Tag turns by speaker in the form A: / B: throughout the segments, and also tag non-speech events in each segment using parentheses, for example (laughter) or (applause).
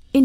A: verscheen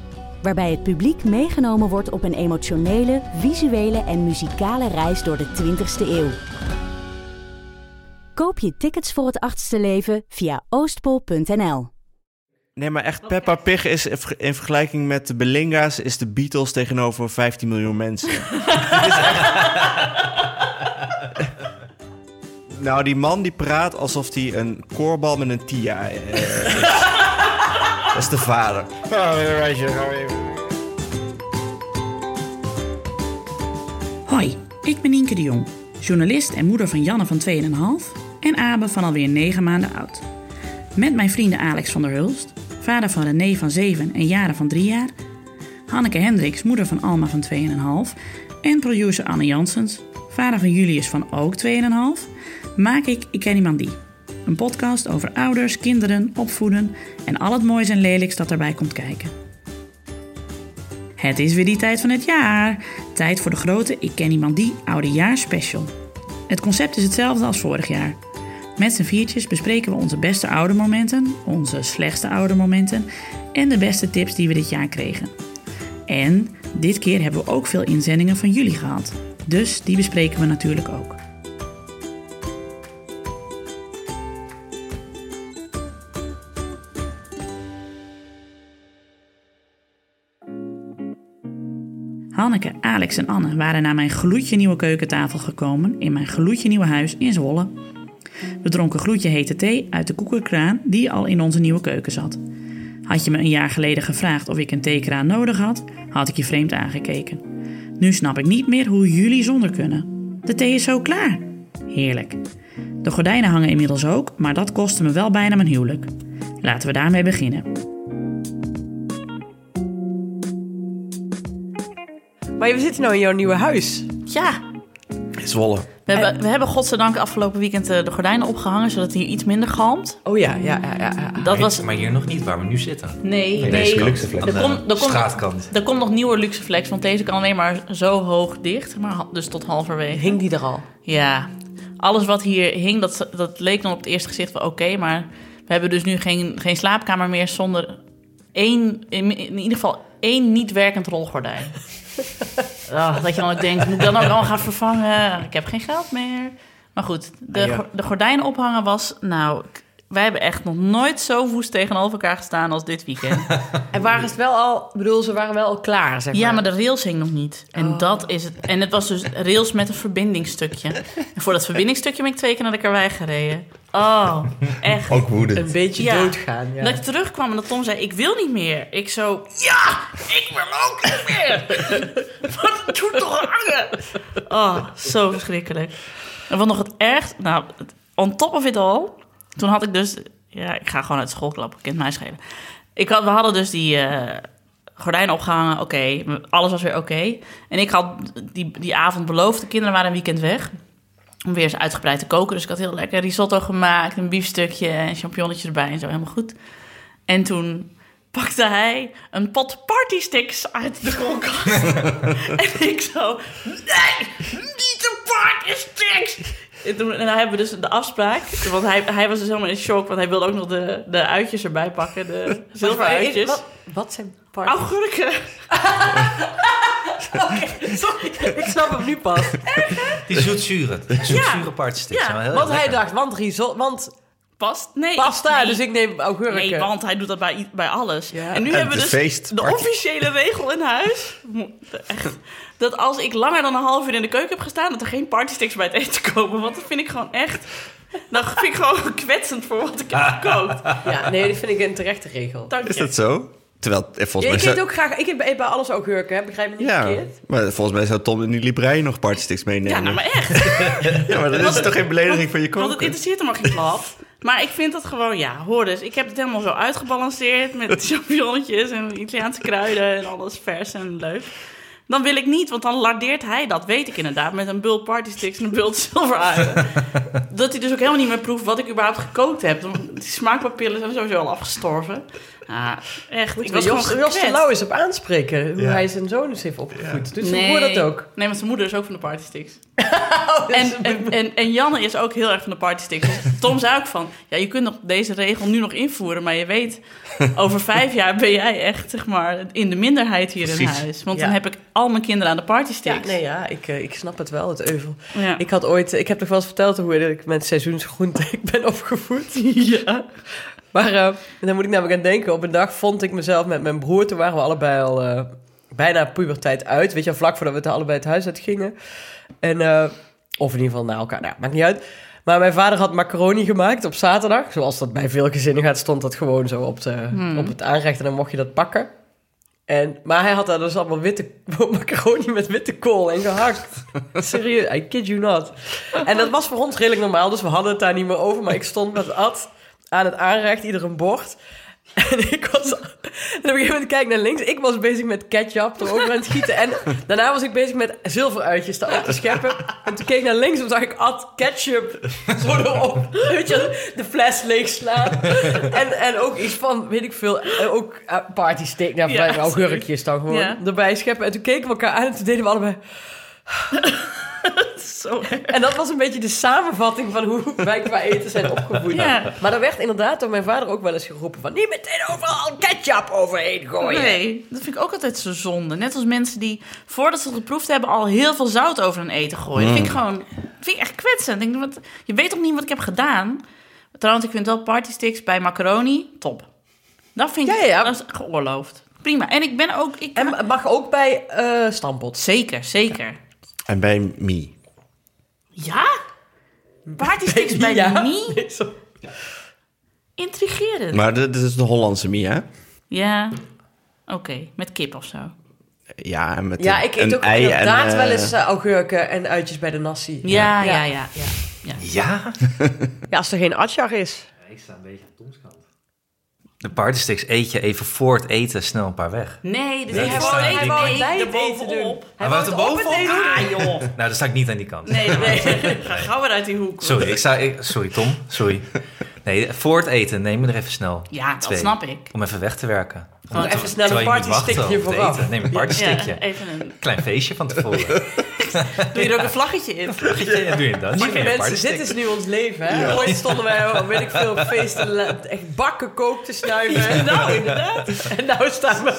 A: Waarbij het publiek meegenomen wordt op een emotionele, visuele en muzikale reis door de 20ste eeuw. Koop je tickets voor het achtste leven via oostpol.nl.
B: Nee, maar echt, Peppa Pig is in vergelijking met de Belinga's... is de Beatles tegenover 15 miljoen
C: (laughs)
B: mensen. Het is echt- nou, die man die praat alsof hij een koorbal met een tia eh, is.
C: (laughs)
B: Dat is de vader.
D: Hoi, ik ben Nienke de Jong, journalist en moeder van Janne van 2,5 en Abe van alweer 9 maanden oud. Met mijn vrienden Alex van der Hulst, vader van René van 7 en Jaren van 3 jaar, Hanneke Hendricks, moeder van Alma van 2,5 en producer Anne Janssens, vader van Julius van ook 2,5, maak ik Ik Ken Iemand Die. Een podcast over ouders, kinderen, opvoeden en al het moois en lelijks dat erbij komt kijken. Het is weer die tijd van het jaar. Tijd voor de grote Ik Ken Iemand Die Oudejaarspecial. Het concept is hetzelfde als vorig jaar. Met z'n viertjes bespreken we onze beste oude momenten, onze slechtste oude momenten en de beste tips die we dit jaar kregen. En dit keer hebben we ook veel inzendingen van jullie gehad. Dus die bespreken we natuurlijk ook. Hanneke, Alex en Anne waren naar mijn gloedje nieuwe keukentafel gekomen in mijn gloedje nieuwe huis in Zwolle. We dronken gloedje hete thee uit de koekerkraan die al in onze nieuwe keuken zat. Had je me een jaar geleden gevraagd of ik een theekraan nodig had, had ik je vreemd aangekeken. Nu snap ik niet meer hoe jullie zonder kunnen. De thee is zo klaar. Heerlijk. De gordijnen hangen inmiddels ook, maar dat kostte me wel bijna mijn huwelijk. Laten we daarmee beginnen.
E: Maar we zitten nu in jouw nieuwe huis.
C: Ja,
B: Zwolle.
C: we hebben, we hebben godzijdank afgelopen weekend eh, de gordijnen opgehangen, zodat het hier iets minder galmt.
E: Oh ja, ja, ja, ja. ja.
C: Dat
F: Nee,
C: was...
F: Maar hier nog niet, waar we nu zitten.
C: Nee, nee.
F: Deze
G: luxe flat.
C: Er komt- er komt- (laughs)
F: straatkant.
C: Er komt nog nieuwe luxe flex, want deze kan alleen maar zo hoog dicht, maar ha- dus tot halverwege.
E: Hing die er al?
C: Ja, alles wat hier hing, dat, dat leek dan op het eerste gezicht wel oké, maar we hebben dus nu geen, geen slaapkamer meer zonder één, in, in ieder geval één niet
B: (laughs)
C: werkend rolgordijn. Ah, dat je dan ook denkt, moet ik dan ook allemaal gaan vervangen? Ik heb geen geld meer. Maar goed, de,
B: Ah, ja.
C: go- de gordijnen ophangen was, nou, k- wij hebben echt nog nooit zo woest tegenover elkaar gestaan als dit weekend.
E: En waren ze wel al... ik bedoel, ze waren wel al klaar, zeg maar.
C: Ja, maar de rails hing nog niet. En dat is het. En het was dus rails met een verbindingstukje. En voor dat verbindingstukje ben ik twee keer naar de karwei gereden. Oh, echt.
G: Ook woedend.
E: Een beetje
C: Ja.
E: doodgaan, ja.
C: Dat ik terugkwam en dat Tom zei, ik wil niet meer. Ik zo, ja, ik wil ook niet meer. (laughs) Wat doet toch hangen? Oh, zo verschrikkelijk. En wat nog het ergst, nou, on top of it all, toen had ik dus, ja, ik ga gewoon uit school klappen, kind mij schelen. Ik had, we hadden dus die eh gordijnen opgehangen, oké, alles was weer oké. En ik had die, die avond beloofd, de kinderen waren een weekend weg om weer eens uitgebreid te koken. Dus ik had heel lekker risotto gemaakt, een biefstukje en champignonnetjes erbij en zo, helemaal goed. En toen pakte hij een pot partysticks uit de
E: (laughs)
C: koelkast. en ik zo, nee, niet de partysticks! En toen en dan hebben we dus de afspraak, want hij, hij was dus helemaal in shock, want hij wilde ook nog de, de uitjes erbij pakken,
E: (laughs)
C: de Oh, zilveren
E: Maar-
C: uitjes.
E: Wat, wat zijn parties?
C: Augurken! Oké, (laughs) sorry.
E: (laughs) ik snap hem nu pas. (laughs)
F: Die zoetzure. Zoetzure partjes.
C: Ja,
E: Want hij dacht, want risotto, want
C: Past? Nee.
E: pasta,
C: nee.
E: dus ik neem augurken.
C: Nee, want hij doet dat bij, i- bij alles.
E: Ja.
C: En nu
B: En
C: hebben we
B: de
C: dus de
B: feestparty.
C: officiële regel in huis. Mo- Echt. Dat als ik langer dan een half uur in de keuken heb gestaan... dat er geen partysticks bij het eten komen. Want dat vind ik gewoon echt... Dat vind ik gewoon (laughs) kwetsend voor wat
B: (laughs)
C: ik heb gekookt.
E: Ja, nee, dat vind ik een terechte regel.
C: Dank
B: Is
C: je.
B: dat zo? Terwijl, eh,
E: Ja,
B: volgens
E: ik
B: mij...
E: eet
B: zou-
E: ook graag, ik eet bij eet bij alles augurken, hè, begrijp me niet
B: Ja,
E: verkeerd.
B: maar volgens mij zou Tom in die librei nog partysticks
C: Ja,
B: meenemen.
C: nou maar echt.
B: Ja, maar dat is toch geen belediging van je
C: Want het
B: koken?
C: interesseert hem maar geen klap.
E: (laughs)
C: Maar ik vind dat gewoon, ja, hoor dus. Ik heb het helemaal zo
E: (laughs)
C: uitgebalanceerd met champignonnetjes en Italiaanse kruiden en alles vers en leuk. Dan wil ik niet, want dan lardeert hij dat, weet ik inderdaad, met een bult party sticks en een bult
E: (laughs)
C: zilveruien. dat hij dus ook helemaal niet meer proeft wat ik überhaupt gekookt heb. Die smaakpapillen zijn sowieso al afgestorven. Ah, echt, ik was gewoon
E: Jos, Jos de
C: gekwetst.
E: Lauw is op aanspreken hoe
B: Ja.
E: hij zijn zoon dus heeft opgevoed. Dus ik hoor dat ook. Oh, dus
C: Nee, want zijn moeder is ook van de party
E: (laughs)
C: sticks. en, en, en, en Janne is ook heel erg van de party sticks.
E: (laughs)
C: Dus Tom zei ook van, ja, je kunt nog deze regel nu nog invoeren, maar je weet, over vijf jaar ben jij echt, zeg maar, in de minderheid hier in
B: Precies.
C: huis. Want
E: Ja.
C: dan heb ik al mijn kinderen aan de party
E: Ja,
C: sticks.
E: nee, ja, ik, eh, ik snap het wel, het euvel.
C: Ja.
E: Ik had ooit, ik heb toch wel eens verteld hoe ik met seizoensgroenten (laughs) ik ben opgevoed.
C: Ja.
E: Maar eh, dan moet ik namelijk aan denken. Op een dag vond ik mezelf met mijn broer. Toen waren we allebei al eh, bijna puberteit uit. Weet je, al vlak voordat we het allebei het huis uit gingen. En, eh, of in ieder geval naar elkaar. Nou, maakt niet uit. Maar mijn vader had macaroni gemaakt op zaterdag. Zoals dat bij veel gezinnen gaat, stond dat gewoon zo op, de,
C: Hmm.
E: op het aanrecht. En dan mocht je dat pakken. En, maar hij had daar dus allemaal witte (laughs) macaroni met witte kool en gehakt. Serieus, I kid you not. En dat was voor ons redelijk normaal, dus we hadden het daar niet meer over. Maar ik stond met Ad aan het aanrecht, ieder een bord. En ik was... En op een gegeven moment kijk ik naar links. Ik was bezig met ketchup, erover aan het gieten. En daarna was ik bezig met zilveruitjes daarop te scheppen. En toen keek ik naar links en toen zag ik Ad ketchup zo erop. Weet je, de fles leegslaan. En, en ook iets van, weet ik veel, eh, ook eh, party steak. Nou,
C: Ja,
E: ja,
C: sorry.
E: augurkjes dan gewoon
C: Ja.
E: erbij scheppen. En toen keken we elkaar aan en toen deden we allebei...
C: Zo erg.
E: En dat was een beetje de samenvatting van hoe wij qua eten zijn opgevoed.
C: Ja.
E: Maar er werd inderdaad door mijn vader ook wel eens geroepen van... Niet meteen overal ketchup overheen gooien.
C: Nee, dat vind ik ook altijd zo zonde. Net als mensen die, voordat ze het geproefd hebben, al heel veel zout over hun eten gooien. Dat vind ik gewoon, dat vind ik echt kwetsend. Ik denk, wat, je weet toch niet wat ik heb gedaan? Trouwens, ik vind wel party sticks bij macaroni top. Dat vind ik
E: Ja, ja.
C: Dat is geoorloofd. Prima. En ik ben ook... Ik,
E: En het mag ook bij eh stamppot.
C: zeker, zeker.
B: En bij me.
C: Ja? Party
E: (laughs)
C: sticks bij
E: Ja.
C: me?
E: Zo.
C: Intrigerend.
B: Maar dit dit is de Hollandse Mie, hè?
C: Ja. Oké, met kip of zo.
B: Ja, en met
E: Ja,
B: een,
E: ik
B: een
E: eet ook
B: ei en,
E: inderdaad
B: eh,
E: wel eens eh, augurken en uitjes bij de nasi.
C: Ja, ja, ja.
E: Ja.
C: ja, ja.
F: Ja?
E: Ja, als er geen atjar is.
F: Ik sta een beetje op Toms kant. De partysticks eet je even voor het eten snel een paar weg.
C: Nee, dus
F: Nee,
C: ik
F: ik
C: wou
F: sta-
C: het
F: ik-
C: even
E: ik-
C: bij
E: ik-
C: bovenop.
F: Hij wou het
E: op het
F: bovenop?
E: eten doen.
C: Ah, joh.
F: Nou, dan sta ik niet aan die kant.
C: Nee, nee. Ga gauw weer uit die hoek.
F: (laughs) Sorry, ik sta, ik- sorry Tom, sorry. Nee, voor het eten neem je er even snel
C: Ja, dat
F: twee.
C: snap ik.
F: Om even weg te werken.
C: Gewoon
F: Om-
C: even
E: snel een
F: terwijl je moet
E: partystickje
F: wachten op het
E: vooraf.
F: eten. Neem een
C: Ja,
F: partystikje.
C: even een... (laughs)
F: Klein feestje van (laughs) tevoren.
C: Doe je er ook een vlaggetje in?
F: Ja, doe je dat? Neem je
E: Lieve
F: een
E: mensen,
F: partystick.
E: dit is nu ons leven. Hè? Ooit stonden wij, weet ik veel, op feesten, la- echt bakken kook te snuiven.
C: Nou, inderdaad.
E: En nou staan we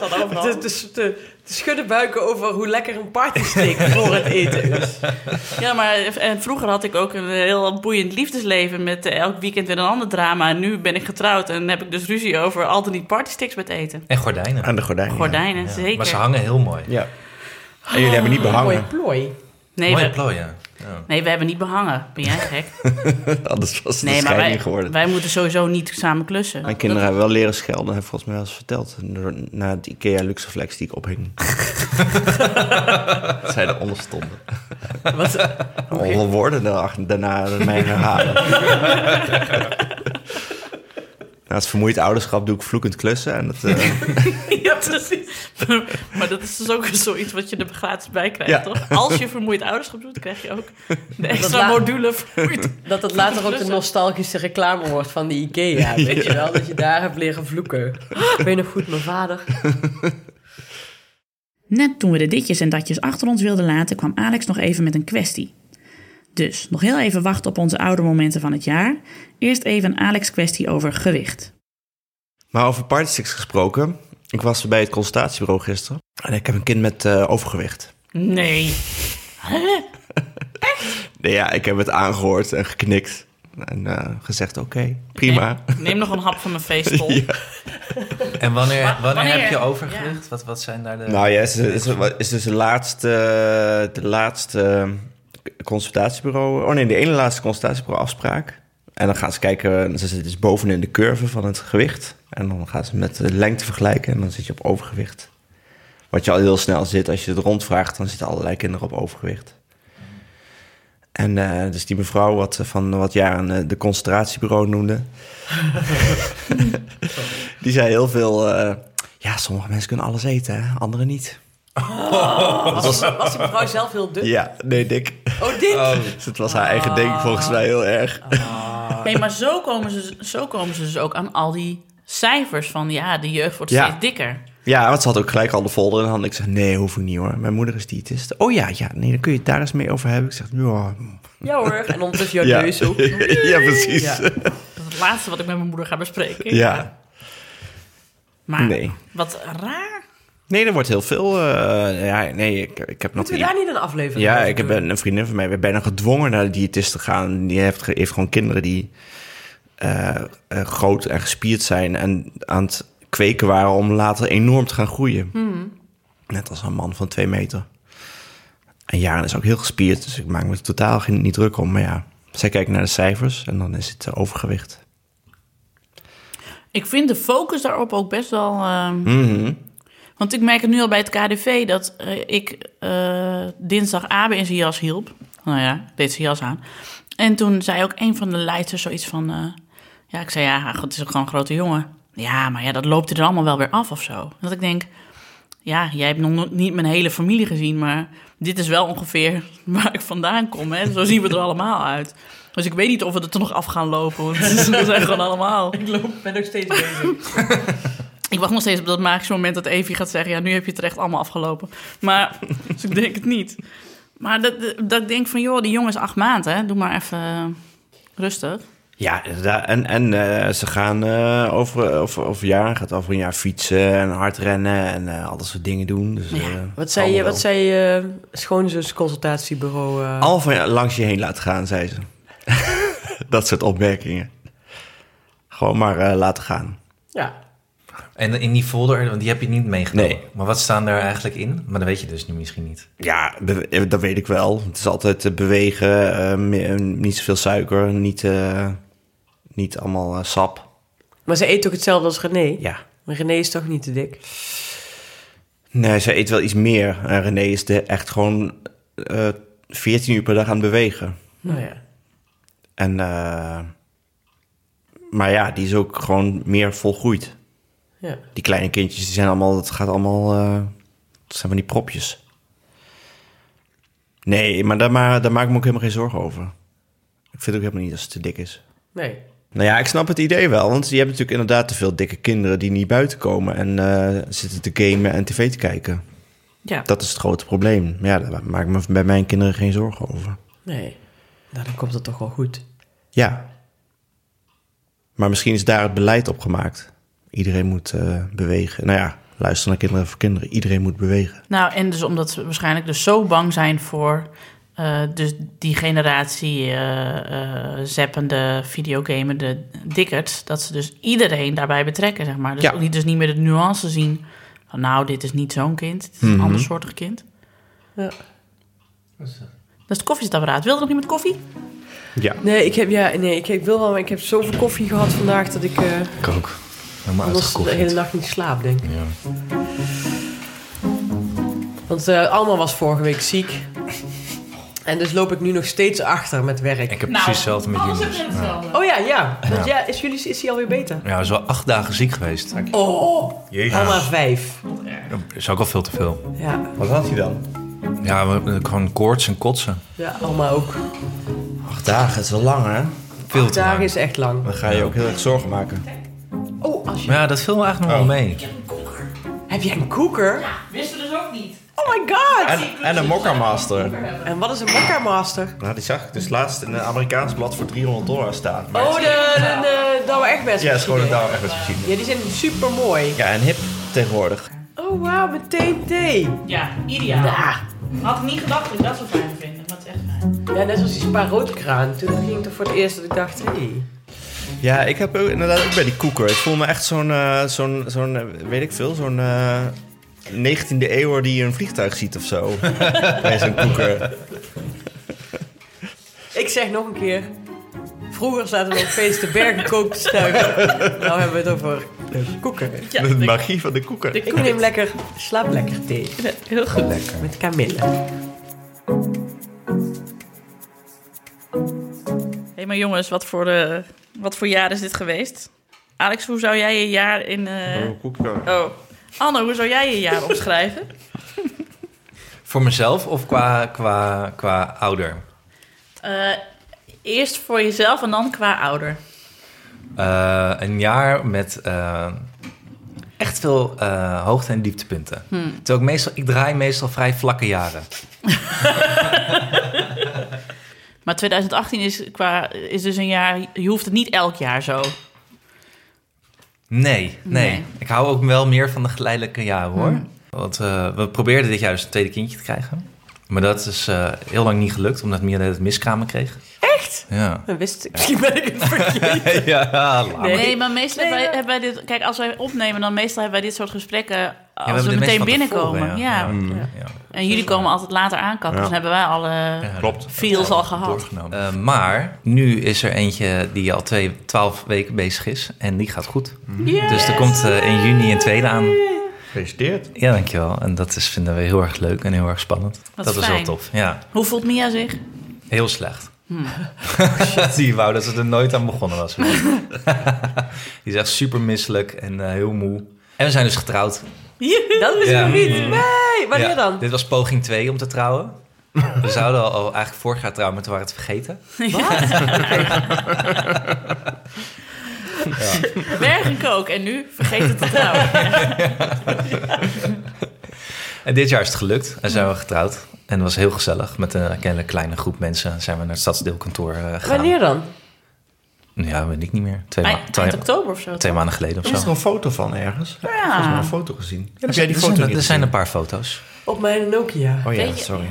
E: te, te, te, te schudden buiken over hoe lekker een (laughs) partysteak voor het eten is.
C: Ja, maar en vroeger had ik ook een heel boeiend liefdesleven met eh, elk weekend weer een ander drama. En nu ben ik getrouwd en heb ik dus ruzie over al dan niet partysticks met eten.
F: En
E: eh,
F: gordijnen.
B: Aan de gordijnen.
C: Gordijnen,
F: Ja, Maar ze
C: zeker.
F: hangen heel mooi.
B: Ja. En jullie hebben niet
E: Mooie
B: behangen. (laughs)
E: plooi.
C: Nee
F: Mooie
C: we,
F: plooien. Ja.
C: nee, we hebben niet behangen. Ben
F: (laughs)
C: jij gek?
B: Anders was het
C: Nee,
B: een
C: maar wij,
B: scheiding geworden.
C: wij moeten sowieso niet samen klussen.
B: Mijn kinderen hebben wel leren schelden, heb ik volgens mij wel eens verteld. door- Na het IKEA Luxeflex die ik
E: (laughs)
B: ophing. Dat Zij eronder stonden. (laughs)
E: Wat,
B: Alle woorden daarachter- daarna mij
E: (laughs)
B: herhalen. Na het vermoeid ouderschap doe ik vloekend klussen. En dat, eh,
C: Ja, precies. Maar, maar dat is dus ook zoiets wat je er gratis bij krijgt,
B: Ja.
C: toch? Als je vermoeid ouderschap doet, krijg je ook de extra
E: la-
C: module vermoeid.
E: dat het later ook de nostalgische reclame wordt van de Ikea. Weet je wel, dat je daar hebt leren vloeken. Ik weet nog goed, mijn vader.
D: Net toen we de ditjes en datjes achter ons wilden laten, kwam Alex nog even met een kwestie. Dus nog heel even wachten op onze oude momenten van het jaar. Eerst even een Alex-kwestie over gewicht.
B: Maar over partysticks gesproken. Ik was bij het consultatiebureau gisteren. En ik heb een kind met eh, overgewicht.
C: Nee.
B: Nee, ja, ik heb het aangehoord en geknikt. En eh, gezegd, oké, prima.
C: Neem nog een hap van mijn feestpol.
B: Ja.
F: En wanneer, wanneer,
C: wanneer?
F: heb je overgewicht? Wat, wat zijn daar de...
B: Nou ja, het is, is, is dus de laatste, de laatste eh, consultatiebureau... Oh nee, de ene laatste consultatiebureau afspraak. En dan gaan ze kijken, ze zitten dus bovenin de curve van het gewicht. En dan gaan ze met de lengte vergelijken en dan zit je op overgewicht. Wat je al heel snel zit, als je het rondvraagt, dan zitten allerlei kinderen op overgewicht. En eh, dus die mevrouw wat, eh, van wat jaren eh, de concentratiebureau noemde... die zei heel veel... eh, ja, sommige mensen kunnen alles eten, hè? anderen niet.
E: Was, was die mevrouw zelf heel dun?
B: Ja, nee, dik.
E: Oh, dit?
B: (laughs) Dus het was haar eigen ding volgens mij heel erg.
E: Ah.
C: Nee, maar zo komen, ze, zo komen ze dus ook aan al die cijfers van ja, de jeugd wordt
B: Ja.
C: steeds dikker.
B: Ja, want ze had ook gelijk al de folder in handen. Ik zeg, nee, hoef ik niet hoor. Mijn moeder is diëtist. Oh ja, ja, nee, dan kun je het daar eens mee over hebben. Ik zeg, ja.
E: Ja hoor. En ondertussen jouw
B: Ja,
E: neus ook.
B: (laughs) ja precies.
E: Ja.
B: Ja.
C: Dat is het laatste wat ik met mijn moeder ga bespreken. Maar
B: Nee.
C: wat raar.
B: Nee, er wordt heel veel... eh, ja, nee, ik, ik heb nog
E: Moeten we
B: niet-
E: daar niet een aflevering
B: Ja,
E: over
B: ik heb
E: doen?
B: een, een vriendin van mij weer bijna gedwongen naar de diëtist te gaan. Die heeft, ge- heeft gewoon kinderen die eh, eh, groot en gespierd zijn en aan het kweken waren om later enorm te gaan groeien. Net als een man van twee meter. En Jaren is ook heel gespierd, dus ik maak me er totaal geen, niet druk om. Maar ja, zij kijkt naar de cijfers en dan is het eh, overgewicht.
C: Ik vind de focus daarop ook best wel. ehm, Want ik merk het nu al bij het KDV dat eh, ik eh, dinsdag Abe in zijn jas hielp. Nou ja, deed zijn jas aan. En toen zei ook een van de leidsters zoiets van... eh, ja, ik zei, ja, het is ook gewoon een grote jongen. Ja, maar ja, dat loopt er allemaal wel weer af of zo. Dat ik denk, ja, jij hebt nog no- niet mijn hele familie gezien... maar dit is wel ongeveer (laughs) waar ik vandaan kom. Hè? Zo zien we er allemaal uit. Dus ik weet niet of we er nog af gaan lopen. Want (laughs) we zijn gewoon allemaal...
E: Ik loop, ben nog steeds bezig.
C: Ik wacht nog steeds op dat magische moment dat Evie gaat zeggen... ja, nu heb je het echt allemaal afgelopen. Maar, (laughs) dus ik denk het niet. Maar dat, dat ik denk van, joh, die jongen is acht maanden, hè. Doe maar even eh, rustig.
B: Ja, inderdaad. en, en eh, ze gaan eh, over, over, over jaren, gaat over een jaar fietsen en hard rennen en eh, al dat soort dingen doen. Dus, eh,
E: Wat zei je,
B: allemaal
E: wat
B: wel.
E: zei je schoonzus consultatiebureau? eh?
B: Al van je- langs je heen laten gaan, zei ze. (laughs) dat soort opmerkingen. Gewoon maar eh, laten gaan.
E: Ja.
F: En in die folder, want die heb je niet meegenomen.
B: Nee.
F: Maar wat staan daar eigenlijk in? Maar dat weet je dus nu misschien niet.
B: Ja, be- eh, dat weet ik wel. Het is altijd eh, bewegen, eh, me- eh, niet zoveel suiker, niet, eh, niet allemaal eh, sap.
E: Maar ze eet toch hetzelfde als René?
B: Ja.
E: Maar René is toch niet te dik?
B: Nee, ze eet wel iets meer. En René is de, echt gewoon eh 14 uur per dag aan het bewegen.
E: Nou ja.
B: En, eh, maar ja, die is ook gewoon meer volgroeid.
E: ja.
B: Die kleine kindjes, die zijn allemaal, het gaat allemaal, eh, het zijn van die propjes. Nee, maar daar, ma- daar maak ik me ook helemaal geen zorgen over. Ik vind ook helemaal niet dat ze te dik is.
E: Nee.
B: Nou ja, ik snap het idee wel, want je hebt natuurlijk inderdaad te veel dikke kinderen die niet buiten komen en eh, zitten te gamen en tv te kijken.
C: Ja.
B: Dat is het grote probleem. Ja, daar maak ik me bij mijn kinderen geen zorgen over.
E: Nee. Nou, dan komt het toch wel goed.
B: Ja. Maar misschien is daar het beleid op gemaakt. Iedereen moet eh, bewegen. Nou ja, luister naar kinderen voor kinderen. Iedereen moet bewegen.
C: Nou, en dus omdat ze waarschijnlijk dus zo bang zijn voor... eh, dus die generatie eh, eh, zeppende, videogamende dikkerts... dat ze dus iedereen daarbij betrekken, zeg maar. Dus,
B: Ja.
C: ook niet, dus niet meer de nuance zien van... nou, dit is niet zo'n kind, dit is een ander soortig kind.
E: Ja.
C: Dat is het koffiezetapparaat. Wil er nog iemand koffie?
B: Ja.
E: Nee, ik heb, ja, nee, ik, ik wil wel, maar ik heb zoveel koffie gehad vandaag dat ik eh
F: Ik ook. Helemaal
E: anders de hele
F: uitgekofferd.
E: nacht niet slaap, denk ik.
F: Ja.
E: Want eh Alma was vorige week ziek. En dus loop ik nu nog steeds achter met werk.
F: Ik heb precies hetzelfde met Jonas. Ja.
C: hetzelfde.
E: Oh ja, ja. Want ja, is, jullie, is hij alweer beter?
F: ja, hij is wel acht dagen ziek geweest.
E: Oh,
F: Jezus.
E: Alma vijf.
F: Dat is ook al veel te veel.
E: Ja,
B: Wat had hij dan?
F: Ja, we hebben gewoon koorts en kotsen.
E: ja Alma ook.
B: Acht dagen, dat is wel lang hè?
F: Veel te
E: Dagen
F: lang.
E: is echt lang.
B: Dan ga je ook heel erg zorgen maken.
E: Oh, als je...
F: Maar ja, dat viel me eigenlijk
B: Oh.
F: nog wel mee.
E: Heb jij een koeker?
C: Wisten dus ook niet.
E: Oh my god!
B: En, en een Mokka Master.
E: En wat is een mokka master?
B: Nou, die zag ik dus laatst in een Amerikaans blad voor 300 dollar staan. Maar
E: Oh, de, de, de Douwe Egberts.
B: Ja, is gewoon een douwe echt machine.
E: Ja, die zijn super mooi.
B: Ja, en hip tegenwoordig.
E: Oh wauw, meteen thee.
C: Ja, ideaal. Had ik niet gedacht dat ik dat zo fijn vinden, maar het is echt fijn.
E: Ja, net als die spa roodkraan. Toen ging het er voor het eerst dat ik dacht, hé. Hey.
B: Ja, ik heb ook, inderdaad ook bij die koeker. Ik voel me echt zo'n, eh, zo'n, zo'n eh, weet ik veel, zo'n eh, 19e eeuwer die een vliegtuig ziet of zo. bij zo'n koeker.
E: Ik zeg nog een keer. Vroeger zaten we op feest de bergen kook te stuiven. Nou hebben we het over koeken.
C: Ja,
B: de magie van de koeker.
E: Ik neem lekker slaap lekker thee
C: heel goed.
E: met kamille.
C: Hé, maar jongens, wat voor, eh, wat voor jaar is dit geweest? Alex, hoe zou jij je jaar in... eh,
B: koeker.
F: (laughs)
C: Oh, Anne, hoe zou jij je jaar omschrijven?
F: Voor mezelf of qua, qua, qua ouder?
C: Eh, eerst voor jezelf en dan qua ouder.
F: Eh, een jaar met eh, echt veel eh, hoogte- en dieptepunten. Terwijl ik meestal, ik draai meestal vrij vlakke jaren.
C: Maar 2018 is, qua, is dus een jaar... Je hoeft het niet elk jaar zo.
F: Ah, Nee, nee,
C: Nee.
F: Ik hou ook wel meer van de geleidelijke jaren hoor. Want eh, we probeerden dit jaar dus een tweede kindje te krijgen. Maar dat is eh, heel lang niet gelukt, omdat Mira het miskramen kreeg.
E: Echt?
F: Ja.
E: Dat wist ik. (laughs) Misschien ben ik het verkeerd.
F: ja, laat.
C: Nee,
E: Nee.
C: maar meestal
E: Nee,
C: hebben, wij,
E: ja.
C: hebben wij dit... Kijk, als wij opnemen, dan meestal hebben wij dit soort gesprekken...
F: Ja,
C: Als
F: hebben
C: we,
F: dit
C: meteen
F: meestal van
C: binnenkomen.
F: tevoren,
C: ja.
F: ja. ja.
C: En jullie komen altijd later aankappen.
B: Ja.
C: Dus dan hebben wij alle
F: Ja.
B: Klopt.
C: feels al gehad.
F: Doorgenomen. Eh, maar nu is er eentje die al twee, twaalf weken bezig is en die gaat goed. Dus er komt eh, in juni een tweede aan.
B: Gefeliciteerd.
F: Ja, dankjewel. En dat is, vinden we heel erg leuk en heel erg spannend.
C: Wat
F: dat is
C: fijn.
F: wel tof. Ja,
C: Hoe voelt Mia zich?
F: heel slecht.
E: Hmm.
F: (laughs) die wou dat ze er nooit aan begonnen was. (laughs) die is echt super misselijk en eh, heel moe. En we zijn dus getrouwd.
E: Dat wist
F: Ja. Hmm.
E: ik niet. Nee, wanneer
F: Ja,
E: dan?
F: Dit was poging 2 om te trouwen. We zouden al, al eigenlijk vorig jaar trouwen, maar toen waren we het vergeten.
C: (laughs) Berg en kook. En nu vergeet het te trouwen.
F: En dit jaar is het gelukt en zijn we getrouwd. En dat was heel gezellig. Met een hele kleine groep mensen zijn we naar het stadsdeelkantoor eh, gegaan.
E: Wanneer dan?
F: Ja, weet ik niet meer. Twee, ma-
C: Ah, Eind,
F: twee,
C: eind oktober of zo.
F: twee maanden geleden of
B: Is er
F: zo.
B: een foto van ergens? Ja. Ik heb een foto gezien. Heb jij die
F: Er
B: foto
F: zijn,
B: niet
F: er zijn
B: gezien?
F: een paar foto's.
E: Op mijn Nokia.
B: Oh ja,
C: Weet je-
B: sorry.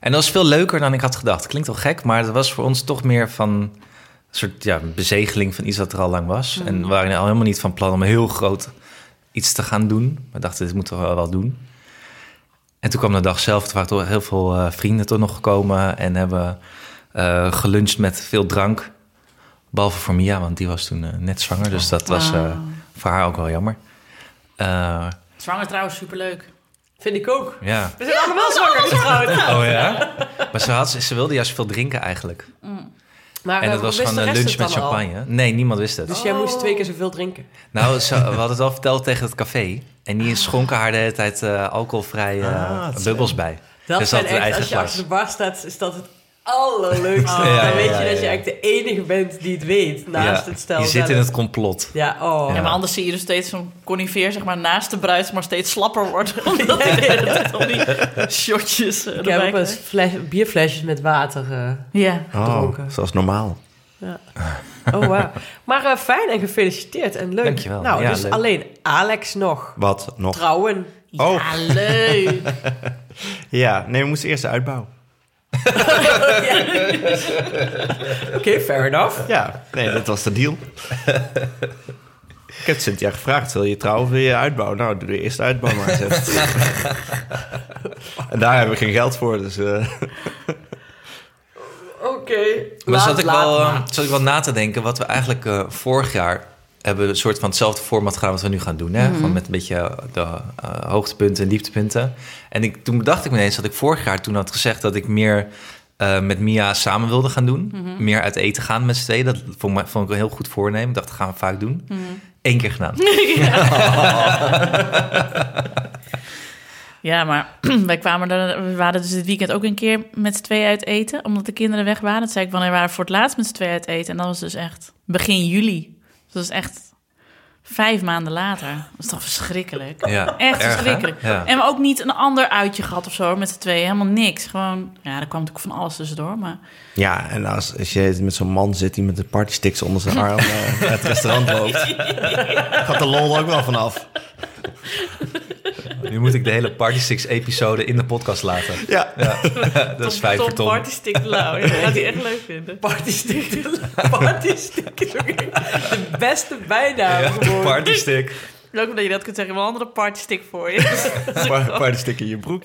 F: En dat was veel leuker dan ik had gedacht. Klinkt wel gek, maar dat was voor ons toch meer van... een soort ja, bezegeling van iets dat er al lang was. En we waren al helemaal niet van plan om heel groot iets te gaan doen. We dachten, dit moeten we wel doen. En toen kwam de dag zelf. Er waren toch heel veel eh, vrienden toch nog gekomen. En hebben eh geluncht met veel drank. Behalve voor Mia, want die was toen eh, net zwanger. Dus dat was eh, voor haar ook wel jammer. Eh,
C: Zwanger trouwens, superleuk.
E: Vind ik ook.
F: ja.
E: We zijn allemaal zwanger getrouwd.
F: Oh ja? (laughs) Maar ze, had, ze wilde juist veel drinken eigenlijk.
E: Maar
F: en
E: eh,
F: dat was
E: wist
F: gewoon
E: de
F: een
E: rest het
F: lunch met
E: dan al?
F: champagne. Nee, niemand wist het.
E: Dus jij moest twee keer zoveel drinken.
F: Nou, ze, we hadden het al verteld tegen het café. En die schonken haar de hele tijd eh, alcoholvrij eh,
B: Ah, dat is-
F: bubbels bij.
E: Dat
F: dus ze
E: zijn
F: had haar
E: echt,
F: eigen
E: als je
F: glas.
E: achter de bar staat, is dat het
F: (laughs)
E: allerleukste.
F: Ah, Ja, ja,
E: dan weet je
F: ja,
E: dat je
F: ja.
E: eigenlijk de enige bent die het weet, naast
F: Ja,
E: het stel
F: Je zit
E: zelf.
F: in het complot.
E: Ja, oh.
C: Ja,
E: Ja.
C: maar anders zie je dus steeds zo'n conifeer, zeg maar, naast de bruid, maar steeds slapper wordt. (laughs) Omdat hij de hele tijd al die shotjes eh,
E: Ik heb
C: erbij
E: ook wel eens
C: krijgt.
E: fles- bierflesjes met water eh,
C: Ja.
B: Oh,
E: Dronken.
B: zoals normaal.
E: Oh,
F: (laughs)
E: wauw. Maar eh, fijn en gefeliciteerd en leuk.
F: Dankjewel.
E: Nou,
F: Ja,
E: dus
F: leuk.
E: alleen Alex nog.
B: Wat nog?
E: Trouwen.
B: Oh.
C: Ja, leuk.
B: Ja, nee, we moesten eerst de uitbouw.
E: Oké, fair enough.
B: Ja, nee, dat was de deal. Ik heb Cynthia gevraagd, wil je trouwen of wil je uitbouw? Nou, doe de eerste uitbouw maar. zegt ze. (laughs) en daar hebben we geen geld voor, dus... eh,
E: Oké.
F: Maar
E: laat,
F: zat ik,
E: laat
F: wel, eh,
E: maar.
F: zat ik wel na te denken wat we eigenlijk eh, vorig jaar hebben een soort van hetzelfde format gedaan wat we nu gaan doen. Hè? Gewoon met een beetje de eh, hoogtepunten en dieptepunten. En ik, toen bedacht ik me ineens dat ik vorig jaar toen had gezegd dat ik meer eh, met Mia samen wilde gaan doen. Meer uit eten gaan met z'n tweeën. Dat vond, me- vond ik een heel goed voornemen. Ik dacht, dat gaan we vaak doen. Eén keer gedaan.
C: Ja, maar (clears throat) wij kwamen er, we waren dus dit weekend ook een keer met z'n tweeën uit eten, omdat de kinderen weg waren. Dat zei ik, wanneer waren we voor het laatst met z'n tweeën uit eten? En dat was dus echt begin juli. Dus dat is echt vijf maanden later. Dat is toch verschrikkelijk.
F: Ja,
C: Echt
F: erg, hè?
C: verschrikkelijk.
F: Ja.
C: En we ook niet een ander uitje gehad of zo met z'n tweeën. Helemaal niks. Gewoon, ja, er kwam natuurlijk van alles tussendoor. Maar
B: Ja, en als, als je met zo'n man zit die met de partysticks onder zijn arm eh, naar het restaurant
C: (laughs)
B: loopt, gaat de lol ook wel vanaf.
F: Nu moet ik de hele Party Six episode in de podcast laten.
B: Ja.
F: Dat is vijf voor Tom.
C: Party Stick Blauw. Ja, dat gaat hij echt leuk vinden.
E: Party
C: (laughs)
E: stick. Party stick is ook echt de beste bijnaam
F: Ja,
E: geworden.
F: Party Stick.
C: Leuk omdat je dat kunt zeggen. Wel een andere Party Stick voor je.
B: Pa- Partystick in je broek.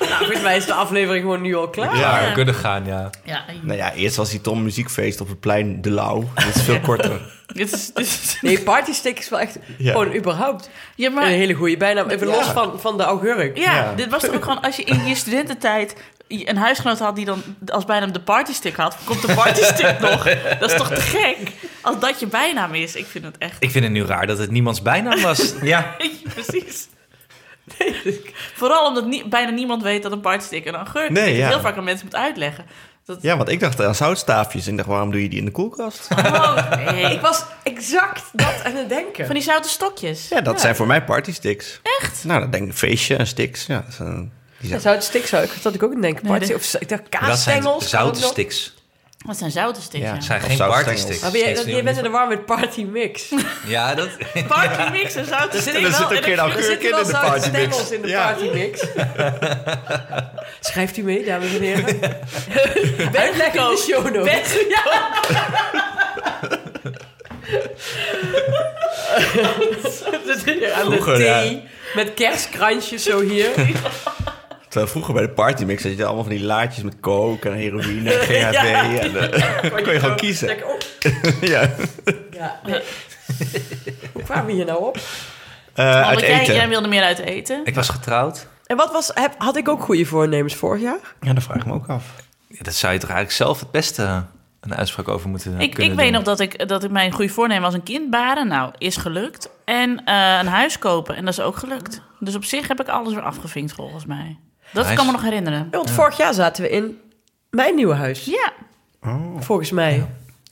E: Nou, volgens mij is de aflevering gewoon nu al
F: (laughs)
E: klaar.
F: Ja, we kunnen gaan, ja.
C: Ja,
B: Nou ja, eerst was die Tom muziekfeest op het plein De Lauw. Dat is
C: (laughs)
B: veel korter.
C: dit is, dit is-
E: Nee, party stick is wel echt
B: Ja.
E: gewoon überhaupt
C: ja, maar,
E: een hele goede bijnaam. Even los van, van de augurk.
C: ja,
B: Ja.
C: dit was toch ook gewoon... Als je in je studententijd een huisgenoot had die dan als bijnaam de Party Stick had... komt de Party
F: (laughs)
C: Stick nog. Dat is toch te gek? Als dat je bijnaam is. Ik vind het echt...
F: Ik vind het nu raar dat het niemands bijnaam was. ja.
C: (laughs) Precies. Vooral omdat nie- bijna niemand weet dat een partstick een augurk
B: Nee,
C: is. Dat je
B: ja.
C: heel vaak aan mensen moet uitleggen. Dat,
B: Ja, want ik dacht aan zoutstaafjes. En ik dacht, waarom doe je die in de koelkast?
C: Oh, nee.
F: (laughs)
E: Ik was exact dat aan het denken.
C: Van die zoute stokjes.
B: Ja, dat zijn voor mij partysticks.
C: Echt?
B: Nou, dan denk ik feestje en sticks. Ja, dat zijn- die
E: Ja,
B: zijn-
E: zou het stik zou ik, dat had ik ook aan het denken.
C: Nee,
E: Party,
C: dit-
E: of, ik dacht
F: Dat zijn
E: kaasstengels.
F: zoute
E: kan ook nog.
F: sticks.
C: Dat zijn zoute sticks,
B: Ja.
C: ja.
F: Het zijn
B: Of
F: geen
B: zoutstengels.
F: party sticks.
E: Maar ben jij-
F: Steeds
E: dat-
F: nieuw.
E: je bent in de war met party mix. Er
F: Ja, dat...
C: Party mix en zoute sticks.
B: er zit ook
C: En
B: geen
C: dan-
B: augurk
C: zit-
B: in.
E: zitten wel
B: de party mix.
E: zoutstengels in de
B: Ja.
E: party (laughs) mix. Schrijft u mee, dames en (laughs) heren. Uitleg in de show notes. (laughs)
C: Ben- ja.
E: Dat zit hier aan
B: Vroeger,
E: de
B: ja.
E: thee. Met kerstkransjes zo hier.
B: Terwijl vroeger bij de partymix had je allemaal van die laadjes met coke en heroïne
E: (laughs)
B: en GHB. En, eh, kon je gewoon kiezen.
E: Denk, oh,
B: (laughs) ja. Eh,
E: ja, nee. (laughs) Hoe kwamen we hier nou op?
B: Eh, uit
C: Want jij,
B: eten.
C: jij wilde meer uit eten.
F: (laughs) Ik was getrouwd.
E: En wat was, heb- had ik ook goede voornemens vorig jaar?
B: Ja, dat vraag ik me ook af.
F: Ja, dat zou je toch eigenlijk zelf het beste een uitspraak over moeten
C: Ik, ik
F: kunnen
C: weet
F: doen.
C: nog dat ik, dat ik mijn goede voornemen als een kind baren, nou, is gelukt. En eh, een huis kopen, en dat is ook gelukt. Dus op zich heb ik alles weer afgevinkt, volgens mij. Dat
F: Nice.
C: kan me nog herinneren.
E: Want vorig jaar zaten we in mijn nieuwe huis.
C: Ja,
E: Volgens mij.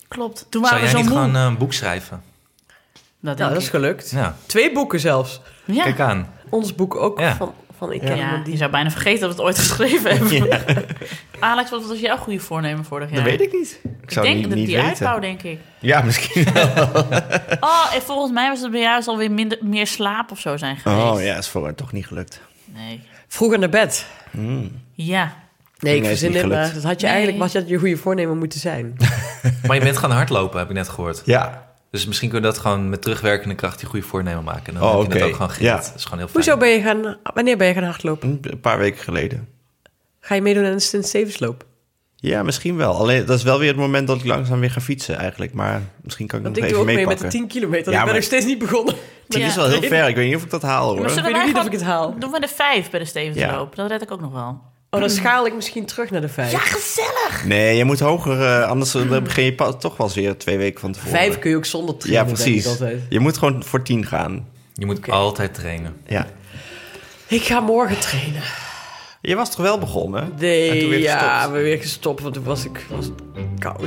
C: klopt. Toen
F: Zou
C: waren we
F: jij
C: zo
F: niet
C: moe.
F: gewoon eh, een boek schrijven?
C: Dat denk
E: Nou, dat is
C: ik.
E: gelukt.
F: Ja,
E: Twee boeken zelfs.
C: Ja.
F: kijk aan.
E: Ons boek ook
F: Ja.
E: van, van ik
C: Ja,
E: ken iemand
C: je
E: die...
C: zou bijna vergeten dat we het ooit geschreven hebben. Alex, wat was jouw goede voornemen vorig jaar?
B: Dat weet ik niet. Ik
C: Ik
B: zou
C: denk
B: niet,
C: dat
B: niet
C: die
B: weten.
C: uitbouw, denk ik.
B: Ja, misschien
C: Oh, en volgens mij was het bij jou alweer minder, meer slaap of zo zijn geweest.
B: Oh ja, is voor haar toch niet gelukt.
C: Nee.
E: Vroeger naar bed.
C: Ja.
E: Nee,
B: Nee,
E: ik
B: is
E: verzin
B: niet
E: dit, maar
B: gelukt.
E: dat had je
C: Nee.
E: eigenlijk was dat je goede voornemen moeten zijn.
B: (laughs)
F: Maar je bent gaan hardlopen, heb ik net gehoord.
B: Ja,
F: Dus misschien kunnen we dat gewoon met terugwerkende kracht die goede voornemen maken. Dan
B: Oh,
F: heb je
B: oké.
F: dat ook gewoon gered.
B: Ja.
F: Dat is gewoon heel fijn.
E: Hoezo ben je gaan... Wanneer ben je gaan hardlopen?
B: een paar weken geleden.
E: Ga je meedoen aan de Stint Stevensloop?
B: Ja, misschien wel. Alleen dat is wel weer het moment dat ik langzaam weer ga fietsen eigenlijk. Maar misschien kan ik
E: Want
B: nog
E: ik
B: even
E: doe ook mee met
B: meepakken.
E: de 10
B: Ja,
E: kilometer. ik ben
B: maar-
E: nog steeds niet
B: (clears throat)
E: begonnen.
B: Tien
C: Ja.
B: is wel heel
C: (laughs)
B: ver. Ik weet niet of ik dat haal
C: Maar
B: hoor.
C: zullen
E: weet
C: wij
E: niet of
C: gewoon-
E: ik het haal.
C: Doen we de vijf bij de Stevensloop.
B: Ja.
C: Dat red ik ook nog wel.
E: Oh, dan schaal ik misschien terug naar de 5.
C: gezellig!
B: Nee, je moet hoger. eh, anders dan begin je pa- toch wel eens weer twee weken van tevoren.
E: Mm. Vijf kun je ook zonder
B: Ja,
E: trainen, denk ik
B: precies.
E: altijd.
B: Je moet gewoon voor tien gaan.
F: Je moet altijd trainen.
B: Ja.
E: Ik ga morgen trainen.
B: Je was toch wel begonnen? En toen
E: Nee,
B: weer
E: ja,
B: gestopt.
E: we weer gestopt, want toen was ik was het koud.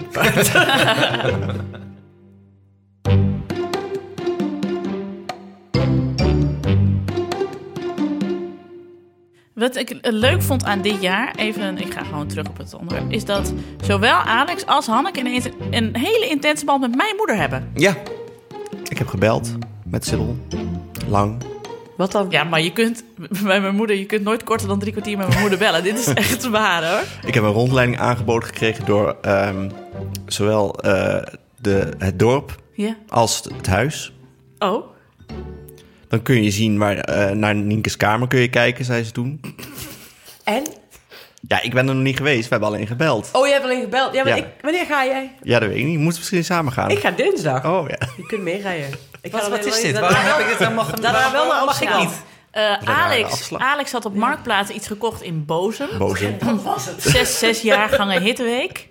C: Wat ik eh, leuk vond aan dit jaar, even, ik ga gewoon terug op het onderwerp, is dat zowel Alex als Hanneke ineens een, een hele intense band met mijn moeder hebben.
B: Ja. Ik heb gebeld met Sibyl. Lang.
E: Wat dan?
C: Ja, maar je kunt (laughs) bij mijn moeder, je kunt nooit korter dan drie kwartier met mijn moeder bellen.
B: (laughs)
C: Dit is echt waar hoor.
B: Ik heb een rondleiding aangeboden gekregen door ehm, zowel eh, de, het dorp
C: Ja.
B: als het huis.
C: Oh.
B: Dan kun je zien waar, eh, naar Nienke's kamer kun je kijken, zei ze toen.
E: En?
B: Ja, ik ben er nog niet geweest. We hebben alleen gebeld.
E: Oh, je hebt alleen gebeld. Ja, maar
B: Ja.
E: Ik, wanneer ga jij?
B: Ja, dat weet ik niet. Moeten we misschien samen gaan?
E: Ik ga dinsdag.
B: Oh ja.
E: Je kunt meerijden. Ik
F: Wat,
E: ga alleen
F: is
E: alleen-
F: dit?
E: daarna
F: Waarom heb
E: wel-
F: ik dit helemaal gedaan?
E: Daarna wel naar
C: mag ik
E: Amsterdam.
C: niet? Eh, Alex,
B: afslag.
C: Alex had op Marktplaats iets gekocht in Bozem.
B: Boze.
C: Zes, zes jaargangen hitweek.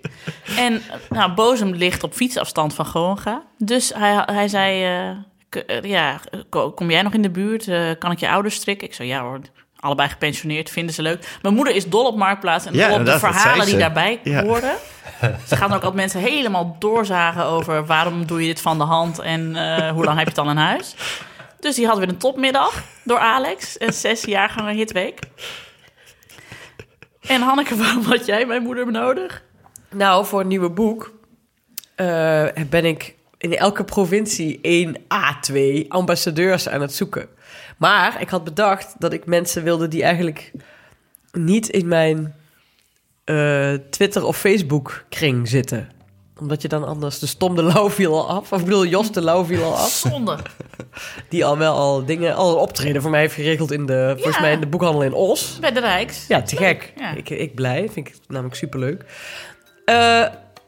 C: En eh, nou, Bozem ligt op fietsafstand van Groningen. Dus hij, hij zei, eh, k- eh, ja, ko- kom jij nog in de buurt? Eh, kan ik je ouders strikken? Ik zo, ja hoor, allebei gepensioneerd, vinden ze leuk. Mijn moeder is dol op Marktplaats en
B: Ja,
C: dol op de
B: inderdaad, dat
C: verhalen
B: zei ze.
C: die daarbij
B: Ja.
C: horen. Ze gaan ook al mensen helemaal doorzagen over waarom doe je dit van de hand en eh, hoe lang heb je het dan in huis. Dus die had weer een topmiddag door Alex. Een zes jaargangen hitweek. En Hanneke, (laughs) waarom had jij mijn moeder nodig?
E: Nou, voor een nieuwe boek eh, ben ik in elke provincie 1 à 2 ambassadeurs aan het zoeken. Maar ik had bedacht dat ik mensen wilde die eigenlijk niet in mijn eh, Twitter of Facebook kring zitten omdat je dan anders de stom de lauw viel al af. Of ik bedoel, Jos de lauw viel al af.
C: Zonde.
E: Die al wel al dingen, al een optreden voor mij heeft geregeld in de, volgens mij in de boekhandel in Os.
C: Bij de Rijks.
E: Ja, te gek.
C: Ja.
E: Ik, ik blij. Vind ik namelijk superleuk. Eh,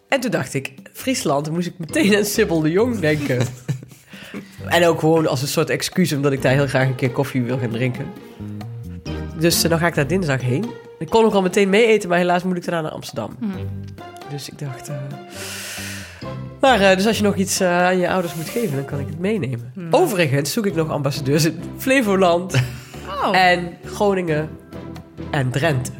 E: en toen dacht ik, Friesland, dan moest ik meteen aan Sibyl de Jong denken. en ook gewoon als een soort excuus, omdat ik daar heel graag een keer koffie wil gaan drinken. Dus eh, dan ga ik daar dinsdag heen. Ik kon ook al meteen mee eten, maar helaas moet ik daarna naar Amsterdam.
C: Hm.
E: Dus ik dacht... eh, maar eh, dus als je nog iets eh, aan
C: Hm.
E: je ouders moet geven, dan kan ik het meenemen. Overigens zoek ik nog ambassadeurs in Flevoland,
C: Oh.
E: en Groningen en Drenthe.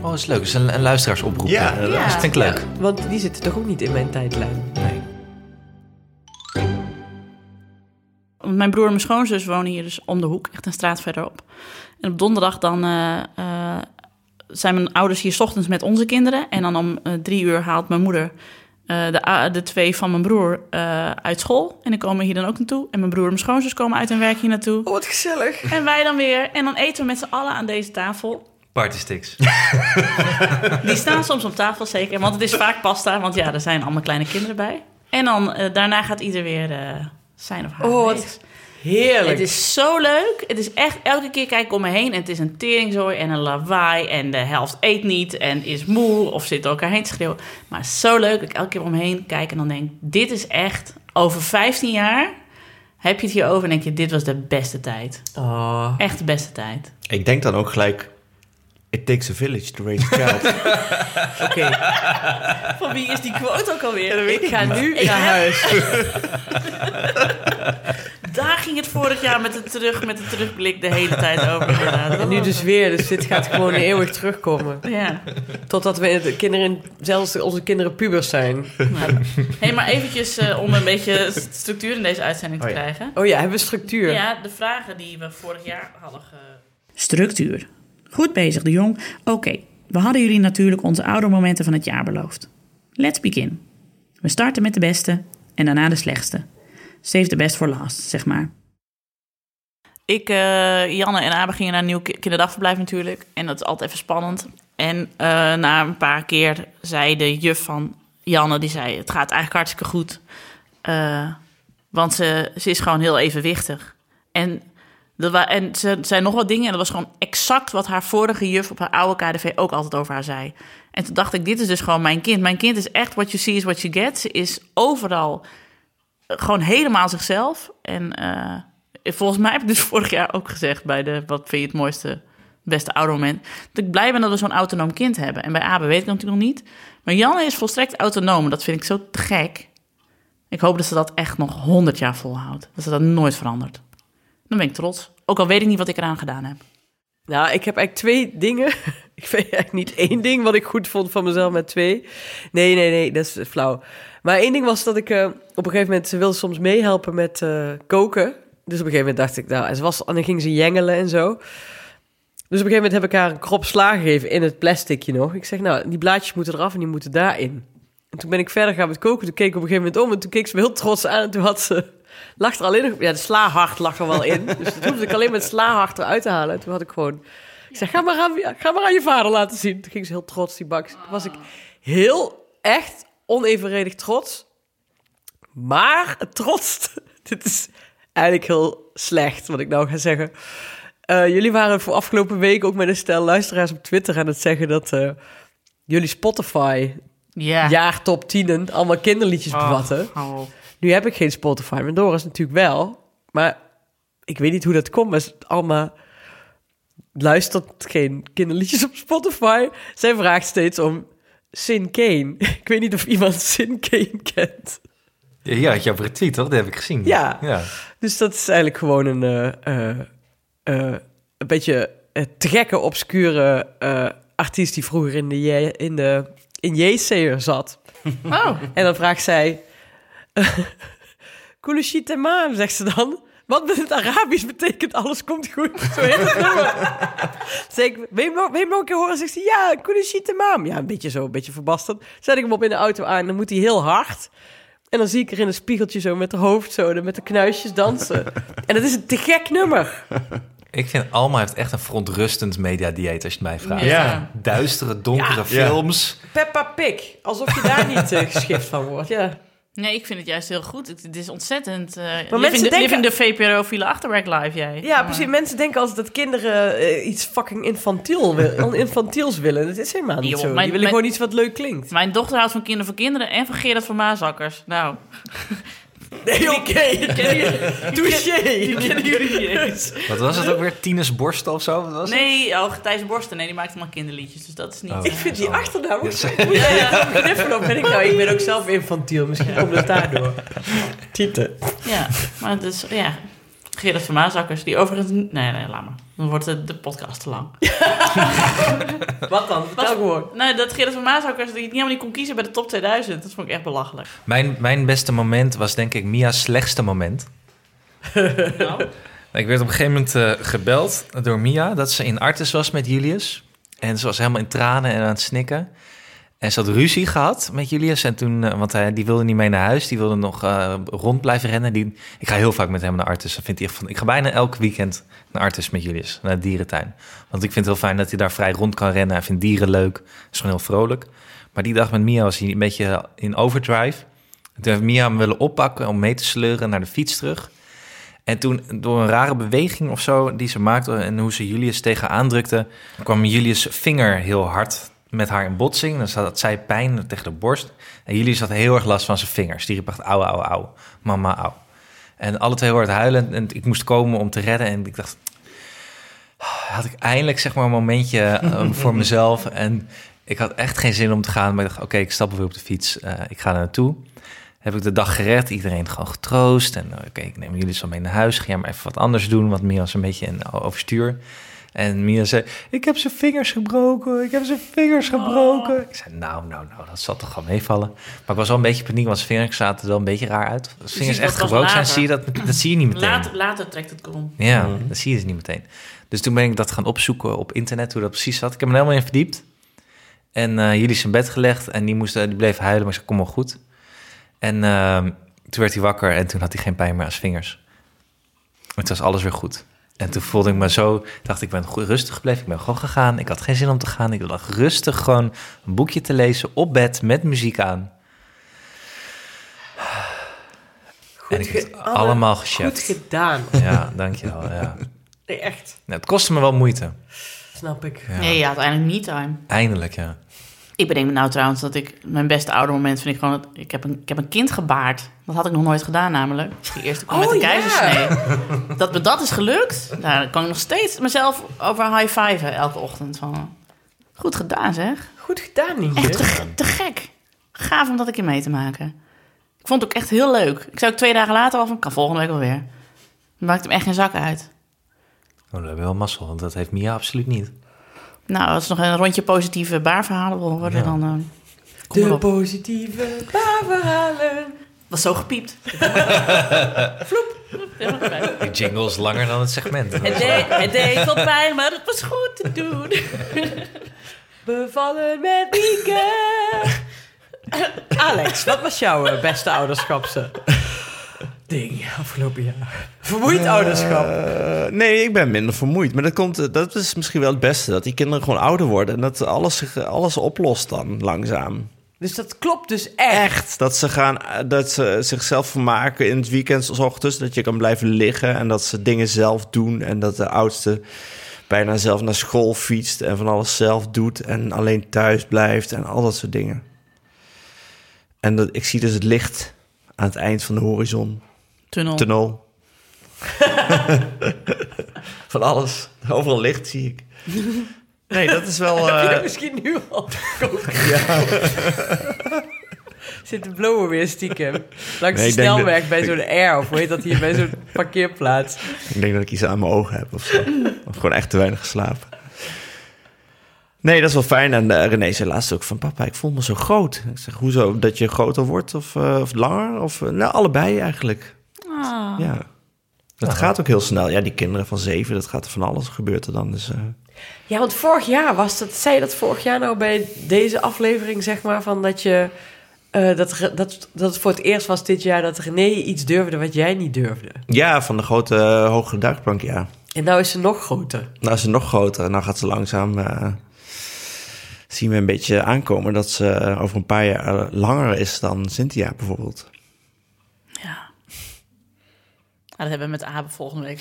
F: Oh, dat is leuk. Dat is een, een luisteraarsomroep.
B: Ja,
F: hè?
C: ja.
F: dat vind ik leuk.
E: Want die zitten toch ook niet in mijn tijdlijn.
F: Nee.
C: Want mijn broer en mijn schoonzus wonen hier dus om de hoek, echt een straat verderop. En op donderdag dan eh, eh, zijn mijn ouders hier 's ochtends met onze kinderen. En dan om eh, drie uur haalt mijn moeder eh, de, a- de twee van mijn broer eh, uit school. En die komen hier dan ook naartoe. En mijn broer en mijn schoonzus komen uit hun werk hier naartoe.
E: Oh, wat gezellig.
C: En wij dan weer. En dan eten we met z'n allen aan deze tafel.
F: Partysticks.
C: Die staan soms op tafel zeker, want het is vaak pasta. Want ja, er zijn allemaal kleine kinderen bij. En dan eh, daarna gaat ieder weer eh, zijn of haar
E: Oh, wat
C: wees.
E: Heerlijk.
C: Het is zo leuk. Het is echt, elke keer kijk ik om me heen en het is een teringzooi en een lawaai. En de helft eet niet en is moe of zit door elkaar heen te schreeuwen. Maar het is zo leuk dat ik elke keer om me heen kijk en dan denk, dit is echt, over 15 jaar heb je het hierover en denk je, dit was de beste tijd.
E: Oh.
C: Echt de beste tijd.
B: Ik denk dan ook gelijk... It takes a village to raise a child.
E: Oké, (laughs)
C: Van wie is die quote ook alweer?
E: ik ga nu
C: Ik
E: naar
C: heb-
E: huis.
C: Daar ging het vorig jaar met de, terug, met de terugblik de hele tijd over inderdaad.
E: En nu dus weer, dus dit gaat gewoon (laughs) eeuwig terugkomen.
C: Ja.
E: Totdat we de kinderen, zelfs onze kinderen pubers zijn.
C: Nou. Hey, maar eventjes eh, om een beetje st- structuur in deze uitzending te
B: Oh ja.
C: krijgen.
E: Oh ja, hebben we structuur.
C: Ja, de vragen die we vorig jaar hadden ge...
D: Structuur. Goed bezig, de jong. Oké, we hadden jullie natuurlijk onze oudermomenten van het jaar beloofd. Let's begin. We starten met de beste en daarna de slechtste. Save the best for last, zeg maar.
C: Ik, eh, Janne en Abe gingen naar een nieuw ki- kinderdagverblijf natuurlijk. En dat is altijd even spannend. En eh, na een paar keer zei de juf van Janne, die zei... het gaat eigenlijk hartstikke goed. Eh, want ze, ze is gewoon heel evenwichtig. En, er wa- en ze zei nog wat dingen en dat was gewoon exact wat haar vorige juf... op haar oude KDV ook altijd over haar zei. En toen dacht ik, dit is dus gewoon mijn kind. Mijn kind is echt what you see is what you get. Ze is overal eh, gewoon helemaal zichzelf. En eh, volgens mij heb ik dus (laughs) vorig jaar ook gezegd bij de wat vind je het mooiste, beste oudermoment. Dat ik blij ben dat we zo'n autonoom kind hebben. En bij Abe weet ik dat natuurlijk nog niet. Maar Janne is volstrekt autonoom. Dat vind ik zo te gek. Ik hoop dat ze dat echt nog honderd jaar volhoudt. Dat ze dat nooit verandert. Dan ben ik trots. Ook al weet ik niet wat ik eraan gedaan heb.
E: Nou, ik heb eigenlijk twee dingen. (laughs) Ik weet eigenlijk niet één ding wat ik goed vond van mezelf, maar twee. Nee, nee, nee, dat is flauw. Maar één ding was dat ik eh, op een gegeven moment... Ze wilde soms meehelpen met eh, koken. Dus op een gegeven moment dacht ik... Nou, en, ze was, en dan ging ze jengelen en zo. Dus op een gegeven moment heb ik haar een krop sla gegeven in het plasticje nog. Ik zeg, nou, die blaadjes moeten eraf en die moeten daarin. En toen ben ik verder gaan met koken. Toen keek ik op een gegeven moment om en toen keek ze me heel trots aan. En toen had ze... Lag er alleen nog... Ja, de slaahart lag er wel in. Dus dat hoefde ik alleen met slaahart eruit te halen. En toen had ik gewoon... Ik zeg, ga maar, aan, ja, ga maar aan je vader laten zien. Toen ging ze heel trots, die bak. Toen was ik heel echt onevenredig trots. Maar het trots... (laughs) Dit is eigenlijk heel slecht wat ik nou ga zeggen. Eh, jullie waren voor afgelopen week ook met een stel luisteraars op Twitter aan het zeggen dat eh, jullie Spotify
C: Ja.
E: jaar top 10 allemaal kinderliedjes bevatten. Nu heb ik geen Spotify, maar Doris natuurlijk wel. Maar ik weet niet hoe dat komt, maar Alma luistert geen kinderliedjes op Spotify. Zij vraagt steeds om Sin Kane. (laughs) Ik weet niet of iemand Sin Kane kent.
F: (laughs) Ja, ja, had je over retweet, toch? Dat heb ik gezien.
E: Ja.
F: ja.
E: Dus dat is eigenlijk gewoon een, eh, eh, eh, een beetje eh, te gekke, obscure eh, artiest die vroeger in de, J- in de in JC'er zat.
C: Oh.
E: En dan vraagt zij... (laughs) Kulushite maam, zegt ze dan. Wat met het Arabisch betekent alles komt goed. Zo heet het nummer. (laughs) Zeg ik, wil je hem nog- wil je hem nog een keer horen? Zegt ze, ja, Kulushite maam. Ja, een beetje zo, een beetje verbasterd. Zet ik hem op in de auto aan, dan moet hij heel hard. En dan zie ik er in een spiegeltje zo met haar hoofd zo, en met de knuisjes dansen. (laughs) En dat is een te gek nummer.
F: Ik vind Alma heeft echt een verontrustend mediadieet, als je het mij vraagt.
B: Ja.
F: Duistere, donkere
B: Ja.
F: films.
E: Peppa Pig, alsof je daar niet eh, geschikt van wordt. Ja.
C: Nee, ik vind het juist heel goed. Het, het is ontzettend... eh living,
E: mensen
C: the,
E: denken-
C: living the VPRO-file achterwerk live, jij.
E: Ja, precies. Mensen denken altijd dat kinderen eh, iets fucking infantiel wil, (laughs) infantiels willen. Dat is helemaal niet
C: Joh,
E: zo.
C: mijn-
E: Die willen
C: mijn-
E: gewoon iets wat leuk klinkt.
C: Mijn dochter houdt van Kinderen voor Kinderen en van Gerard van Maasakkers. Nou,
E: Nee, oké.
C: (laughs) kennen jullie-
E: (laughs) (laughs) Touché.
C: kennen jullie niet
E: (laughs)
C: eens.
F: Wat was het ook weer? Tines borsten of zo? Wat was het?
C: Nee, oh, Thijs Borsten, nee, die maakt allemaal kinderliedjes, dus dat is niet...
F: Oh.
E: Ik vind die achternaam ook
F: Ja,
E: zo goed. Ja, ja. Kniffelen, ben ik nou? Ik ben ook (laughs) zelf infantiel. Misschien komt het daardoor. Tieten.
C: Ja, maar het is, ja. Gerrit van Maasakkers, die overigens... Nee, nee, laat maar. Dan wordt de, de podcast te lang.
E: (laughs) Wat dan? Vertel gewoon.
C: Nee, dat Gerrit van Maasakkers die het helemaal niet kon kiezen bij de top 2000. Dat vond ik echt belachelijk.
F: (laughs) Mijn, mijn beste moment was denk ik Mia's slechtste moment.
C: Nou,
F: (laughs) Ik werd op een gegeven moment eh, gebeld door Mia dat ze in Artes was met Julius. En ze was helemaal in tranen en aan het snikken. En ze had ruzie gehad met Julius. En toen, eh, want hij, die wilde niet mee naar huis. Die wilde nog eh, rond blijven rennen. Die, ik ga heel vaak met hem naar Artes. Dat vindt hij echt van, ik ga bijna elk weekend naar Artes met Julius. Naar de dierentuin. Want ik vind het heel fijn dat hij daar vrij rond kan rennen. Hij vindt dieren leuk. is gewoon heel vrolijk. Maar die dag met Mia was hij een beetje in overdrive. En Toen heeft Mia hem willen oppakken om mee te sleuren naar de fiets terug. En toen, door een rare beweging of zo die ze maakte en hoe ze Julius tegen aandrukte, kwam Julius' vinger heel hard met haar in botsing. Dan had zij pijn tegen de borst. En Julius had heel erg last van zijn vingers. Die riep echt auw, auw, auw, mama, auw. En alle twee hoorden huilen en ik moest komen om te redden. En ik dacht, had ik eindelijk zeg maar een
C: (laughs)
F: momentje eh, voor mezelf. En ik had echt geen zin om te gaan. Maar ik dacht, oké, ik stap weer op de fiets. Eh, ik ga daar naartoe. Heb ik de dag gered. Iedereen gewoon getroost. En eh, oké, ik neem jullie zo mee naar huis. Ga jij maar even wat anders doen. Want Mia was een beetje een o- overstuur. En Mia zei, ik heb zijn vingers gebroken. Ik heb zijn vingers
C: Oh.
F: gebroken. Ik zei, nou, nou, nou, dat zal toch wel meevallen. Maar ik was wel een beetje in paniek, want zijn vingers zaten er wel een beetje raar uit. Als vingers
C: Dus dat
F: echt
C: was
F: gebroken zijn,
C: later.
F: zie je dat, dat zie je
C: (clears throat)
F: niet meteen.
C: later, later trekt het krom.
F: Ja, dat zie je dus niet meteen. Dus toen ben ik dat gaan opzoeken op internet, hoe dat precies zat. Ik heb me er helemaal in verdiept. En eh jullie zijn bed gelegd en die, moesten, die bleef huilen, maar ik zei, kom wel goed. En ehm, toen werd hij wakker en toen had hij geen pijn meer aan zijn vingers. Het was alles weer goed. En toen voelde ik me zo, dacht ik ben goed, rustig gebleven, ik ben gewoon gegaan. Ik had geen zin om te gaan, ik lag rustig gewoon een boekje te lezen op bed met muziek aan. en ik heb het
E: ge-
F: allemaal
E: Goed
F: geshapt.
E: gedaan.
F: Ja, dankjewel. Ja.
E: Nee, echt.
F: Nou, het kostte me wel moeite.
E: Snap ik.
C: Nee, ja, uiteindelijk niet time.
F: Eindelijk, ja.
C: Ik bedenk me nou trouwens dat ik mijn beste oudermoment vind ik gewoon dat ik heb een, ik heb een kind gebaard. Dat had ik nog nooit gedaan namelijk. Die eerste kom met
E: Oh,
C: de
E: ja.
C: keizersnee. Dat me dat is gelukt. Nou, dan kan ik nog steeds mezelf over high five elke ochtend van. Goed gedaan zeg.
E: Goed gedaan, Nienke.
C: Echt te, ge- te gek. Gaaf om dat een keer mee te maken. Ik vond het ook echt heel leuk. Ik zou ook twee dagen later al van kan volgende week alweer. Maakt hem echt geen zak uit.
F: Oh, we hebben wel mazzel, want dat heeft Mia absoluut niet.
C: Nou, als het nog een rondje positieve baarverhalen wil worden,
F: Ja.
C: dan eh, kom
E: De
C: erop.
E: positieve baarverhalen.
C: was zo gepiept. Vloep.
F: Die jingle is langer dan het segment.
E: (laughs)
C: Het deed, het deed wel pijn, maar het was goed te doen.
E: Bevallen met Nienke. Alex, wat was jouw eh, beste ouderschapse ding afgelopen jaar? Vermoeid ouderschap.
B: Eh, nee, ik ben minder vermoeid. Maar dat, komt, eh, dat is misschien wel het beste. Dat die kinderen gewoon ouder worden. En dat alles, zich, eh, alles oplost dan langzaam.
E: Dus dat klopt dus echt.
B: Dat ze, gaan, eh, dat ze zichzelf vermaken in het weekend, s ochtends. Dat je kan blijven liggen en dat ze dingen zelf doen. En dat de oudste bijna zelf naar school fietst en van alles zelf doet. En alleen thuis blijft en al dat soort dingen. En dat, ik zie dus het licht aan het eind van de horizon.
C: Tunnel.
B: Tunnel. (laughs) van alles. Overal licht zie ik. Nee, dat is (laughs) wel...
E: Heb je
B: eh,
E: dat misschien nu al gekocht? (laughs) Zit de blower weer stiekem. Langs
B: Nee,
E: de
B: ik denk
E: snelweg
B: dat-
E: bij zo'n air, of hoe heet dat hier, bij zo'n parkeerplaats.
B: Ik denk dat ik iets aan mijn ogen heb of zo. of gewoon echt te weinig geslapen. Nee, dat is wel fijn. En eh, René zei laatst ook van... Papa, ik voel me zo groot. Ik zeg, hoezo? Dat je groter wordt of, eh, of langer? Of, eh, nou, allebei eigenlijk. Ja. Dat gaat ook heel snel. Ja, die kinderen van zeven, dat gaat er van alles gebeurt er dan. Dus, eh,
E: Ja, want vorig jaar was dat, zei je dat vorig jaar nou bij deze aflevering, zeg maar, van dat je, eh, dat, Re- dat, dat het voor het eerst was dit jaar dat René iets durfde wat jij niet durfde.
B: ja, van de grote eh, hoge duikplank, ja.
E: En nou is ze nog groter.
B: Nou is ze nog groter. En dan gaat ze langzaam... eh, zien we een beetje aankomen dat ze eh, over een paar jaar eh, langer is dan Cynthia bijvoorbeeld.
C: Ja. Ah, dat hebben we met Abe volgende
E: (laughs)
C: week.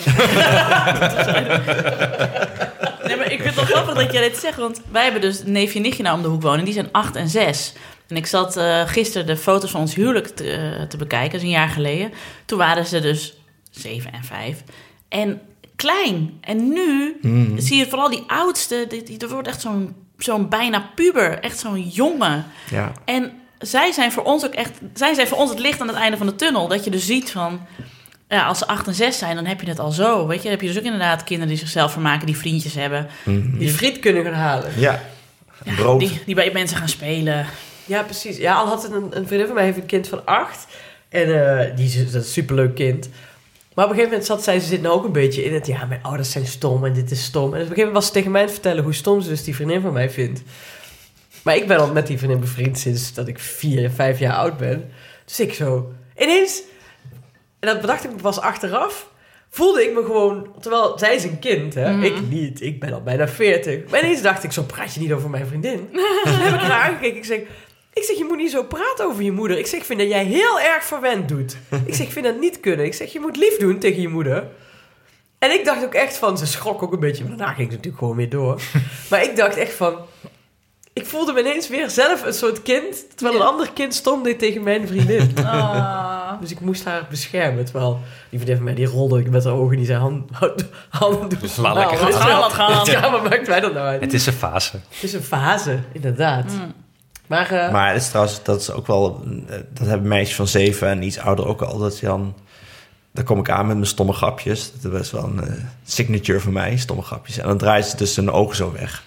C: nee, maar ik vind het wel grappig dat jij dit zegt. Want wij hebben dus een neefje en nichtje nou om de hoek wonen. Die zijn acht en zes. En ik zat eh gisteren de foto's van ons huwelijk te, eh, te bekijken. Dat is een jaar geleden. Toen waren ze dus zeven en vijf. En klein. En nu zie je vooral die oudste. Die, die, dat wordt echt zo'n zo'n bijna puber. Echt zo'n jongen.
B: Ja.
C: En zij zijn voor ons ook echt, zij zijn voor ons het licht aan het einde van de tunnel. Dat je dus ziet van, eh, ja, als ze acht en zes zijn, dan heb je het al zo. Weet je, dan heb je dus ook inderdaad kinderen die zichzelf vermaken, die vriendjes hebben.
E: Die friet kunnen gaan halen.
B: Ja, brood.
C: Die, die bij mensen gaan spelen.
E: Ja, precies. Ja, al had een, een vriendin van mij heeft een kind van acht. En eh, die is dat is een superleuk kind. Maar op een gegeven moment zat zij, ze zit nou ook een beetje in het... Ja, mijn ouders zijn stom en dit is stom. En op een gegeven moment was ze tegen mij aan het vertellen... hoe stom ze dus die vriendin van mij vindt. Maar ik ben al met die vriendin bevriend... sinds dat ik vier, vijf jaar oud ben. Dus ik zo... Ineens... En dat bedacht ik me pas achteraf... voelde ik me gewoon... Terwijl zij is een kind, hè. Ik niet. Ik ben al bijna veertig. Maar ineens dacht ik... Zo praat je niet over mijn vriendin. Toen heb ik haar aangekeken. Ik zeg... Ik zeg, je moet niet zo praten over je moeder. Ik zeg, ik vind dat jij heel erg verwend doet. Ik zeg, ik vind dat niet kunnen. Ik zeg, je moet lief doen tegen je moeder. En ik dacht ook echt van, ze schrok ook een beetje. Maar daarna ging ze natuurlijk gewoon weer door. Maar ik dacht echt van... Ik voelde me ineens weer zelf een soort kind. Terwijl een
C: Ja.
E: ander kind stom deed tegen mijn vriendin.
C: Ah.
E: Dus ik moest haar beschermen. Terwijl die vriendin van mij, die rolde ik met haar ogen die zijn hand, handen doet.
F: Dus laat lekker
C: gaan.
E: Nou, weet je wel.
C: Laat gaan.
E: Ja, maar maakt mij dat nou uit?
F: Het is een fase.
E: Het is een fase, inderdaad. Maar... eh,
B: Maar het is trouwens, dat is ook wel... eh, Dat hebben meisjes van zeven en iets ouder ook al. Dat je dan... Daar kom ik aan met mijn stomme grapjes. Dat is best wel een eh, signature van mij, stomme grapjes. En dan draait ze dus hun ogen zo weg.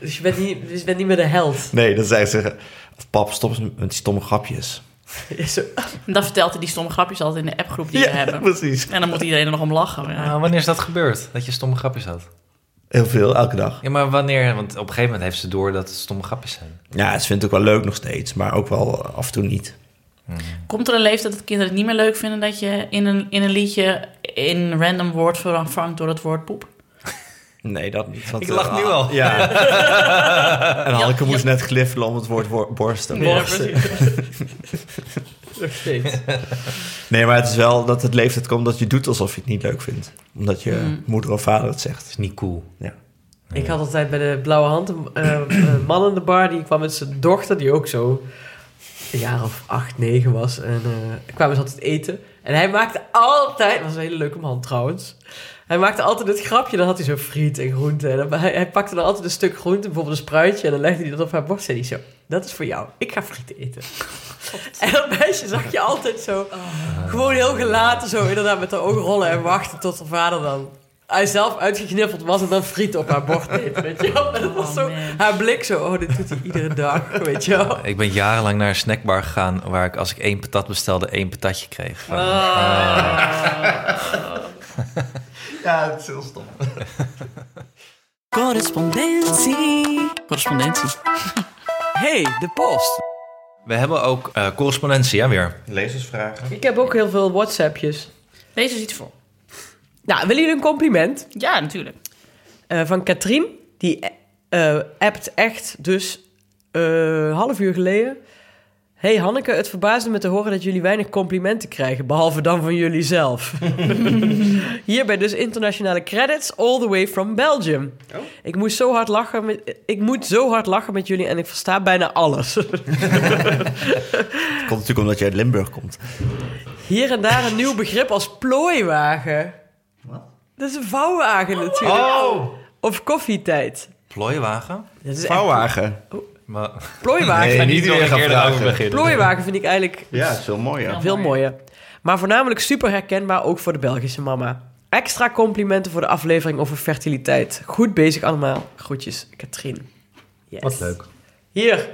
E: Dus je bent niet, dus je bent niet meer de held.
B: Nee, dan zeggen ze... Of pap, stop eens met die stomme grapjes.
E: (laughs) Is zo-
C: En dat vertelt hij die stomme grapjes altijd in de appgroep die we hebben.
B: (laughs) precies.
C: En dan moet iedereen er nog om lachen. Ja.
F: Nou, wanneer is dat gebeurd? Dat je stomme grapjes had?
B: Heel veel, elke dag.
F: Ja, maar wanneer? Want op een gegeven moment heeft ze door dat het stomme grapjes zijn.
B: Ja, ze vindt het ook wel leuk nog steeds. Maar ook wel af en toe niet.
C: Komt er een leeftijd dat kinderen het niet meer leuk vinden dat je in een, in een liedje in random woord vervangt door het woord poep?
B: Nee, dat niet. want,
F: Ik lach
B: eh,
F: nu
B: (laughs)
F: al.
B: Ja. en Hanneke moest net gliffelen om het woord wor- borsten. Borsten.
E: Nog steeds.
B: Nee, maar het is wel dat het leeftijd komt dat je doet alsof je het niet leuk vindt. Omdat je moeder of vader het
F: Dat
B: zegt.
F: is niet cool.
B: Ja.
E: Ik had altijd bij de Blauwe Hand een eh, een man in de bar. Die kwam met zijn dochter, die ook zo een jaar of acht, negen was. En eh kwamen ze altijd eten. En hij maakte altijd... was een hele leuke man trouwens. Hij maakte altijd het grapje. Dan had hij zo friet en groente. En dan- hij, hij pakte dan altijd een stuk groente, bijvoorbeeld een spruitje. En dan legde hij dat op haar borst. En hij zo, dat is voor jou. Ik ga friet eten. En dat meisje zag je altijd zo... Gewoon heel gelaten zo, inderdaad, met haar ogen rollen en wachten tot haar vader dan... Hij zelf uitgeknippeld was en dan friet op haar bord deed, weet je wel. En dat was
C: Oh,
E: zo,
C: man.
E: haar blik zo, oh, dit doet hij iedere dag, weet je wel.
F: Ik ben jarenlang naar een snackbar gegaan waar ik als ik één patat bestelde, één patatje kreeg. Van,
B: Ja, het is heel stom.
C: Correspondentie. Correspondentie.
E: hey, de post.
F: We hebben ook eh, correspondentie, ja weer.
B: Lezersvragen.
E: Ik heb ook heel veel WhatsAppjes.
C: Deze is iets voor.
E: Nou, willen jullie een compliment
C: Ja, natuurlijk.
E: Eh, van Katrien? Die eh appt echt dus eh half uur geleden. hey Hanneke, het verbaasde me te horen dat jullie weinig complimenten krijgen, behalve dan van jullie zelf. Hierbij dus internationale credits all the way from Belgium. Ik, moest zo hard lachen met, ik moet zo hard lachen met jullie en ik versta bijna alles.
B: Dat komt natuurlijk omdat je uit Limburg komt.
E: Hier en daar een nieuw begrip als plooiwagen.
B: Wat?
E: Dat is een vouwwagen natuurlijk.
B: Oh!
E: Of koffietijd.
F: Plooiwagen?
E: Dat is echt
B: Vouwwagen.
F: Maar,
E: plooiwagen.
B: Nee, niet weer gaan
F: eerder
B: vragen.
F: over beginnen.
E: Plooiwagen vind ik eigenlijk
B: Ja, het is veel mooier.
E: veel
C: mooi.
E: mooier. Maar voornamelijk super herkenbaar ook voor de Belgische mama. Extra complimenten voor de aflevering over fertiliteit. Goed bezig allemaal. Groetjes, Katrien. Yes.
F: Wat leuk.
E: Hier,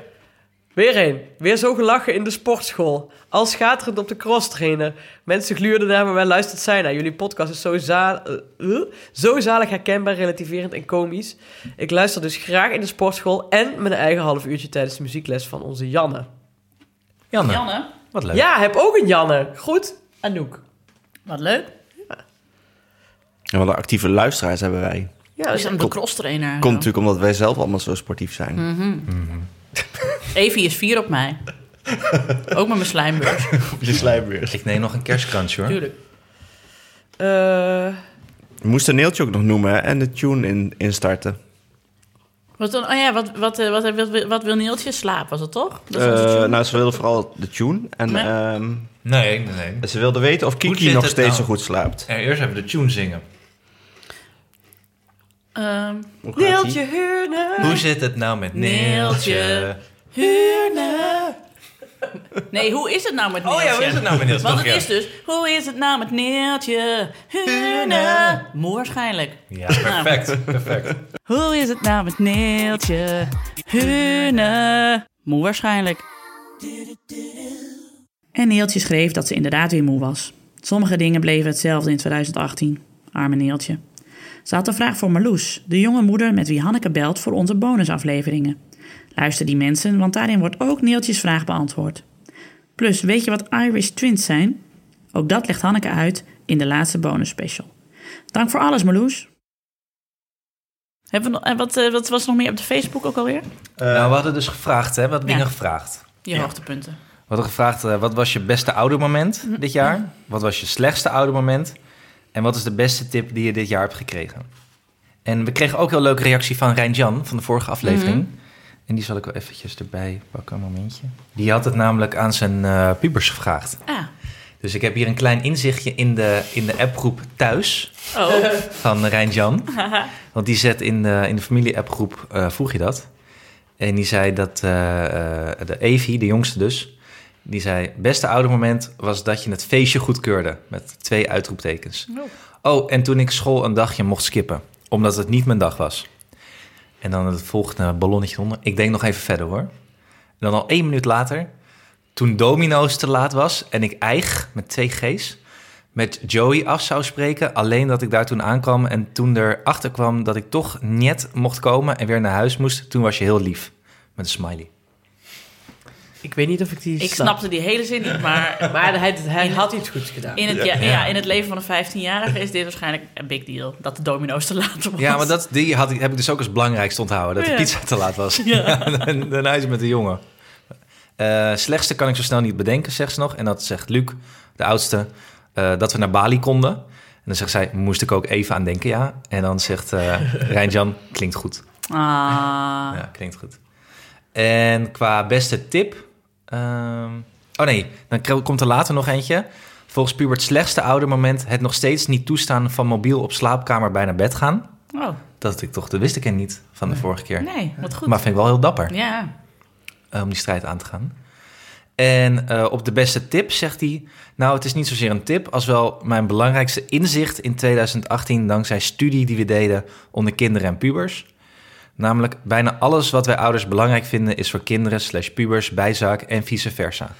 E: weer een. Weer zo gelachen in de sportschool. Al schaterend op de crosstrainer. Mensen gluurden naar me, maar luistert zij naar. Jullie podcast is zo, za- eh, eh, zo zalig herkenbaar, relativerend en komisch. Ik luister dus graag in de sportschool en mijn eigen half uurtje tijdens de muziekles van onze Janne.
F: Janne,
C: Janne,
F: wat leuk.
E: Ja, heb ook een Janne. Goed, Anouk.
C: wat leuk.
B: En wat een actieve luisteraars hebben wij.
C: Dat
E: Ja, dus
C: Oh, is een de cross trainer.
B: Komt natuurlijk omdat wij zelf allemaal zo sportief zijn.
C: Evie is vier op
B: (laughs)
C: mij. Ook met mijn slijmbeurs,
B: Op je slijmbeurs.
F: Ik neem nog een kerstkransje hoor.
C: natuurlijk.
E: eh,
B: Je moest een neeltje ook nog noemen hè, en de tune in, instarten.
C: Wat, dan, oh ja, wat, wat, eh, wat, wat, wat, wil Neeltje? Slaap was het toch? Dat is onze
B: Eh,
C: tune.
B: nou, ze wilde vooral de tune. En
C: Nee.
B: ehm,
F: Nee, nee, nee.
B: ze wilde weten of
F: Hoe
B: Kiki
F: zit
B: nog
F: het
B: steeds
F: nou?
B: zo goed slaapt.
F: Eh, Eerst even de tune zingen.
C: Ehm,
B: Hoe gaat-ie?
E: Neeltje Heurne.
F: Hoe zit het nou met
C: Neeltje.
F: Neeltje?
C: Huurne. (laughs) Nee, hoe is het nou met Neeltje?
F: ja, hoe is het nou met Neeltje?
C: Want
F: Nog
C: het
F: een
C: is dus, hoe is het nou met Neeltje? Hune. Moe waarschijnlijk.
F: Ja, perfect. perfect.
C: Hoe is het nou met Neeltje? Hune. Moe waarschijnlijk.
D: En Neeltje schreef dat ze inderdaad weer moe was. Sommige dingen bleven hetzelfde in 2018. Arme Neeltje. Ze had een vraag voor Marloes, de jonge moeder met wie Hanneke belt voor onze bonusafleveringen. Luister die mensen, want daarin wordt ook Neeltjes vraag beantwoord. Plus, weet je wat Irish Twins zijn? Ook dat legt Hanneke uit in de laatste bonusspecial. Dank voor alles, Marloes.
C: Hebben we nog, en wat, eh, wat was er nog meer op de Facebook ook alweer?
F: nou, we hadden dus gevraagd, hè? Wat dingen
C: Ja.
F: gevraagd.
C: Je hoogtepunten.
F: We hadden gevraagd, eh, wat was je beste oudermoment dit
C: Mm-hmm.
F: jaar? Wat was je slechtste oudermoment? En wat is de beste tip die je dit jaar hebt gekregen? En we kregen ook een heel leuke reactie van Rijn-Jan van de vorige aflevering.
C: Mm-hmm.
F: En die zal ik wel eventjes erbij pakken, een momentje. Die had het namelijk aan zijn eh, pubers gevraagd.
C: Ah.
F: Dus ik heb hier een klein inzichtje in de, in de appgroep thuis
C: Oh.
F: (laughs) van Rijn-Jan. Want die zet in de, in de familie-appgroep, eh, vroeg je dat? En die zei dat eh, eh, de Evie, de jongste dus, die zei... Beste oudermoment was dat je het feestje goedkeurde. Met twee uitroeptekens. Oh, en toen ik school een dagje mocht skippen. Omdat het niet mijn dag was. En dan het volgende ballonnetje onder. Ik denk nog even verder hoor. En dan al één minuut later... Toen Domino's te laat was en ik eig met twee G's met Joey af zou spreken. Alleen dat ik daar toen aankwam en toen erachter kwam dat ik toch net mocht komen en weer naar huis moest. Toen was je heel lief. Met een smiley.
E: Ik weet niet of ik die
C: Ik
E: snap.
C: snapte die hele zin niet, maar
E: Maar hij, hij had iets goeds gedaan.
C: in het, ja, ja, in het leven van een 15-jarige is dit waarschijnlijk een big deal. Dat de domino's te laat was.
F: Ja, maar dat, die had, ik- heb ik dus ook als belangrijkste onthouden. Dat de
C: Ja.
F: pizza te laat was. (laughs) Ja. en daarna is het met de jongen. Eh, slechtste kan ik zo snel niet bedenken, zegt ze nog. En dat zegt Luc, de oudste, eh, dat we naar Bali konden. En dan zegt zij, moest ik ook even aan denken, ja. En dan
C: (laughs)
F: zegt eh Rijn-Jan, klinkt goed.
C: Ah.
F: Ja, klinkt goed. En qua beste tip. ehm, oh nee, dan k- komt er later nog eentje. Volgens Pubert slechtste oudermoment het nog steeds niet toestaan van mobiel op slaapkamer bij naar bed gaan.
C: Oh,
F: Dat ik toch, dat wist ik er niet van de vorige keer.
C: nee, wat goed.
F: Maar vind ik wel heel dapper
C: Ja.
F: eh, om die strijd aan te gaan. En eh, op de beste tip zegt hij: Nou, het is niet zozeer een tip, als wel mijn belangrijkste inzicht in 2018 dankzij studie die we deden onder kinderen en pubers. Namelijk, bijna alles wat wij ouders belangrijk vinden is voor kinderen, slash pubers, bijzaak en vice versa.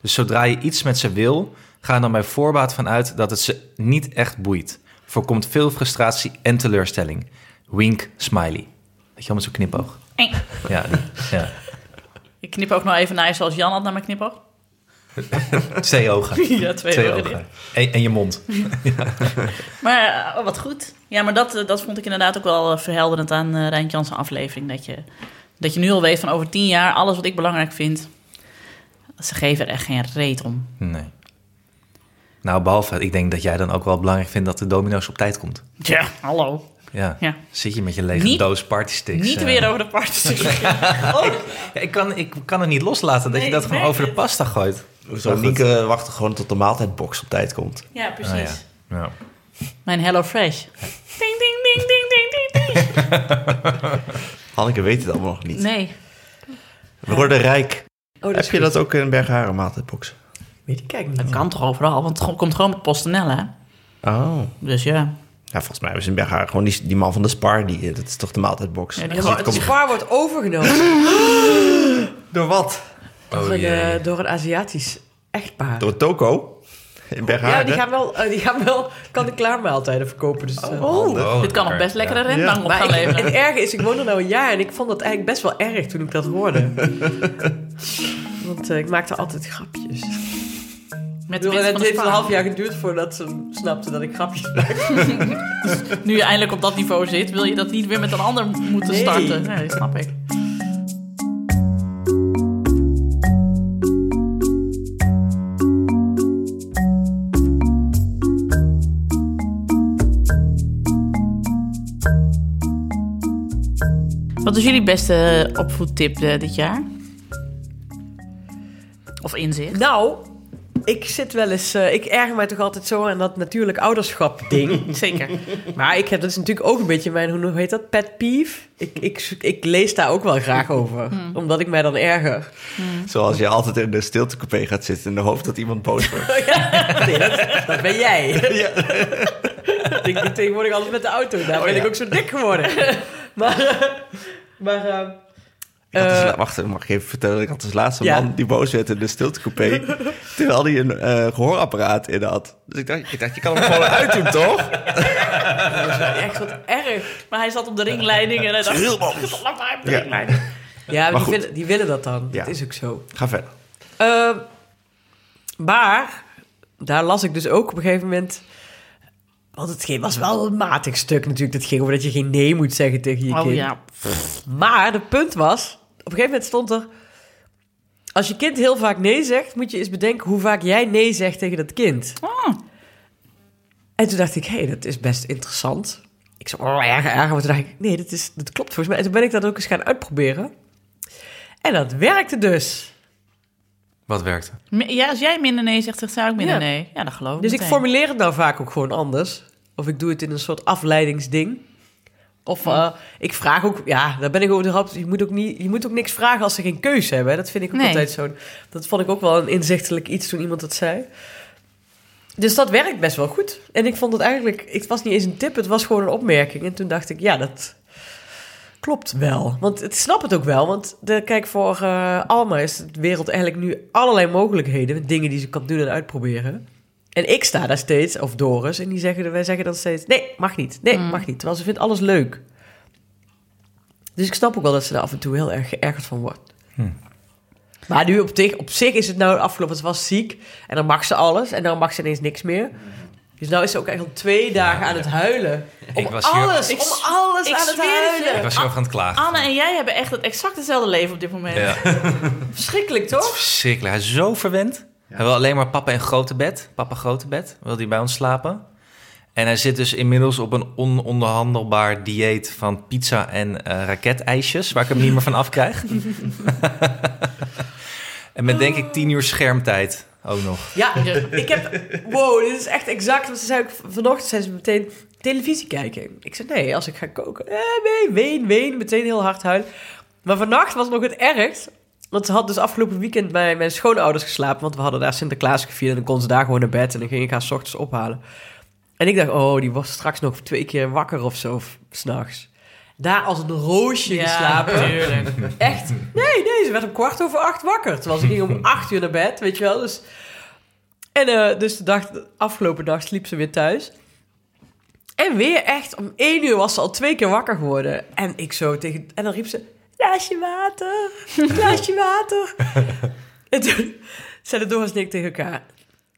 F: Dus zodra je iets met ze wil, ga er dan bij voorbaat vanuit dat het ze niet echt boeit. Voorkomt veel frustratie en teleurstelling. Wink, smiley. Weet je wel, met zo'n knipoog.
C: Eng.
F: Ja, die- ja.
C: Ik knip ook nog even naar je zoals Jan had naar mijn knipoog.
F: Twee ogen.
C: (laughs) Ja, twee,
F: Twee
C: ogen.
F: ogen. En, en je mond.
C: Maar eh, oh, wat goed. Ja, maar dat, eh, dat vond ik inderdaad ook wel eh, verhelderend aan eh Rijntje Jansen aflevering. Dat je, dat je nu al weet van over tien jaar, alles wat ik belangrijk vind. Ze geven er echt geen reet om.
F: Nee. Nou, behalve, ik denk dat jij dan ook wel belangrijk vindt dat de domino's op tijd komt.
C: Ja, hallo.
F: Ja.
C: Ja.
F: Zit je met je lege
C: Niet-
F: doos partysticks.
C: Niet
F: eh.
C: weer over de party.
F: Ja, (laughs) ik, kan, ik kan het niet loslaten dat
C: Nee,
F: je dat
C: ik
F: gewoon
C: merk
F: over de pasta gooit.
B: Zo
F: Maar goed.
B: Nieke wachten gewoon tot de maaltijdbox op tijd komt.
C: ja, precies.
F: Ah, ja. Ja.
C: Mijn Hello Fresh. Ding, ding, ding, ding, ding, ding, ding.
B: Hanneke weet het allemaal nog niet.
C: Nee.
B: We worden rijk.
E: Oh,
B: Heb je dat ook in Bergharen maaltijdbox?
E: Weet ik kijk
C: Dat
E: niet.
C: kan toch overal, want het komt gewoon met PostNL, hè?
B: Oh.
C: Dus ja.
B: Ja, volgens mij hebben ze in Bergharen gewoon die, die man van de Spar. Die, dat is toch de maaltijdbox?
C: Ja, die
B: Dus
C: gewoon-
B: het
E: Het
B: komt-
E: spaar wordt overgenomen
B: Door wat?
E: door, een,
F: Oh, jee.
E: eh, door een Aziatisch echtpaar.
B: Door Toko? In Bergharen?
E: Ja, die gaan wel, eh, die gaan wel kan-en-klaar maaltijden verkopen. Dus, eh,
F: Oh,
C: Dit kan nog
F: lekker.
C: best lekkere
F: Ja.
C: rentbang op
E: Maar
C: gaan
E: ik-
C: leveren.
E: het erge is, ik woon er nou een jaar en ik vond dat eigenlijk best wel erg toen ik dat hoorde. Want eh, ik maakte altijd grapjes.
C: Met
E: Ik
C: de
E: bedoel, en
C: winst
E: het
C: van de
E: heeft een
C: Spar.
E: half jaar geduurd voordat ze snapte dat ik grapjes maakte.
C: Nu je eindelijk op dat niveau zit, wil je dat niet weer met een ander moeten
E: Nee.
C: starten. Nee, snap ik. Wat is jullie beste opvoedtip eh, dit jaar? Of inzicht?
E: Nou, ik zit wel eens... eh, ik erger mij toch altijd zo aan dat natuurlijk ouderschap ding.
C: (laughs) Zeker.
E: Maar ik heb, dat is natuurlijk ook een beetje mijn, hoe heet dat, pet peeve. Ik, ik, ik lees daar ook wel graag over,
C: Hmm.
E: omdat ik mij dan
C: (laughs)
E: erger.
B: Zoals je altijd in de stiltecoupé gaat zitten in de hoop dat iemand boos wordt.
E: Nee, dat, dat ben jij. (laughs) ik doe tegenwoordig alles met de auto,
C: Oh
E: daar ben ik ook zo dik geworden.
C: (laughs)
E: maar, eh, maar eh,
B: Ik had dus
E: Eh,
B: la- wacht, mag ik even vertellen? Ik had als laatste
E: Ja.
B: man die boos werd in de stiltecoupé... terwijl hij een eh, gehoorapparaat in had. Dus ik dacht, ik dacht, je kan hem
C: (laughs)
B: gewoon uitdoen, toch?
E: echt wat erg.
C: Maar hij zat op de ringleiding en hij dacht...
B: Heel
C: "Wat
B: boos.
C: lang maar op de
B: Ja.
C: ringleiding."
E: Ja, maar
B: Maar
E: die
B: goed.
E: willen, die willen dat dan.
B: Ja.
E: Dat is ook zo.
B: Ga verder.
E: Eh, maar daar las ik dus ook op een gegeven moment. Want het ging- was wel een matig stuk natuurlijk. Dat ging over dat je geen nee moet zeggen tegen je
C: Oh
E: kind.
C: ja.
E: Maar het punt was, op een gegeven moment stond er... Als je kind heel vaak nee zegt, moet je eens bedenken hoe vaak jij nee zegt tegen dat kind.
C: Ah.
E: En toen dacht ik, hé, hey, dat is best interessant. Ik zo, oh, erger, erger. Maar toen dacht ik, nee, dat, is, dat klopt volgens mij. En toen ben ik dat ook eens gaan uitproberen. En dat werkte dus.
F: Wat werkte?
C: Me- Ja, als jij minder nee zegt, zegt zij ook minder
E: Ja.
C: nee. Ja, dat geloof ik
E: Dus ik
C: meteen.
E: formuleer het nou vaak ook gewoon anders. Of ik doe het in een soort afleidingsding. Of eh, ik vraag ook, ja, daar ben ik overhaupt. Je moet ook, niet, je moet ook niks vragen als ze geen keuze hebben. hè. Dat vind ik ook
C: Nee.
E: altijd zo'n. Dat vond ik ook wel een inzichtelijk iets toen iemand dat zei. Dus dat werkt best wel goed. En ik vond het eigenlijk, het was niet eens een tip, het was gewoon een opmerking. En toen dacht ik, ja, dat klopt wel. Want ik snap het ook wel. Want de, kijk, voor eh, Alma is de wereld eigenlijk nu allerlei mogelijkheden. Met dingen die ze kan doen en uitproberen. En ik sta daar steeds, of Doris, en die zeggen, wij zeggen dan steeds... Nee, mag niet. Nee,
C: Mm.
E: mag niet. Terwijl ze vindt alles leuk. Dus ik snap ook wel dat ze daar af en toe heel erg geërgerd van wordt.
F: Hmm.
E: Maar nu op, zich- op zich is het nou afgelopen. Ze was ziek en dan mag ze alles. En dan mag ze ineens niks meer. Dus nou is ze ook echt al twee dagen aan het huilen. Om
F: Ik was hier-
E: alles,
C: Ik
E: om
C: s-
E: alles
C: ik
E: aan het
C: zweer het je.
E: huilen.
F: Ik was hier over aan het klagen.
C: Anne en jij hebben echt het exact hetzelfde leven op dit moment.
F: Ja.
E: Verschrikkelijk, toch?
F: Verschrikkelijk. Hij is zo verwend. Hij wil alleen maar papa in grote bed. Papa grote bed. Wil hij bij ons slapen. En hij zit dus inmiddels op een ononderhandelbaar dieet van pizza en eh raketijsjes. Waar ik hem niet meer van afkrijg. (laughs) en met denk ik tien uur schermtijd ook nog.
E: Ja, ik heb... Wow, dit is echt exact. Want ze zei ook, vanochtend zei ze meteen televisie kijken. Ik zei, nee, als ik ga koken... Eh, nee, ween, ween. Meteen heel hard huilen. Maar vannacht was nog het ergst. Want ze had dus afgelopen weekend bij mijn schoonouders geslapen. Want we hadden daar Sinterklaas gevierd. En dan kon ze daar gewoon naar bed. En dan ging ik haar 's ochtends ophalen. En ik dacht, oh, die was straks nog twee keer wakker of zo. Of s'nachts. Daar als een roosje geslapen.
C: natuurlijk.
E: Echt? Nee, nee, ze werd om kwart over acht wakker. Terwijl ze ging om acht uur naar bed, weet je wel. Dus, en eh, dus de, dag, de afgelopen dag sliep ze weer thuis. En weer echt, om één uur was ze al twee keer wakker geworden. En ik zo tegen... En dan riep ze, glaasje water, glaasje water. en toen zeiden Doris en ik tegen elkaar...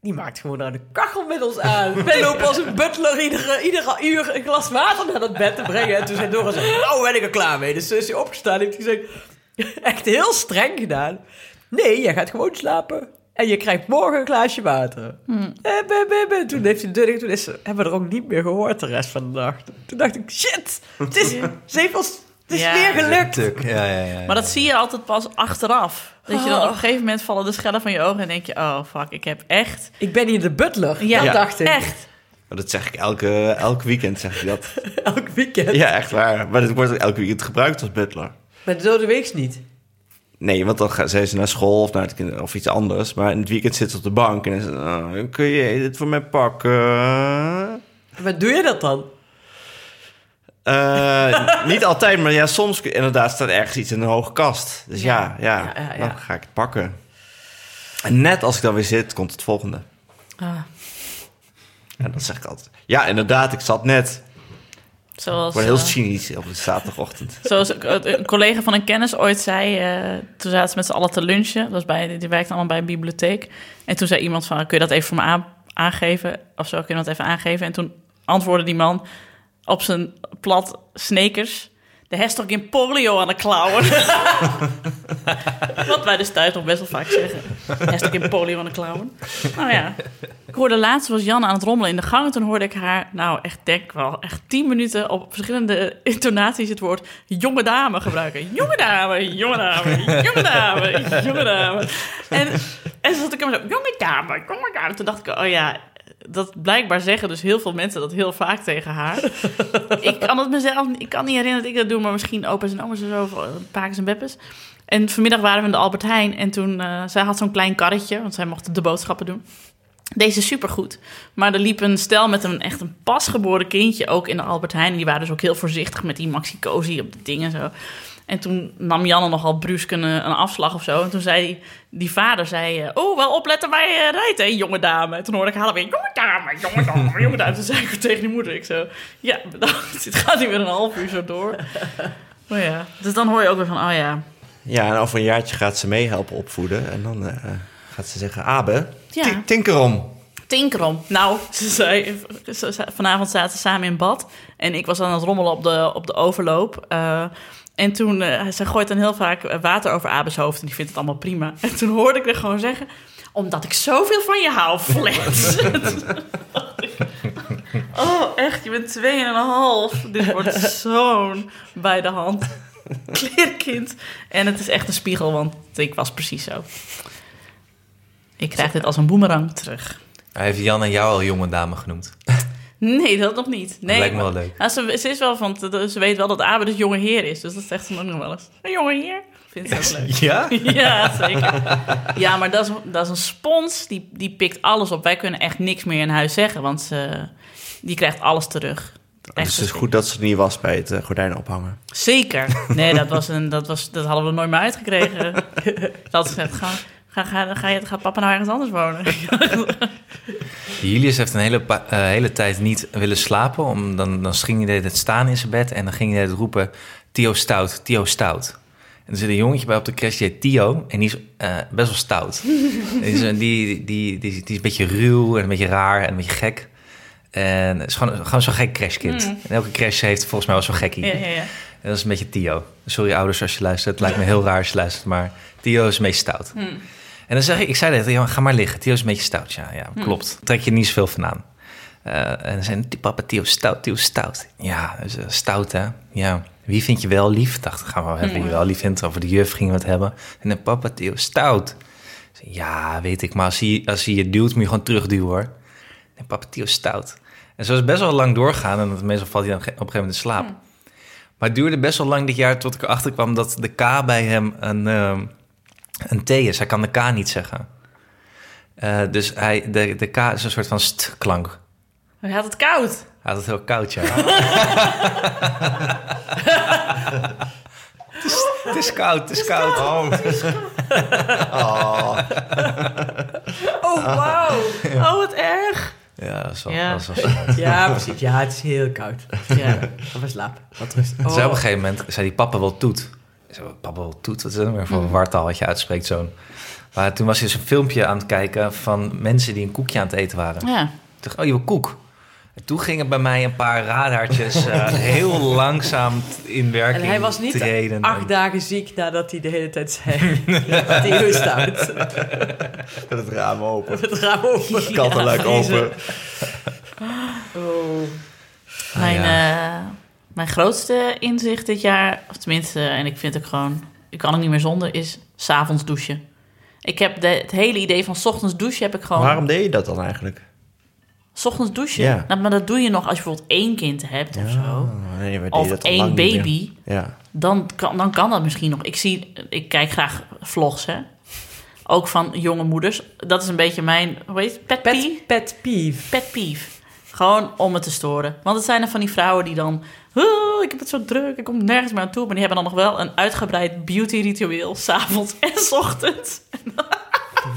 E: Die maakt gewoon nou de kachel met ons aan. Wij lopen als een butler iedere, iedere uur een glas water naar dat bed te brengen. En toen zei Doris, nou ben ik er klaar mee. Dus toen is hij opgestaan en heeft hij gezegd, echt heel streng gedaan. Nee, jij gaat gewoon slapen. En je krijgt morgen een glaasje water.
C: Hmm.
E: Eh, beh, beh, beh. Toen heeft hij de deur dicht. Toen is, ze- hebben we er ook niet meer gehoord de rest van de nacht. Toen dacht ik, shit, het is, ze heeft ons, het is
C: Ja.
E: weer gelukt.
F: Tuk. Ja, ja, ja.
C: Maar dat zie je altijd pas achteraf. Dat je dan op een gegeven moment vallen de schellen van je ogen en denk je... Oh, fuck, ik heb echt...
E: Ik ben hier de butler,
C: Ja,
E: dat dacht ik.
C: echt.
B: Maar dat zeg ik elke, elk weekend, zeg ik dat.
E: Elk weekend.
B: Ja, echt waar. Maar het wordt ook elk weekend gebruikt als butler.
E: Maar zo de weeks niet.
B: Nee, want dan gaan- zijn ze naar school of, naar het kind- of iets anders. Maar in het weekend zit ze op de bank en dan is het, "Ah, kun je dit voor mij pakken?
E: Maar doe je dat dan?
B: Eh, niet altijd, maar ja, soms kun- inderdaad staat ergens iets in een hoge kast. Dus ja, ja,
E: ja, ja, ja.
B: dan ga ik het pakken. En net als ik dan weer zit, komt het volgende.
C: Ah,
B: En dan zeg ik altijd, ja, inderdaad, ik zat net.
C: zoals...
B: Ik word heel
C: eh,
B: cynisch op de zaterdagochtend.
C: Zoals ook, eh, een collega van een kennis ooit zei, eh, toen zaten ze met z'n allen te lunchen. Dat was bij, die werkte allemaal bij een bibliotheek. En toen zei iemand van, "Ah, kun je dat even voor me aan- aangeven? Of zo, kun je dat even aangeven? En toen antwoordde die man op zijn plat sneakers... De hertogin polio aan de klauwen. (laughs) Wat wij dus thuis nog best wel vaak zeggen. Hertogin polio aan de klauwen. Nou ja. Ik hoorde laatst, was Jan aan het rommelen in de gang. En toen hoorde ik haar, nou echt denk wel, echt tien minuten op verschillende intonaties het woord jonge dame gebruiken. Jonge dame, jonge dame, jonge dame, jonge dame. En En zat ik hem zo, jonge dame, jonge dame. Toen dacht ik, oh ja, dat blijkbaar zeggen dus heel veel mensen dat heel vaak tegen haar. ik kan het mezelf, ik kan niet herinneren dat ik dat doe, maar misschien opa's en oma's en zo, of, eh, pakas en beppes. En vanmiddag waren we in de Albert Heijn en toen, eh, zij had zo'n klein karretje, want zij mocht de boodschappen doen. Deze is supergoed. Maar er liep een stel met een echt een pasgeboren kindje ook in de Albert Heijn. En die waren dus ook heel voorzichtig met die maxi cozy op de dingen zo. En toen nam Janne nogal brusk een, eh, een afslag of zo. En toen zei die, die vader, zei, eh, oh, wel opletten waar je eh, rijdt, hè, jonge dame. En toen hoorde ik haar weer, jonge dame, jonge dame, jonge dame. Toen zei ik tegen die moeder, ik zo, ja, (laughs) bedankt. Het gaat hier weer een half uur zo door. Maar ja, dus dan hoor je ook weer van, oh ja.
B: Ja, en over een jaartje gaat ze meehelpen opvoeden. En dan eh, gaat ze zeggen, Abe,
C: Ja.
B: ti- tinker om.
C: Tinkerom. Nou, ze zei, ze- ze- vanavond zaten ze samen in bad. En ik was aan het rommelen op de, op de overloop. Eh, en toen, eh, ze gooit dan heel vaak eh, water over Abes hoofd. En die vindt het allemaal prima. (laughs) En toen hoorde ik er gewoon zeggen... Omdat ik zoveel van je hou, Flats. (laughs) oh, echt, je bent twee en een half. Dit wordt zo'n bij de hand kleerkind. En het is echt een spiegel, want ik was precies zo. Ik krijg dit als een boemerang terug.
F: Hij heeft Janne jou al jonge dame genoemd.
C: (laughs) Nee, dat nog niet. Nee.
F: lijkt me wel leuk.
C: Nou, ze, ze is wel van, ze weet wel dat Abe de jonge heer is, dus dat zegt ze ook nog wel eens. Een jonge heer? Vindt ze ook leuk.
F: Ja?
C: (laughs) ja, zeker. Ja, maar dat is, dat is een spons, die, die pikt alles op. Wij kunnen echt niks meer in huis zeggen, want ze, die krijgt alles terug.
B: Dus het is goed dat ze er niet was bij het eh, gordijn ophangen.
C: Zeker. Nee, dat, was een, dat, was, dat hadden we nooit meer uitgekregen. (laughs) Dat had ze gezegd, ga, ga, ga, ga, je- gaat papa nou ergens anders wonen?
F: Julius heeft een hele, pa- eh, hele tijd niet willen slapen. Om, dan, dan ging hij de hele tijd staan in zijn bed en dan ging hij de hele tijd roepen... Tio Stout, Tio Stout. En er zit een jongetje bij op de crash, die heet Tio. En die is eh, best wel
C: (laughs)
F: stout. die, is, een- die, die, die, is- die is een beetje ruw en een beetje raar en een beetje gek. En het is gewoon, gewoon zo'n gek crashkind. En elke crash heeft volgens mij wel zo'n gekkie.
C: Mm. Ja, ja, ja.
F: En dat is een beetje Tio. Sorry ouders als je luistert. Het lijkt me heel raar als je luistert, maar Tio is het meest stout.
C: Mm.
F: En dan zeg ik, ik zei dat, ja, ga maar liggen. Tio is een beetje stout, ja, ja klopt. Trek je niet zoveel van aan. Eh, en dan zijn die papa, Tio is stout, Tio is stout. Ja, dus, eh, stout hè. Ja. Wie vind je wel lief? Dacht, gaan we hebben wie je wel lief vindt. Over de juf gingen we het hebben. En dan papa, Tio is stout. Ik zei, Ja, weet ik, maar als hij, als hij je duwt, moet je gewoon terugduwen hoor. En papa, Tio is stout. En zo is het best wel lang doorgaan. En meestal valt hij dan op een gegeven moment in slaap. Maar het duurde best wel lang dit jaar tot ik erachter kwam dat de K bij hem een, ehm, een T is. Hij kan de K niet zeggen. Eh, dus hij, de, de K is een soort van st-klank.
C: Hij had het koud.
F: Hij had het heel koud, (laughs) ja. Het is- Het is koud, het is koud.
C: Oh, wauw.
F: (laughs)
C: Oh, wat erg.
F: Ja, dat is wel,
C: Ja.
F: Ah. Oh, dat is (laughs) wel zo.
E: Ja, precies. Ja, het is heel koud.
C: Ja.
E: Ga maar slapen. Wat rust. Oh.
F: Dus op een
C: Oh.
F: gegeven moment zei die papa wel toet. Ik zei, papa wel toet? Wat is dat nou weer voor
C: Hmm.
F: een wartaal wat je uitspreekt zo'n... Maar toen was hij dus een filmpje aan het kijken van mensen die een koekje aan het eten waren.
C: Ja.
F: Ik dacht, oh, je wil koek. En toen gingen bij mij een paar
C: (laughs)
F: radartjes eh, heel langzaam t- in werking
E: En hij was niet
F: treden.
E: acht dagen ziek nadat hij de hele tijd zei... (laughs) dat hij rust houdt.
F: (laughs)
B: Met (laughs) het raam open.
E: Het raam open.
B: Kattenluik open.
E: Oh.
F: Ah,
C: Mijn,
F: ja.
C: eh, mijn grootste inzicht dit jaar, of tenminste, en ik vind ook gewoon, ik kan er niet meer zonder, is s'avonds douchen. Ik heb de, het hele idee van 's ochtends douchen heb ik gewoon.
B: Waarom deed je dat dan eigenlijk?
C: 's ochtends douchen.
B: Ja.
C: Nou, maar dat doe je nog als je bijvoorbeeld één kind hebt of zo.
B: Oh, nee, we deden
C: Of
B: dat al
C: één
B: lang niet meer.
C: baby.
B: Ja.
C: Dan kan, dan kan dat misschien nog. Ik zie, ik kijk graag vlogs, hè. Ook van jonge moeders. Dat is een beetje mijn, hoe heet het? Pet peeve?
E: Pet, pet peeve.
C: pet peeve. Gewoon om het te storen. Want het zijn er van die vrouwen die dan... "Oh, ik heb het zo druk, ik kom nergens meer aan toe. Maar die hebben dan nog wel een uitgebreid beauty ritueel... s'avonds en 's ochtends.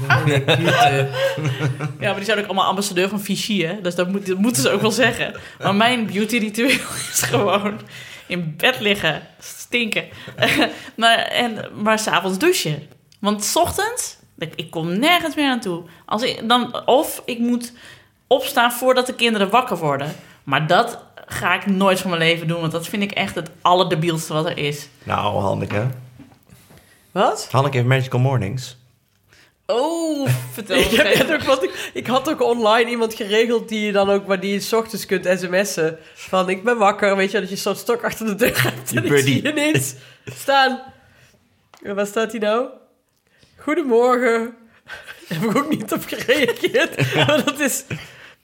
F: (laughs)
C: Ja, maar die zijn ook allemaal ambassadeur van Vichy, hè? Dus dat, moet, dat moeten ze ook wel zeggen. Maar mijn beauty ritueel (laughs) is gewoon in bed liggen, stinken. (laughs) maar, en, maar s'avonds douchen. Want 's ochtends, ik, ik kom nergens meer aan toe. Als ik, dan, of ik moet opstaan voordat de kinderen wakker worden. Maar dat ga ik nooit van mijn leven doen, want dat vind ik echt het allerdebielste wat er is.
B: Nou, Hanneke.
E: Wat?
B: Hanneke heeft Magical Mornings.
C: Oh, (laughs) vertel
E: Ik, heb
C: me.
E: net ook, want ik, ik had ook online iemand geregeld die je dan ook maar die je 's ochtends kunt sms'en. Van ik ben wakker, weet je, dat je zo'n stok achter de deur hebt. En ik
B: birdie.
E: zie je niet staan. En Waar staat hij nou? Goedemorgen. (laughs) heb ik ook niet op gereageerd. (laughs) Maar dat is...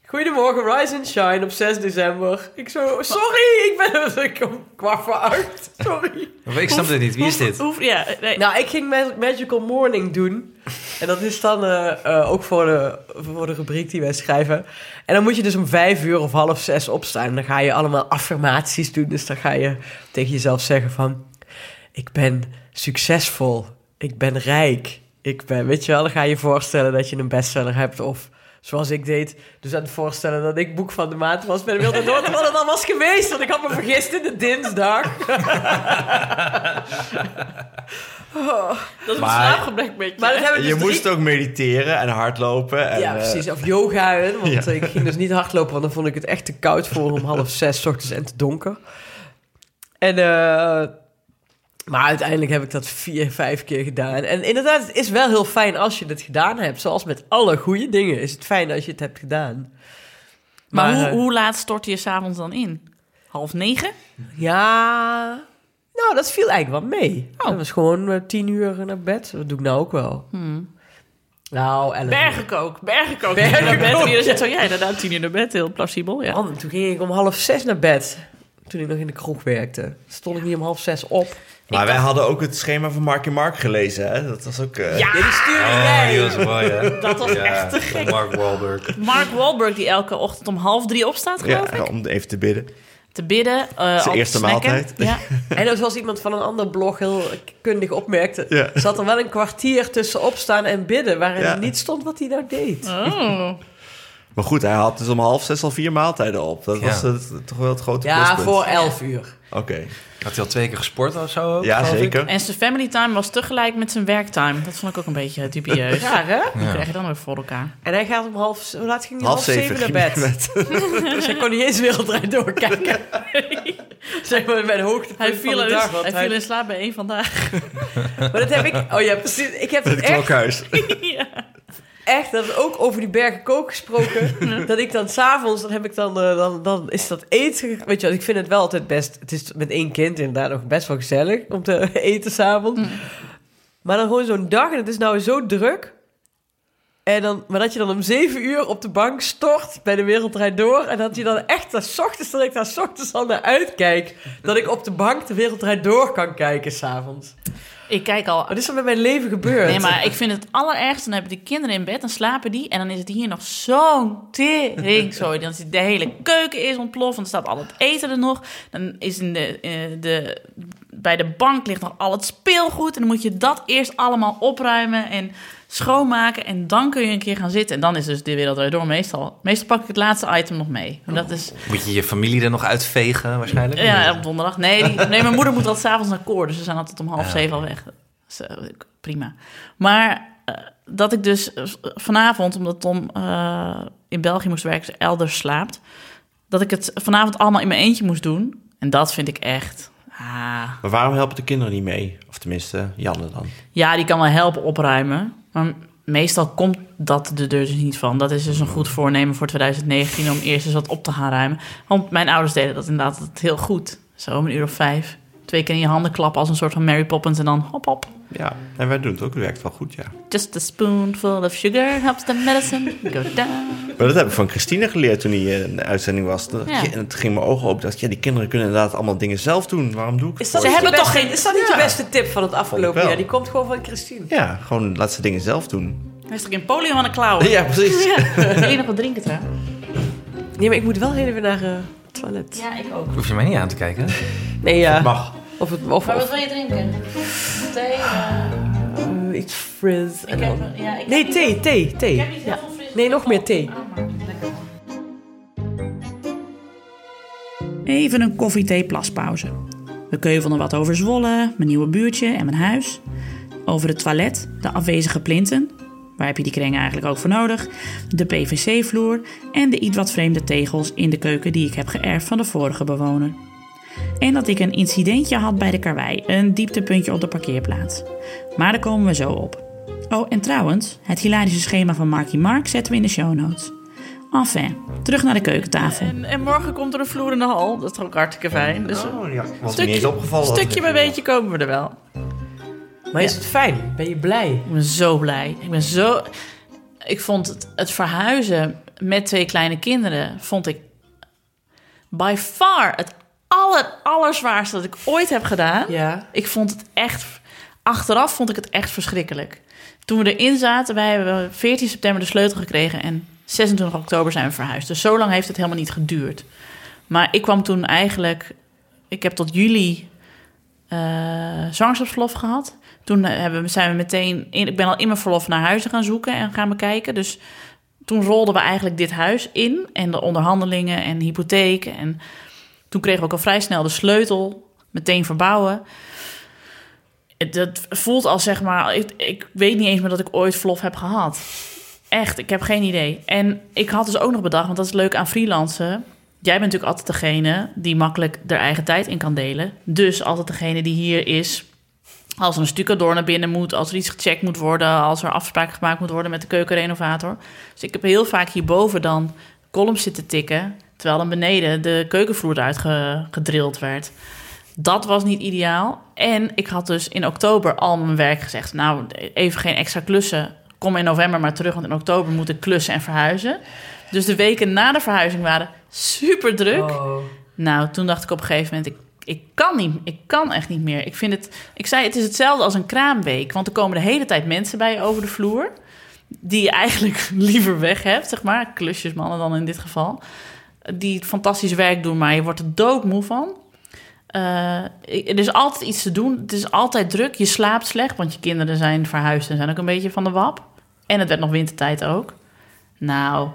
E: Goedemorgen, Rise and Shine op 6 december. Ik zo... Sorry, ik ben ik kom kwart voor acht. Sorry.
F: Maar Ik snap
C: Hoef-
F: het niet. Wie is
C: hoef-
F: dit?
C: hoef- ja, nee.
E: Nou, ik ging Mag- Magical Morning doen. En dat is dan eh, eh, ook voor de, voor de rubriek die wij schrijven. En dan moet je dus om vijf uur of half zes opstaan. Dan ga je allemaal affirmaties doen. Dus dan ga je tegen jezelf zeggen van... Ik ben succesvol. Ik ben rijk. Ik ben... Weet je wel, dan ga je voorstellen dat je een bestseller hebt of... Zoals ik deed, dus aan het voorstellen dat ik boek van de maand was. Maar ik wilde
C: (laughs)
E: nooit wat het dan was geweest, want ik had me vergist in de dinsdag.
C: dat is een
F: Maar-
C: slaapgebrek met je.
E: Maar dat heb ik
B: Je
E: dus drie
B: moest ook mediteren en hardlopen. En,
E: Ja,
B: eh,
E: precies. Of yoga. Hè,
B: (laughs)
E: want eh, ik ging dus niet hardlopen, want dan vond ik het echt te koud voor om half zes 's ochtends en te donker. En, eh, maar uiteindelijk heb ik dat vier, vijf keer gedaan. En inderdaad, het is wel heel fijn als je het gedaan hebt. Zoals met alle goede dingen is het fijn als je het hebt gedaan.
C: Maar, hoe,
E: eh,
C: hoe laat stort je s'avonds dan in? Half negen?
E: Ja, nou, dat viel eigenlijk wel mee.
C: Oh.
E: Dat was gewoon eh, tien uur naar bed. Dat doe ik nou ook wel.
C: Hmm.
E: Nou, elf uur.
C: Bergenkook, bergenkook.
E: Bergenkook.
C: Naar bed. En iedereen zegt zo, ja, inderdaad, tien uur naar bed. Heel plausibel, ja.
E: Man, toen ging ik om half zes naar bed. Toen ik nog in de kroeg werkte. Stond ik niet om half zes op.
B: Maar wij hadden ook het schema van Mark en Mark gelezen. Hè? Dat was ook. eh,
E: Ja, die stuurde
F: Oh,
E: wij.
F: die was mooi, hè?
C: Dat was echt te gek.
F: Mark Wahlberg.
C: Mark Wahlberg, die elke ochtend om half drie opstaat,
B: ja,
C: geloof ik.
B: om even te bidden.
C: Te bidden. eh, al te
B: eerste
C: snacken.
B: maaltijd.
C: Ja.
E: En dan zoals iemand van een ander blog heel kundig opmerkte...
B: Ja.
E: zat er wel een kwartier tussen opstaan en bidden... waarin
B: Ja.
E: niet stond wat hij nou deed.
C: Oh.
B: Maar goed, hij had dus om half zes al vier maaltijden op. Dat
F: Ja.
B: was het, toch wel het grote
E: Ja,
B: pluspunt.
E: voor elf uur.
B: Oké.
F: Had hij al twee keer gesport of zo? ook?
B: Ja,
F: geloof ik?
B: zeker.
C: En zijn family time was tegelijk met zijn werktime. Dat vond ik ook een beetje
E: (laughs)
C: dubieus.
E: Raar, hè?
C: Dat krijg je dan ook voor elkaar.
E: En hij gaat om half... Hoe laat ging hij?
B: Half zeven
E: naar
B: ging
E: bed.
B: hij naar bed.
E: (laughs)
C: (laughs)
E: Dus hij kon niet eens wereldwijd doorkijken. zeg maar mijn hoogtepunt
C: Hij viel,
E: van
C: in,
E: de dag. want
C: hij viel in slaap bij één vandaag.
E: Maar dat heb ik... Oh ja, precies. Ik heb
B: Het
E: het echt
B: klokhuis.
E: echt, dat is ook over die bergenkook
C: (laughs)
E: gesproken. dat ik dan s'avonds, dan heb ik dan, eh, dan, dan is dat eten. Weet je, wel, ik vind het wel altijd best. Het is met één kind inderdaad nog best wel gezellig om te (laughs) eten s'avonds. Maar dan gewoon zo'n dag en het is nou zo druk. En dan, maar dat je dan om zeven uur op de bank stort bij de wereld Draait door. En dat je dan echt daar 's ochtends, dat ik daar 's ochtends al naar uitkijk. Dat ik op de bank de wereld Draait door kan kijken s'avonds.
C: Ik kijk al...
E: Wat is er met mijn leven gebeurd?
C: Nee, maar ik vind het allerergste. Dan hebben die kinderen in bed, dan slapen die. En dan is het hier nog zo'n teringzooi. Dan is de hele keuken is ontploft. Dan staat al het eten er nog. Dan is in de, eh, de, bij de bank ligt nog al het speelgoed. En dan moet je dat eerst allemaal opruimen en schoonmaken. En dan kun je een keer gaan zitten. En dan is dus de wereld Draait door meestal. Meestal pak ik het laatste item nog mee. En dat is...
F: Moet je je familie er nog uitvegen waarschijnlijk?
C: Ja, op donderdag. Nee, die- nee mijn moeder moet altijd s'avonds naar koor. Dus ze zijn altijd om half
F: Ja.
C: zeven al weg. Dus, eh, prima. Maar eh, dat ik dus eh, vanavond, omdat Tom eh, in België moest werken, dus elders slaapt. Dat ik het vanavond allemaal in mijn eentje moest doen. En dat vind ik echt... Ah.
B: Maar waarom helpen de kinderen niet mee? Of tenminste, Janne dan.
C: Ja, die kan wel helpen opruimen. Maar meestal komt dat er dus niet van. Dat is dus een goed voornemen voor 2019 om eerst eens wat op te gaan ruimen. Want mijn ouders deden dat inderdaad altijd heel goed. Zo om een uur of vijf. Twee keer in je handen klappen als een soort van Mary Poppins en dan hop hop.
B: Ja, en wij doen het ook. Het werkt wel goed, ja.
C: Just a spoonful of sugar helps the medicine go down.
B: Maar dat heb ik van Christine geleerd toen hij eh, in de uitzending was. Dat,
C: Ja.
B: ja, het ging mijn ogen open. Dat ik, ja, die kinderen kunnen inderdaad allemaal dingen zelf doen. Waarom doe ik het
E: Is dat,
B: voor
E: niet
C: Ze
B: ze?
E: je
C: hebben toch
E: beste-
C: geen-
E: is dat niet
B: Ja.
E: je beste tip van het
B: Vond ik
E: afgelopen
B: wel.
E: jaar? Die komt gewoon van Christine.
B: Ja, gewoon laat ze dingen zelf doen.
C: Hij is toch in polio aan de klauwen?
B: Ja,
C: (laughs)
B: precies.
C: Wil je nog wat drinken trouwens?
E: Nee, maar ik moet wel even naar eh, het toilet.
C: Ja, ik ook.
F: Hoef je mij niet aan te kijken.
E: Nee, ja.
B: Mag.
E: Of, het, of, of
C: wil je drinken? Thee?
E: eh, iets fris. En dan-
C: ja, ik
E: Nee, thee, thee, thee. Ja. Nee, nog meer thee.
D: Even een koffie-thee-plaspauze. We keuvelden wat over Zwolle, mijn nieuwe buurtje en mijn huis. Over het toilet, de afwezige plinten. Waar heb je die kringen eigenlijk ook voor nodig? De PVC-vloer en de iets wat vreemde tegels in de keuken die ik heb geërfd van de vorige bewoner. En dat ik een incidentje had bij de karwei, een dieptepuntje op de parkeerplaats. Maar daar komen we zo op. Oh, en trouwens, het hilarische schema van Marky Mark zetten we in de show notes. Enfin, terug naar de keukentafel.
C: En, en morgen komt er een vloer in de hal. Dat is ook hartstikke fijn. Dus
B: Oh, ja. Was me
C: stukje,
B: niet eens opgevallen. dat
C: stukje
B: het-
C: bij beetje komen we er wel.
E: Maar is het fijn? Ben je blij?
C: Ik ben zo blij. Ik ben zo...
D: ik vond het, het verhuizen met twee kleine kinderen... vond ik by far het aller, allerzwaarste dat ik ooit heb gedaan.
E: Ja.
D: Ik vond het echt... Achteraf vond ik het echt verschrikkelijk. Toen we erin zaten, wij hebben 14 september de sleutel gekregen... en 26 oktober zijn we verhuisd. Dus zo lang heeft het helemaal niet geduurd. Maar ik kwam toen eigenlijk... Ik heb tot juli eh zwangerschapsverlof gehad. Toen eh, hebben, we- zijn we meteen... In, ik ben al in mijn verlof naar huizen gaan zoeken en gaan bekijken. Dus toen rolden we eigenlijk dit huis in. En de onderhandelingen en hypotheek. En toen kregen we ook al vrij snel de sleutel. Meteen verbouwen. Het- Dat voelt als zeg maar... Ik, ik weet niet eens meer dat ik ooit verlof heb gehad. Echt, ik heb geen idee. En ik had dus ook nog bedacht, want dat is leuk aan freelancen. Jij bent natuurlijk altijd degene die makkelijk er eigen tijd in kan delen. Dus altijd degene die hier is als er een stucadoor naar binnen moet, als er iets gecheckt moet worden, als er afspraken gemaakt moet worden met de keukenrenovator. Dus ik heb heel vaak hierboven dan columns zitten tikken, terwijl dan beneden de keukenvloer eruit ge- gedrild werd. Dat was niet ideaal. En ik had dus in oktober al mijn werk gezegd. Nou, even geen extra klussen. Kom in november maar terug, want in oktober moet ik klussen en verhuizen. Dus de weken na de verhuizing waren super druk.
E: Oh.
D: Nou, toen dacht ik op een gegeven moment, ik, ik kan niet, ik kan echt niet meer. Ik vind het, ik zei, het is hetzelfde als een kraamweek, want er komen de hele tijd mensen bij je over de vloer die je eigenlijk (laughs) liever weg hebt, zeg maar, klusjesmannen dan in dit geval, die fantastisch werk doen, maar je wordt er doodmoe van. Eh, er is altijd iets te doen. Het is altijd druk. Je slaapt slecht, want je kinderen zijn verhuisd en zijn ook een beetje van de wap. En het werd nog wintertijd ook. Nou,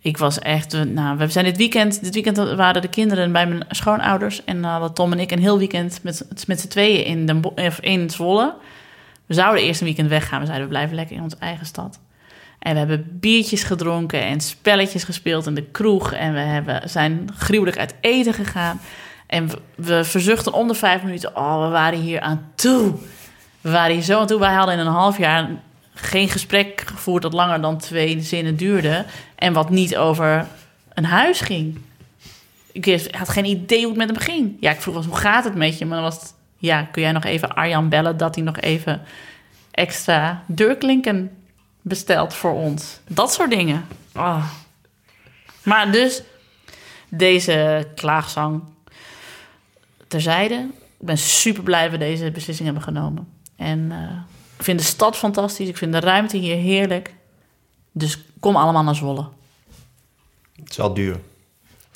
D: ik was echt. Nou, we zijn dit weekend. Dit weekend waren de kinderen bij mijn schoonouders. En dan hadden Tom en ik een heel weekend met, met z'n tweeën in, Den Bo- of in Zwolle. We zouden eerst een weekend weggaan. We zeiden we blijven lekker in onze eigen stad. En we hebben biertjes gedronken en spelletjes gespeeld in de kroeg. En we hebben, zijn gruwelijk uit eten gegaan. En we, we verzuchten om de vijf minuten. Oh, we waren hier aan toe. We waren hier zo aan toe. Wij hadden in een half jaar geen gesprek gevoerd dat langer dan twee zinnen duurde. En wat niet over een huis ging. Ik wist- had geen idee hoe het met hem ging. Ja, ik vroeg wel eens, hoe gaat het met je? Maar dan was het, ja, kun jij nog even Arjan bellen dat hij nog even extra deurklinken bestelt voor ons? Dat soort dingen. Ah. Maar dus, deze klaagzang terzijde. Ik ben super blij dat we deze beslissing hebben genomen. En eh, ik vind de stad fantastisch. Ik vind de ruimte hier heerlijk. Dus kom allemaal naar Zwolle.
H: Het is wel duur.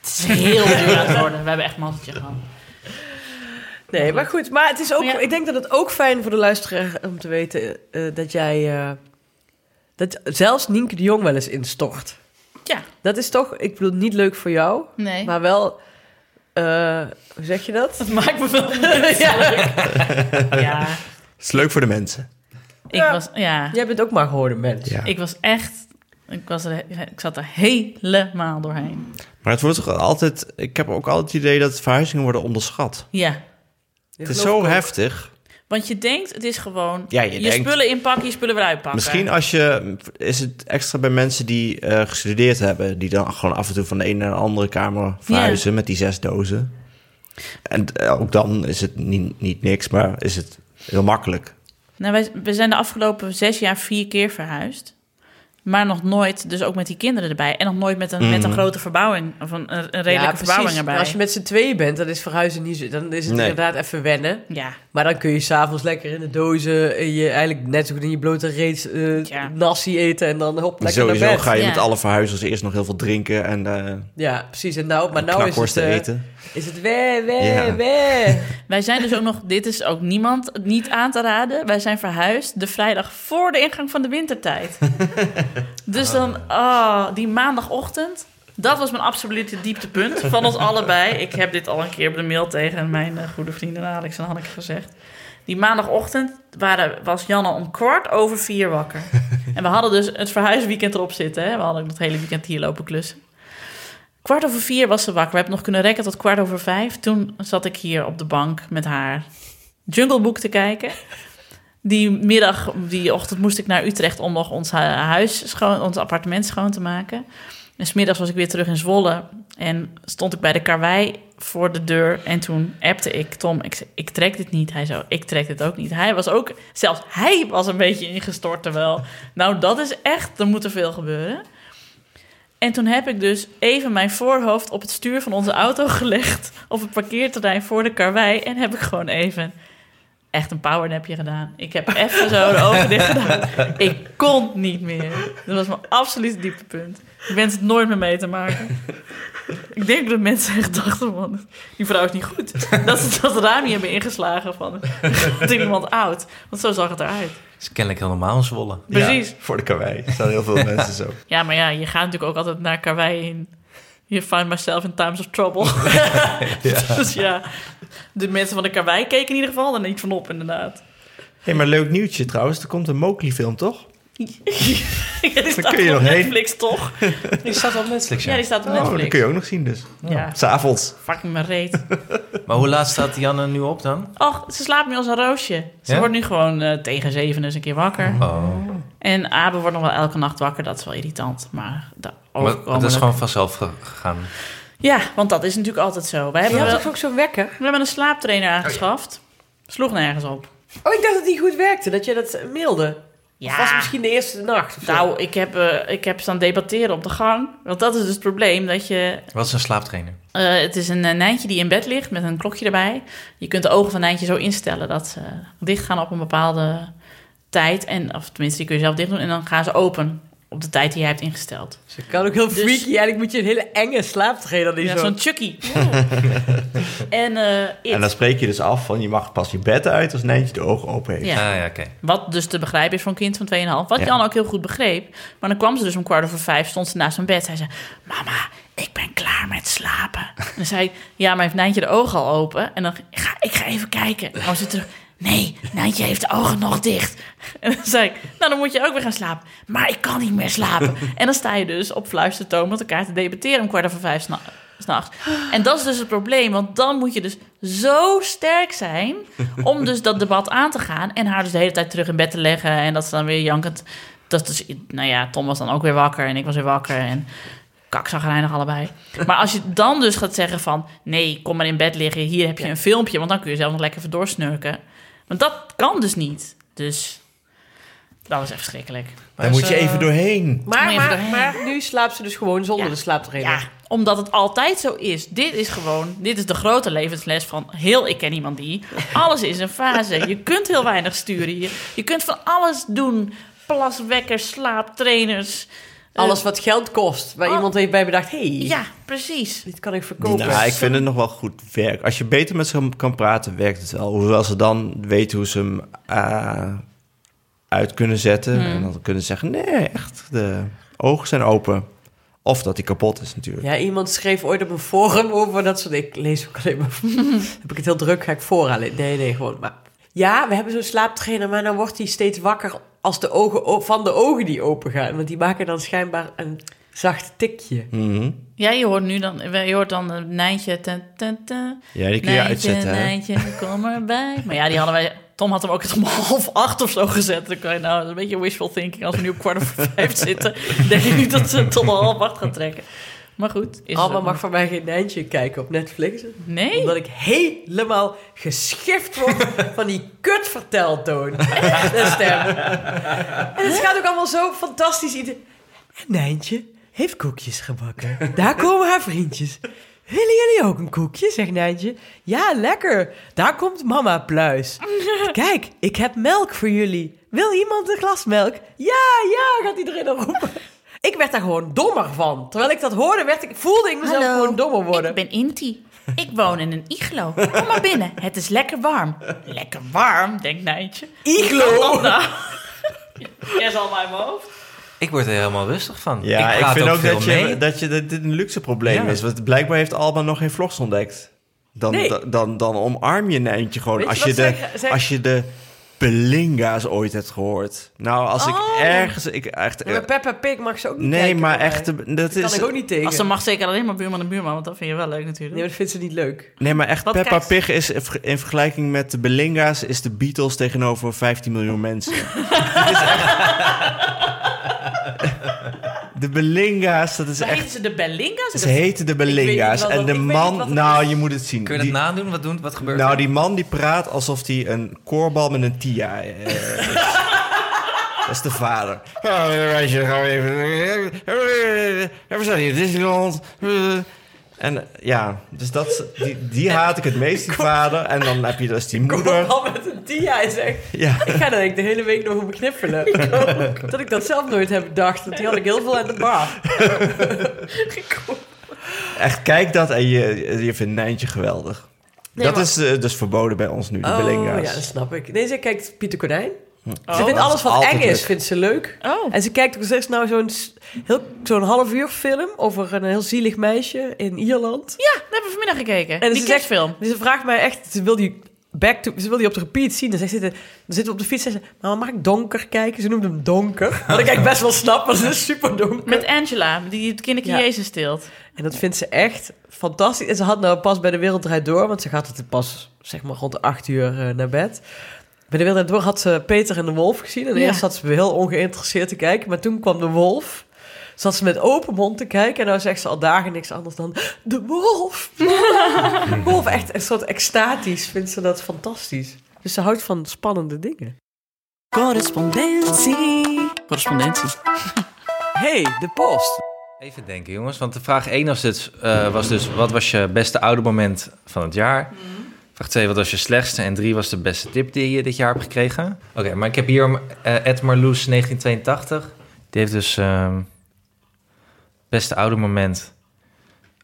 D: Het is heel duur aan het worden. We hebben echt mazzeltje gehad.
E: Nee, maar goed. Maar het is ook,
D: Ja.
E: ik denk dat het ook fijn voor de luisteraar om te weten eh, dat jij... eh, dat zelfs Nienke de Jong wel eens instort.
D: Ja,
E: Dat is toch, ik bedoel, niet leuk voor jou,
D: nee.
E: maar wel... eh, hoe zeg je dat?
D: het maakt me (laughs) wel moeilijk. ja. ja.
B: Het is leuk voor de mensen.
D: Ik was, ja,
E: Jij bent ook maar gehoorde mens.
B: Ja.
D: ik was echt... Ik, was er, ik zat er helemaal doorheen.
B: Maar het wordt toch altijd... Ik heb ook altijd het idee dat verhuizingen worden onderschat.
D: Ja.
B: Het is zo heftig.
D: Want je denkt, het is gewoon...
B: Ja, je
D: je
B: denkt-
D: spullen inpakken, je spullen weer uitpakken.
B: Misschien als je... Is het extra bij mensen die eh, gestudeerd hebben... die dan gewoon af en toe van de ene naar de andere kamer verhuizen... met die zes dozen. En eh, ook dan is het niet, niet niks, maar is het heel makkelijk.
D: Nou, wij, we zijn de afgelopen zes jaar vier keer verhuisd. Maar nog nooit, dus ook met die kinderen erbij. En nog nooit met een, met een grote verbouwing. Of een, een redelijke verbouwing
E: precies.
D: erbij.
E: Als je met z'n tweeën bent, dan is verhuizen niet zo... Dan is het
B: Nee.
E: inderdaad even wennen.
D: Ja,
E: Maar dan kun je s'avonds lekker in de dozen... en je eigenlijk net zo goed in je blote reet eh,
D: Ja.
E: nasi eten... en dan hop, lekker naar
B: Sowieso
E: bed.
B: ga je
D: Ja.
B: met alle verhuizers eerst nog heel veel drinken... en eh
E: Ja, precies. En nou, maar nou is het,
B: knakworsten
E: eh,
B: eten.
E: is het wee, wee,
B: Ja.
E: wee.
D: Wij zijn dus ook nog, dit is ook niemand niet aan te raden. Wij zijn verhuisd de vrijdag voor de ingang van de wintertijd. dus dan, ah, die maandagochtend. Dat was mijn absolute dieptepunt van ons allebei. Ik eh, heb dit al een keer op de mail tegen mijn eh, goede vrienden Alex en Hanneke gezegd. Die maandagochtend waren, was Janne om kwart over vier wakker. En we hadden dus het verhuisweekend erop zitten. Hè? We hadden ook het hele weekend hier lopen klussen. Kwart over vier was ze wakker. We hebben nog kunnen rekken tot kwart over vijf. Toen zat ik hier op de bank met haar Jungle Book te kijken. Die middag, die ochtend moest ik naar Utrecht om nog
C: eh,
D: ons hu- huis schoon, ons appartement schoon te maken. En smiddags was ik weer terug in Zwolle en stond ik bij de karwei
C: voor de deur. En toen appte ik Tom, ik, zei, ik trek dit niet. Hij zo, ik trek dit ook niet. Hij was ook, zelfs hij was een beetje ingestort terwijl... Nou, dat is echt, er moet er veel gebeuren. En toen heb ik dus even mijn voorhoofd op het stuur van onze auto (laughs) gelegd... op het parkeerterrein voor de karwei. En heb ik gewoon even echt een powernapje gedaan. Ik heb even zo de ogen dicht gedaan. Ik kon niet meer. Dat was mijn absoluut dieptepunt. Ik wens het nooit meer mee te maken.
B: (laughs)
C: Ik denk dat mensen echt dachten van... die vrouw is niet goed. Dat ze dat raam niet hebben ingeslagen van... dat iemand oud. Want zo zag het eruit.
F: is kennelijk heel normaal in Zwolle.
C: Precies.
B: voor de karwei. Er staan heel veel mensen zo.
C: Ja, maar ja, je gaat natuurlijk ook altijd naar Karwei in... You find myself in times of
B: (laughs)
C: trouble. (laughs) Dus ja, de mensen van de Karwei keken in ieder geval er niet van
B: (laughs)
C: op, inderdaad.
B: hey, maar leuk nieuwtje trouwens. Er komt een Mowgli-film, toch?
C: Die staat
B: kun je
C: op
B: nog heen.
C: Netflix, toch?
F: Die staat op Netflix,
C: Ja,
F: ja.
C: die staat op
B: Oh, dat kun
C: Netflix.
B: je ook nog zien dus.
C: Ja,
B: S'avonds.
C: fucking me reet.
F: Maar hoe laat staat Janne nu op dan?
C: Och, ze slaapt nu als een roosje. Ze
F: Ja?
C: wordt nu gewoon eh, tegen zeven dus een keer wakker.
F: Oh.
C: En Abe wordt nog wel elke nacht wakker. Dat is wel irritant, maar dat
B: Oh,
F: Maar
C: overkomen-
F: dat is gewoon vanzelf ge- gegaan.
C: Ja, want dat is natuurlijk altijd zo. We hebben,
E: Je had
C: wel-
E: toch ook zo'n wekker?
C: we hebben een slaaptrainer aangeschaft. Sloeg nergens op.
E: Oh, ik dacht dat die goed werkte, dat je dat eh, mailde. Ja. was misschien de eerste nacht. of zo.
C: Nou, ik heb, eh, ik heb staan debatteren op de gang. Want dat is dus het probleem, dat je...
F: Wat is een slaaptrainer?
C: eh, het is een eh, nijntje die in bed ligt met een klokje erbij. Je kunt de ogen van nijntje zo instellen dat ze dicht gaan op een bepaalde tijd. En, of tenminste, die kun je zelf dicht doen. En dan gaan ze open op de tijd die jij hebt ingesteld.
E: Ze kan ook heel
C: Dus-
E: freaky. Eigenlijk moet je een hele enge slaaptrainer die
C: Ja,
E: zo...
C: zo'n Chucky. en eh, it.
B: En dan spreek je dus af van je mag pas je bed uit als Nijntje de ogen open heeft.
C: Ja.
F: Ah, ja, oké.
C: Wat dus te begrijpen is voor een kind van 2,5. Wat
B: Ja.
C: Jan ook heel goed begreep. Maar dan kwam ze dus om kwart over vijf, stond ze naast mijn bed. Zij zei, mama, ik ben klaar met slapen. En dan zei ik, ja, maar heeft Nijntje de ogen al open? En dan, ik ga, ik ga even kijken. En dan was ze terug, nee, Nijntje heeft de ogen nog dicht. (laughs) En dan zei ik, nou, dan moet je ook weer gaan slapen. Maar ik kan niet meer slapen. En dan sta je dus op fluistertoon met elkaar te debatteren om kwart over vijf s'na- s'nachts. En dat is dus het probleem, want dan moet je dus zo sterk zijn om dus dat debat aan te gaan en haar dus de hele tijd terug in bed te leggen en dat ze dan weer jankend. Dat is, dus- nou ja, Tom was dan ook weer wakker en ik was weer wakker en kak zag er nog allebei. Maar als je dan dus gaat zeggen van nee, kom maar in bed liggen, hier heb je een filmpje, want dan kun je zelf nog lekker even doorsnurken. Want dat kan dus niet. Dus dat was echt verschrikkelijk.
B: Daar moet je
C: eh,
B: even doorheen.
E: Maar,
C: Moet je
E: maar,
C: even
E: maar nu slaapt ze dus gewoon zonder
C: Ja.
E: de slaaptrainer.
C: Ja, omdat het altijd zo is. Dit is gewoon, dit is de grote levensles van heel ik ken iemand die. Alles is een fase. Je kunt heel weinig sturen. Je, je kunt van alles doen. Plaswekkers, slaaptrainers.
E: Alles wat geld kost. Waar
C: Oh.
E: iemand heeft bij bedacht, hey,
C: Ja, precies.
E: dit kan ik verkopen.
B: Nou, ik vind het nog wel goed werk. Als je beter met ze kan praten, werkt het wel. Hoewel ze dan weten hoe ze hem ah, uit kunnen
C: Hmm.
B: zetten. En dan kunnen ze zeggen, nee, echt, de ogen zijn open. Of dat hij kapot is natuurlijk.
E: Ja, iemand schreef ooit op een forum over dat soort... Ik lees ook alleen maar... heb ik het heel druk, ga ik vooraan. Nee, nee, gewoon maar... Ja, we hebben zo'n slaaptrainer, maar dan wordt hij steeds wakker... als de ogen o- van de ogen die open gaan. Want die maken dan schijnbaar een zacht tikje.
B: Mhm.
C: Ja, je hoort nu dan, je hoort dan een Nijntje. ten, ten, ten.
B: Ja, die kun je uitzetten. hè?
C: Nijntje, kom erbij. Maar ja, die hadden wij... Tom had hem ook om half acht of zo gezet. Dan kan je nou dat is een beetje wishful thinking. Als we nu op kwart over vijf zitten, denk ik niet dat ze hem tot half acht gaan trekken. Maar goed. Is
E: Alma
C: zo.
E: mag van mij geen Nijntje kijken op Netflix.
C: Nee?
E: Omdat ik helemaal geschift word van die kutverteltoon. De stem. En het gaat ook allemaal zo fantastisch. Ieder- Nijntje heeft koekjes gebakken. Daar komen haar vriendjes. Willen jullie ook een koekje, zegt Nijntje. Ja, lekker. Daar komt mama pluis. Kijk, ik heb melk voor jullie. Wil iemand een glas melk? Ja, ja, gaat iedereen dan roepen. Ik werd daar gewoon dommer van. Terwijl ik dat hoorde, werd ik, voelde ik mezelf gewoon dommer worden.
C: Ik ben Inti. Ik woon in een iglo. Kom maar binnen. Het is lekker warm. Lekker warm, denkt Nijntje.
E: Iglo!
C: Nou. Jij zal mijn hoofd.
F: Ik word er helemaal rustig van.
B: Ja, ik,
F: praat
B: vind ook,
F: veel
B: dat, je,
F: mee.
B: dat, je, dat dit een luxe probleem
F: Ja.
B: is. Want blijkbaar heeft Alba nog geen vlogs ontdekt. Dan,
E: Nee.
B: dan, dan, dan omarm je een eindje gewoon.
E: Weet je
B: als,
E: wat
B: je de,
E: zij- zij-
B: als je de Belinga's ooit hebt gehoord. Nou, als
C: Oh.
B: ik ergens... Ik echt, eh,
E: Ja, maar Peppa Pig mag ze ook niet
B: nee,
E: kijken,
B: maar
E: volgens
B: echt...
E: mij.
B: de- Dat
E: Dat kan
B: is,
E: ik ook niet tegen.
C: Als ze mag zeker alleen maar buurman en buurman, want dat vind je wel leuk natuurlijk.
E: Nee, maar dat vindt ze niet leuk.
B: nee, maar echt
C: Wat
B: Peppa
C: kijkt-
B: Pig is in ver- in vergelijking met de Belinga's... is de Beatles
E: (laughs)
B: tegenover 15 miljoen mensen. Dit is echt- De Belinga's, dat is
C: Ze heten
B: echt...
C: ze de Bellinga's?
B: Ze heten de Belinga's.
C: Ik weet niet wat-
B: En de
C: ik weet niet wat
B: man...
C: het
B: Nou,
C: is.
B: je moet het zien.
F: Kun je dat
B: Die-
F: nadoen? Wat, doen, wat gebeurt
B: Nou,
F: er?
B: die man die praat alsof hij een koorbal met een tia eh,
C: (laughs)
B: is. Dat is de vader. Ja, meisje, gaan we even... Ja, we zijn hier in Disneyland. En eh, ja, dus dat, is- die, die haat ik het meest, die vader. En dan heb je dus die moeder.
E: Al met een dia is echt...
B: (laughs) Ja.
E: Ik ga daar denk ik de hele week nog op
B: (laughs)
E: kniffelen. dat ik dat zelf nooit heb bedacht. Want die had ik heel veel aan de bar.
B: Echt, kijk dat en je, je vindt Nijntje geweldig.
C: Nee,
B: dat
C: maar- dus
B: is eh, dus verboden bij ons nu, de
E: Oh,
B: Belinga's.
E: ja, dat snap ik. Nee, ze kijkt Pieter Konijn. Ze
C: Oh.
E: vindt alles wat
B: altijd
E: eng is,
B: leuk.
E: vindt ze leuk.
C: Oh.
E: En ze kijkt ook steeds nou zo'n s- heel- zo'n half uur film over een heel zielig meisje in Ierland.
C: Ja, daar hebben we vanmiddag gekeken.
E: En
C: die
E: ze zegt-
C: kerstfilm.
E: Dus ze vraagt mij echt, ze wil die back to, ze wil die op de repeat zien. Dan zegt ze, dan zitten we op de fiets en ze, mama mag ik donker kijken? Ze noemt hem donker. Wat ik echt best wel snap, want het is super donker.
C: Met Angela, die het kindertje
E: Ja.
C: Jezus steelt.
E: En dat vindt ze echt fantastisch. En ze had nou pas bij de Wereld Draait Door, want ze gaat het pas zeg maar rond de acht uur eh, naar bed. Bij de Wereld Draait Door had ze Peter en de Wolf gezien. En
C: Ja.
E: eerst zat ze heel ongeïnteresseerd te kijken, maar toen kwam de Wolf. Zat ze met open mond te kijken en nou zegt ze al dagen niks anders dan de wolf. De wolf, echt een soort extatisch vindt ze dat fantastisch. Dus ze houdt van spannende dingen. Correspondentie.
C: Correspondentie.
E: Hey, de post.
F: Even denken, jongens. Want de vraag 1 was, dus, eh, was dus... wat was je beste oudermoment van het jaar?
C: Mhm.
F: Vraag 2, wat was je slechtste? En 3 was de beste tip die je dit jaar hebt gekregen? Oké, maar ik heb hier om, eh, Ed Marloes 1982. Die heeft dus... ehm, beste oudermoment...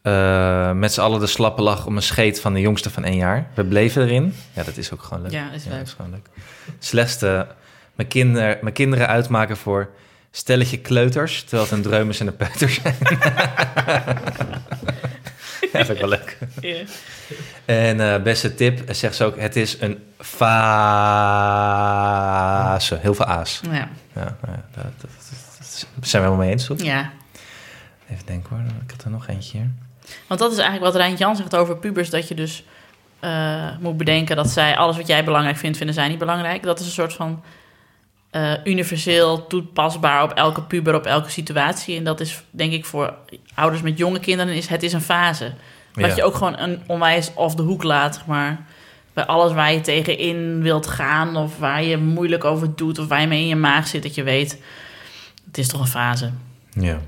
F: eh, met z'n allen de slappe lach om een scheet van de jongste van één jaar. We bleven erin. Ja, dat is ook gewoon leuk.
C: Ja, dat is leuk.
F: gewoon leuk. Slechtste... Mijn, kinder, mijn kinderen uitmaken voor stelletje kleuters... terwijl het een dreumes en een peuter zijn. (laughs) ja, dat vind ik wel
C: (laughs)
F: leuk.
C: Ja.
F: En eh, beste tip, eh, zegt ze ook, het is een fase. Heel veel a's.
C: Ja.
F: Ja, nou ja, dat, dat, dat- dat zijn we helemaal mee eens, toch?
C: ja.
F: Even denken hoor, ik had er nog eentje hier.
C: Want dat is eigenlijk wat Rijn Jan zegt over pubers. Dat je dus eh, moet bedenken dat zij alles wat jij belangrijk vindt, vinden zij niet belangrijk. Dat is een soort van eh, universeel toepasbaar op elke puber, op elke situatie. En dat is denk ik voor ouders met jonge kinderen, is, het is een fase. Dat
F: Ja.
C: je ook gewoon een onwijs off de hoek laat, zeg maar. Bij alles waar je tegenin wilt gaan of waar je moeilijk over doet... of waar je mee in je maag zit, dat je weet... het is toch een fase.
F: Ja.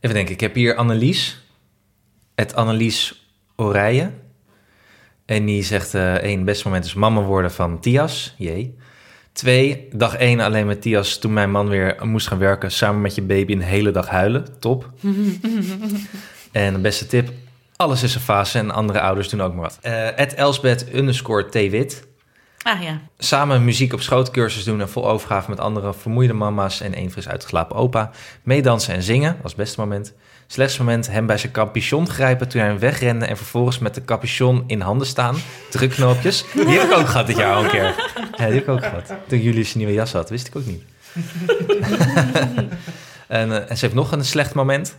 F: Even denken, ik heb hier Annelies. Het Annelies Orijen. En die zegt, eh één, beste moment is mama worden van Tias. Jee. Twee, dag één alleen met Tias toen mijn man weer moest gaan werken. Samen met je baby een hele dag huilen. Top. en de beste tip, alles is een fase en andere ouders doen ook maar wat. Eh at Elsbeth underscore twit.
C: Ah ja.
F: Samen muziek op schootcursus doen en vol overgave met andere vermoeide mama's en één fris uitgeslapen opa. Meedansen en zingen was het beste moment. Slechtste moment hem bij zijn capuchon grijpen toen hij hem wegrende en vervolgens met de capuchon in handen staan. Drukknoopjes. Die heb ik ook gehad dit jaar al een keer. Ja, die heb ik ook gehad. Toen Julius een nieuwe jas had, wist ik ook niet. (laughs) en, eh, en ze heeft nog een slecht moment.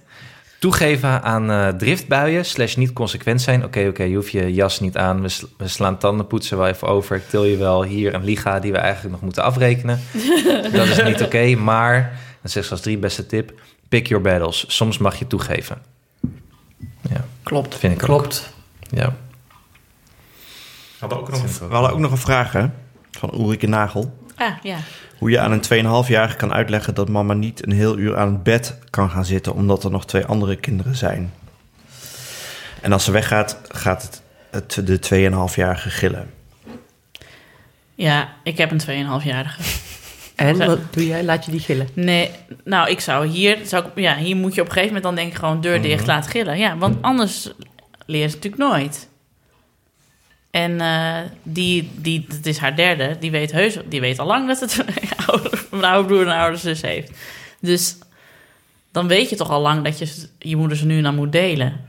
F: Toegeven aan eh, driftbuien slash niet consequent zijn. Oké, oké, je hoeft je jas niet aan. We, sl- we slaan tandenpoetsen wel even over. Ik til je wel hier een liga die we eigenlijk nog moeten afrekenen. Dat is niet oké, maar... Dan zegt ze als drie beste tip. Pick your battles. Soms mag je toegeven. Ja,
E: Klopt.
F: vind ik ook.
E: Klopt.
F: Ja.
B: hadden ook nog een- we hadden ook nog een vraag, hè? Van Ulrike Nagel.
C: Ah ja.
B: Hoe je aan een 2,5-jarige kan uitleggen dat mama niet een heel uur aan het bed kan gaan zitten, omdat er nog twee andere kinderen zijn. En als ze weggaat, gaat het, het de 2,5-jarige gillen.
C: Ja, ik heb een 2,5-jarige.
E: En
C: Zo.
E: wat doe jij? Laat je die gillen.
C: Nee, nou, ik zou hier... Zou, ik- ja, hier moet je op een gegeven moment dan denk ik gewoon deur dicht, laat gillen. Ja, want anders leer ze natuurlijk nooit. En eh, die, die, dat is haar derde, die weet heus... Die weet al lang dat het (laughs) een ouder, een oude broer en een oude zus heeft. Dus dan weet je toch al lang dat je z- je moeder ze nu en dan moet delen.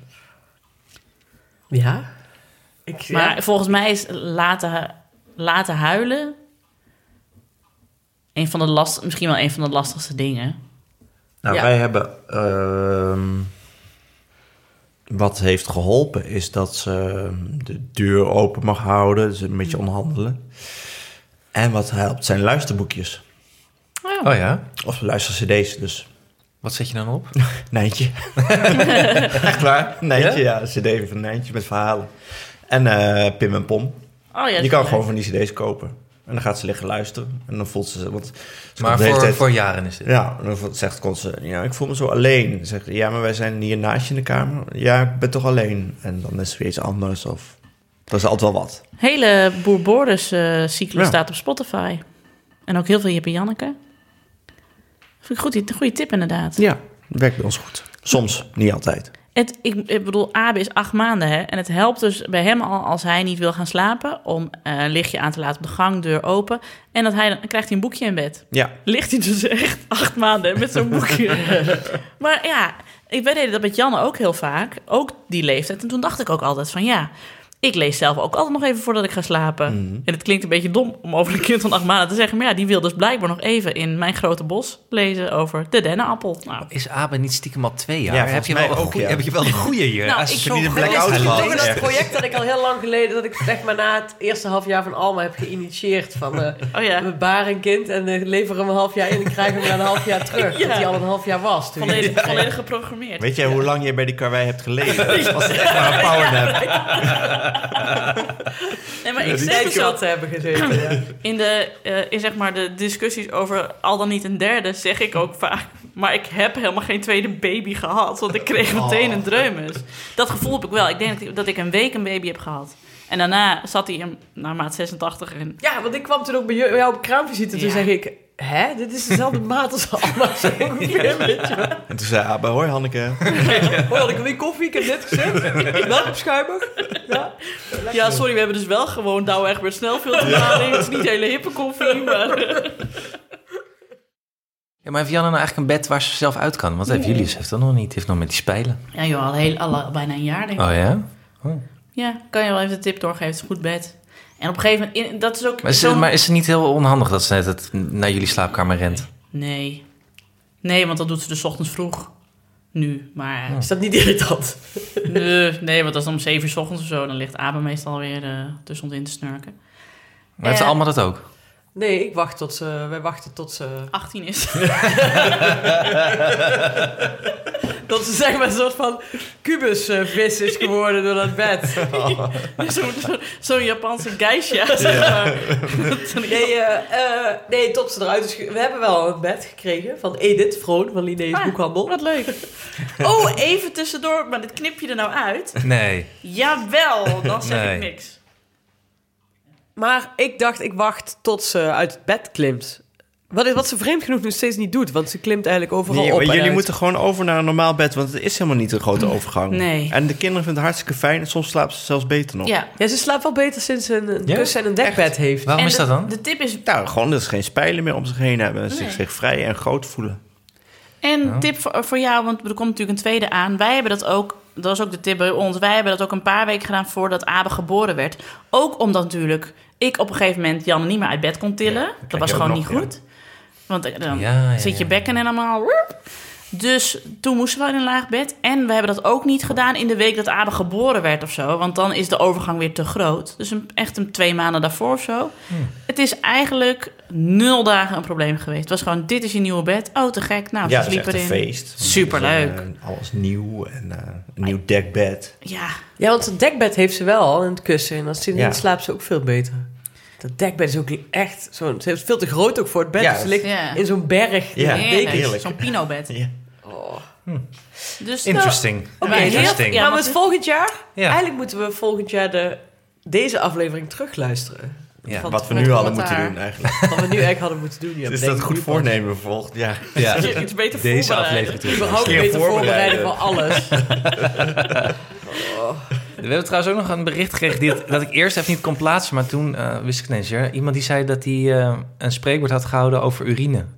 E: Ja. Ik,
C: Maar
E: ja.
C: volgens mij is laten, hu- laten huilen... Een van de last, misschien wel een van de lastigste dingen.
B: Nou,
E: Ja.
B: wij hebben. ehm, wat heeft geholpen is dat ze ehm, de deur open mag houden, dus een
C: Mm.
B: beetje onderhandelen. En wat helpt zijn luisterboekjes.
F: Oh ja?
B: Of luistercd's dus.
F: Wat zet je dan (laughs) op?
B: Nijntje. (laughs) Echt waar? Nijntje, ja. CD van Nijntje met verhalen. En eh, Pim en Pom.
C: Oh, ja,
B: je kan
C: leuk.
B: gewoon van die CD's kopen. En dan gaat ze liggen luisteren. En dan voelt ze ze. Want ze
F: Maar
B: komt de hele
F: voor,
B: tijd-
F: voor jaren is dit.
B: Ja, en dan vo- zegt kon ze. Ja, ik voel me zo alleen. Dan Zegt, ze, ja, maar wij zijn hier naast je in de kamer. Ja, ik ben toch alleen. En dan is het weer iets anders. Of, dat is altijd wel wat.
C: Hele Boer Boris eh, cyclus
B: Ja.
C: staat op Spotify. En ook heel veel Jippe Janneke. Vind ik goed, een goede tip inderdaad.
B: Ja, dat werkt bij ons goed. Soms, niet altijd.
C: Het, ik, ik bedoel, Abe is acht maanden hè. En het helpt dus bij hem al als hij niet wil gaan slapen... om eh, een lichtje aan te laten op de gang, deur open. En dat hij, dan dan krijgt hij een boekje in bed.
B: Ja,
C: ligt hij dus echt (laughs) acht maanden met zo'n boekje. maar ja, ik wij deden dat met Janne ook heel vaak. Ook die leeftijd. En toen dacht ik ook altijd van ja, ik lees zelf ook altijd nog even voordat ik ga slapen. En het klinkt een beetje dom om over een kind van acht maanden te zeggen. Maar ja, die wil dus blijkbaar nog even in Mijn Grote Bos lezen over de dennenappel. Nou,
F: Is Abe niet stiekem al twee jaar?
B: Ja,
F: heb,
B: volgens
F: je wel
B: mij
F: een
B: ook,
F: goeie,
B: ja.
F: heb je wel een goeie hier?
C: Nou,
F: Als
C: ik-
F: je
C: Zo
F: niet een
C: groot
F: blackout
C: is
E: Ik
C: het
F: gehad.
C: toch
E: toch in
C: in
E: dat project dat ik al heel lang geleden, dat ik zeg maar na het eerste half jaar van Alma heb geïnitieerd. Van eh
C: Oh
F: (laughs)
C: ja.
E: we baren een kind en eh, leveren hem een half jaar in en krijgen hem na een half jaar terug.
C: Ja.
E: Dat hij al een half jaar was. Toen
C: volledig,
E: Ja.
C: volledig geprogrammeerd.
B: Weet jij hoe lang je bij die karwei hebt (laughs) gelegen? Dat was echt maar een powernap.
C: Nee, maar ik
E: Ik
C: zeg
E: zei
C: dus ook,
E: te hebben
C: (clears throat)
E: gezeten. Ja.
C: in, de, eh, in zeg maar de discussies over al dan niet een derde zeg ik ook vaak... maar ik heb helemaal geen tweede baby gehad... want eh, ik
D: (laughs)
C: kreeg
F: Oh.
D: Oh.
C: meteen een dreumes. Dat gevoel heb ik wel. Ik denk dat ik, dat ik een week een baby heb gehad. En daarna zat hij hem naar maat 86 in.
E: ja, want ik kwam toen ook bij jou bij jou op kraamvisite. Toen
C: Ja.
E: zeg ik, hè, dit is
C: (laughs)
E: dezelfde maat als Alma. zo ongeveer, weet je wel.
B: En toen zei Abe, hoi Hanneke.
E: Hoi, had ik al die koffie? Ik heb net gezet. Melk op schuimer. Ja.
C: Ja, sorry, we hebben dus wel gewoon Douwe Egbert snelfilterlading. Het is niet hele hippe koffie, maar...
F: Ja, maar heeft Janne nou eigenlijk een bed waar ze zelf uit kan? Want heeft Julius heeft dat nog niet. Die heeft nog met die spijlen.
C: Ja joh, al, heel, al bijna een jaar denk ik.
F: Oh ja?
C: Ja, kan je wel even de tip doorgeven. Het is een goed bed. En op een gegeven moment, in- dat is ook...
F: Maar is,
C: zo'n-
F: maar is het niet heel onhandig dat ze net het, naar jullie slaapkamer rent?
C: Nee. Nee, want dat doet ze dus 's ochtends vroeg. Nu, maar...
E: Is dat niet irritant?
C: Nee, nee, want als het om 7 uur 's ochtends of zo, dan ligt Abe meestal weer eh tussen ons in te snurken.
F: Maar heeft
C: Eh.
F: allemaal dat ook?
E: Nee, ik wacht tot ze... Wij wachten tot ze...
C: 18 is. (laughs)
E: Dat ze zeg maar een soort van kubusvis is geworden door dat bed.
C: Zo'n zo, zo'n Japanse geisha. Zeg maar. Zo'n-
E: Nee, eh, eh, nee, tot ze eruit is... ge- We hebben wel een bed gekregen van Edith Vroon van Linnaeus
C: Ah,
E: Boekhandel.
C: Wat leuk. Oh, even tussendoor, maar dit knip je er nou uit.
F: Nee.
C: Jawel, dan zeg
F: Nee.
C: ik niks.
E: Maar ik dacht, ik wacht tot ze uit het bed klimt. Wat, is, wat ze vreemd genoeg nog steeds niet doet, want ze klimt eigenlijk overal
B: Nee,
E: op
B: maar
E: en
B: jullie
E: uit.
B: moeten gewoon over naar een normaal bed, want het is helemaal niet een grote overgang.
C: Nee.
B: En de kinderen vinden het hartstikke fijn en soms slapen ze zelfs beter nog.
C: Ja.
E: Ja, ze slaapt wel beter sinds ze een, een
F: Ja?
E: kussen en een dekbed heeft.
F: Waarom
C: En
F: is dat
C: de-
F: dan?
C: De tip is
B: Nou, gewoon dat ze geen spijlen meer om zich heen hebben en
C: Nee. Nou,
B: zich, zich vrij en groot voelen.
C: En tip voor, voor jou, want er komt natuurlijk een tweede aan. Wij hebben dat ook, dat is ook de tip bij ons. Wij hebben dat ook een paar weken gedaan voordat Abe geboren werd. Ook omdat natuurlijk ik op een gegeven moment Jan niet meer uit bed kon tillen. dat
B: krijg
C: was
B: je ook
C: gewoon niet
B: nog, ja.
C: goed. Want eh, dan
F: Ja, ja,
C: zit je
F: ja.
C: bekken en allemaal. woep. Dus toen moesten we in een laag bed. En we hebben dat ook niet gedaan in de week dat Abe geboren werd of zo. Want dan is de overgang weer te groot. Dus een, echt een twee maanden daarvoor of zo. Het is eigenlijk nul dagen een probleem geweest. Het was gewoon, dit is je nieuwe bed. Oh, te gek. Nou,
B: ja,
C: ze
B: dat is echt
C: sliepen
B: een
C: erin.
B: feest.
C: Superleuk.
B: En, eh, alles nieuw en eh, een nieuw dekbed.
C: Ja,
E: Ja, want het dekbed heeft ze wel al en het kussen. En als ze in
B: Ja.
E: slaapt ze ook veel beter. Dat dekbed is ook echt zo'n... Ze is veel te groot ook voor het bed.
B: Ja,
E: dus ze
B: dat-
E: ligt
C: Ja.
E: in zo'n berg.
B: Ja.
E: met
C: heerlijk.
E: dekens.
B: heerlijk.
C: Zo'n pinobed.
B: Ja.
C: Dus nou,
F: Interesting.
C: oké,
E: heel-
F: Interesting.
C: ja.
E: maar we het volgend jaar...
F: Ja.
E: Eigenlijk moeten we volgend jaar de, deze aflevering terugluisteren.
F: Ja,
E: Van
B: Wat we
E: het-
B: nu hadden
C: commentaar.
B: moeten doen
C: (laughs)
B: eigenlijk.
E: Wat we nu eigenlijk hadden moeten doen.
B: (laughs)
E: Ja,
B: Is
E: denk
B: dat
E: ik
B: goed
E: nu pas.
B: voornemen volgt? Ja.
F: Ja.
C: je iets beter
F: Deze
C: voorbereiden.
F: aflevering terug.
E: Überhaupt
B: Keer
E: beter voorbereiden
B: voorbereiden.
E: voor
B: (laughs)
E: alles.
F: We hebben trouwens ook nog een bericht gekregen die, dat ik eerst even niet kon plaatsen. Maar toen eh, wist ik ineens. Ja, iemand die zei dat hij eh, een spreekwoord had gehouden over urine.
C: (laughs)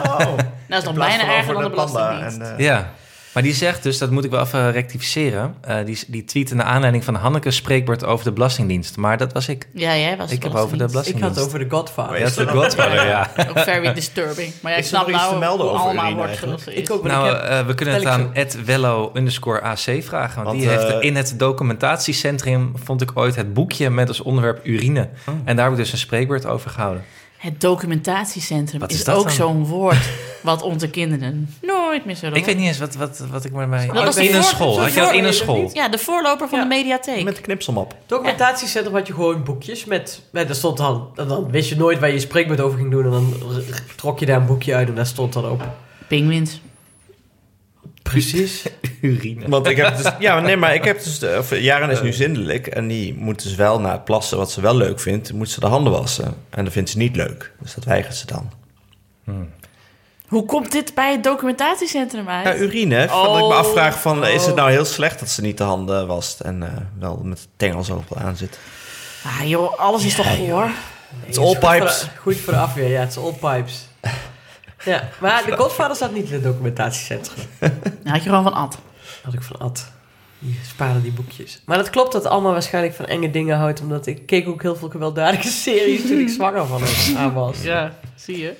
C: Nou, is nog
B: In plaats
C: bijna
B: van
C: erger
B: over
C: dan de
B: panda
C: belastingdienst.
B: en, eh,
F: Ja, maar die zegt dus, dat moet ik wel even rectificeren. eh, die, die tweet in de aanleiding van Hanneke's spreekwoord over de Belastingdienst. Maar dat was ik.
C: Ja, jij was
F: Ik heb over de
C: belastingdienst.
E: Ik had het
F: Belastingdienst.
E: over de Godfather.
B: Ja,
F: Dat is de Godfather, ja.
C: Ook very disturbing. Maar ja, ik
B: Is er
C: snap
B: nog iets
C: nou
B: te melden
C: hoe
B: over
C: Alma
B: urine
C: wordt
B: eigenlijk?
C: geïntroduceerd.
E: Ik ook, maar
F: Nou,
E: ik heb-
F: eh, we kunnen het
E: vertel
F: aan @wello underscore AC vragen. Want,
B: Want,
F: die heeft
B: eh,
F: in het documentatiecentrum, vond ik ooit het boekje met als onderwerp urine. En daar heb ik dus een spreekwoord over gehouden.
C: Het documentatiecentrum
F: Wat
C: is,
F: is dat
C: ook
F: dan?
C: zo'n woord wat (laughs) onze kinderen nooit meer zullen
F: Ik weet niet eens wat, wat, wat ik maar bij...
C: Dat was de
F: in
C: voor-
F: een school.
C: zo'n
F: Had je dat in een
E: voorlezer
F: school?
E: niet?
C: Ja, de voorloper van
E: Ja.
C: de mediatheek.
F: Met een knipselmap.
E: Documentatiecentrum had je gewoon boekjes met... met daar stond dan, en dan wist je nooit waar je je spreekbeurt over ging doen. En dan r- r- trok je daar een boekje uit en daar stond dan op.
C: Pinguïns.
E: Precies.
F: Urine.
B: Want ik heb dus, ja, nee, maar ik heb dus, eh, of Jaren is nu zindelijk en die moet dus wel na het plassen, wat ze wel leuk vindt, moet ze de handen wassen. En dat vindt ze niet leuk, dus dat weigert ze dan.
C: Hoe komt dit bij het documentatiecentrum uit?
B: Ja, urine, hè, dat ik me
C: Oh.
B: afvraag van, is het
C: Oh.
B: nou heel slecht dat ze niet de handen wast en eh, wel met tengels overal aan zit?
C: Ah joh, alles is toch goor?
B: Het is all pipes.
E: Goed voor de afweer, ja. Het is all
B: (laughs)
E: pipes. Ja, maar de Godfather staat niet in het documentatiecentrum.
C: Nou, had je gewoon van Ad.
E: Had ik van Ad. Die sparen die boekjes. Maar dat klopt dat allemaal waarschijnlijk van enge dingen houdt. Omdat ik keek ook heel veel gewelddadige (laughs) series toen ik zwanger van hem aan was.
C: Ja, zie je.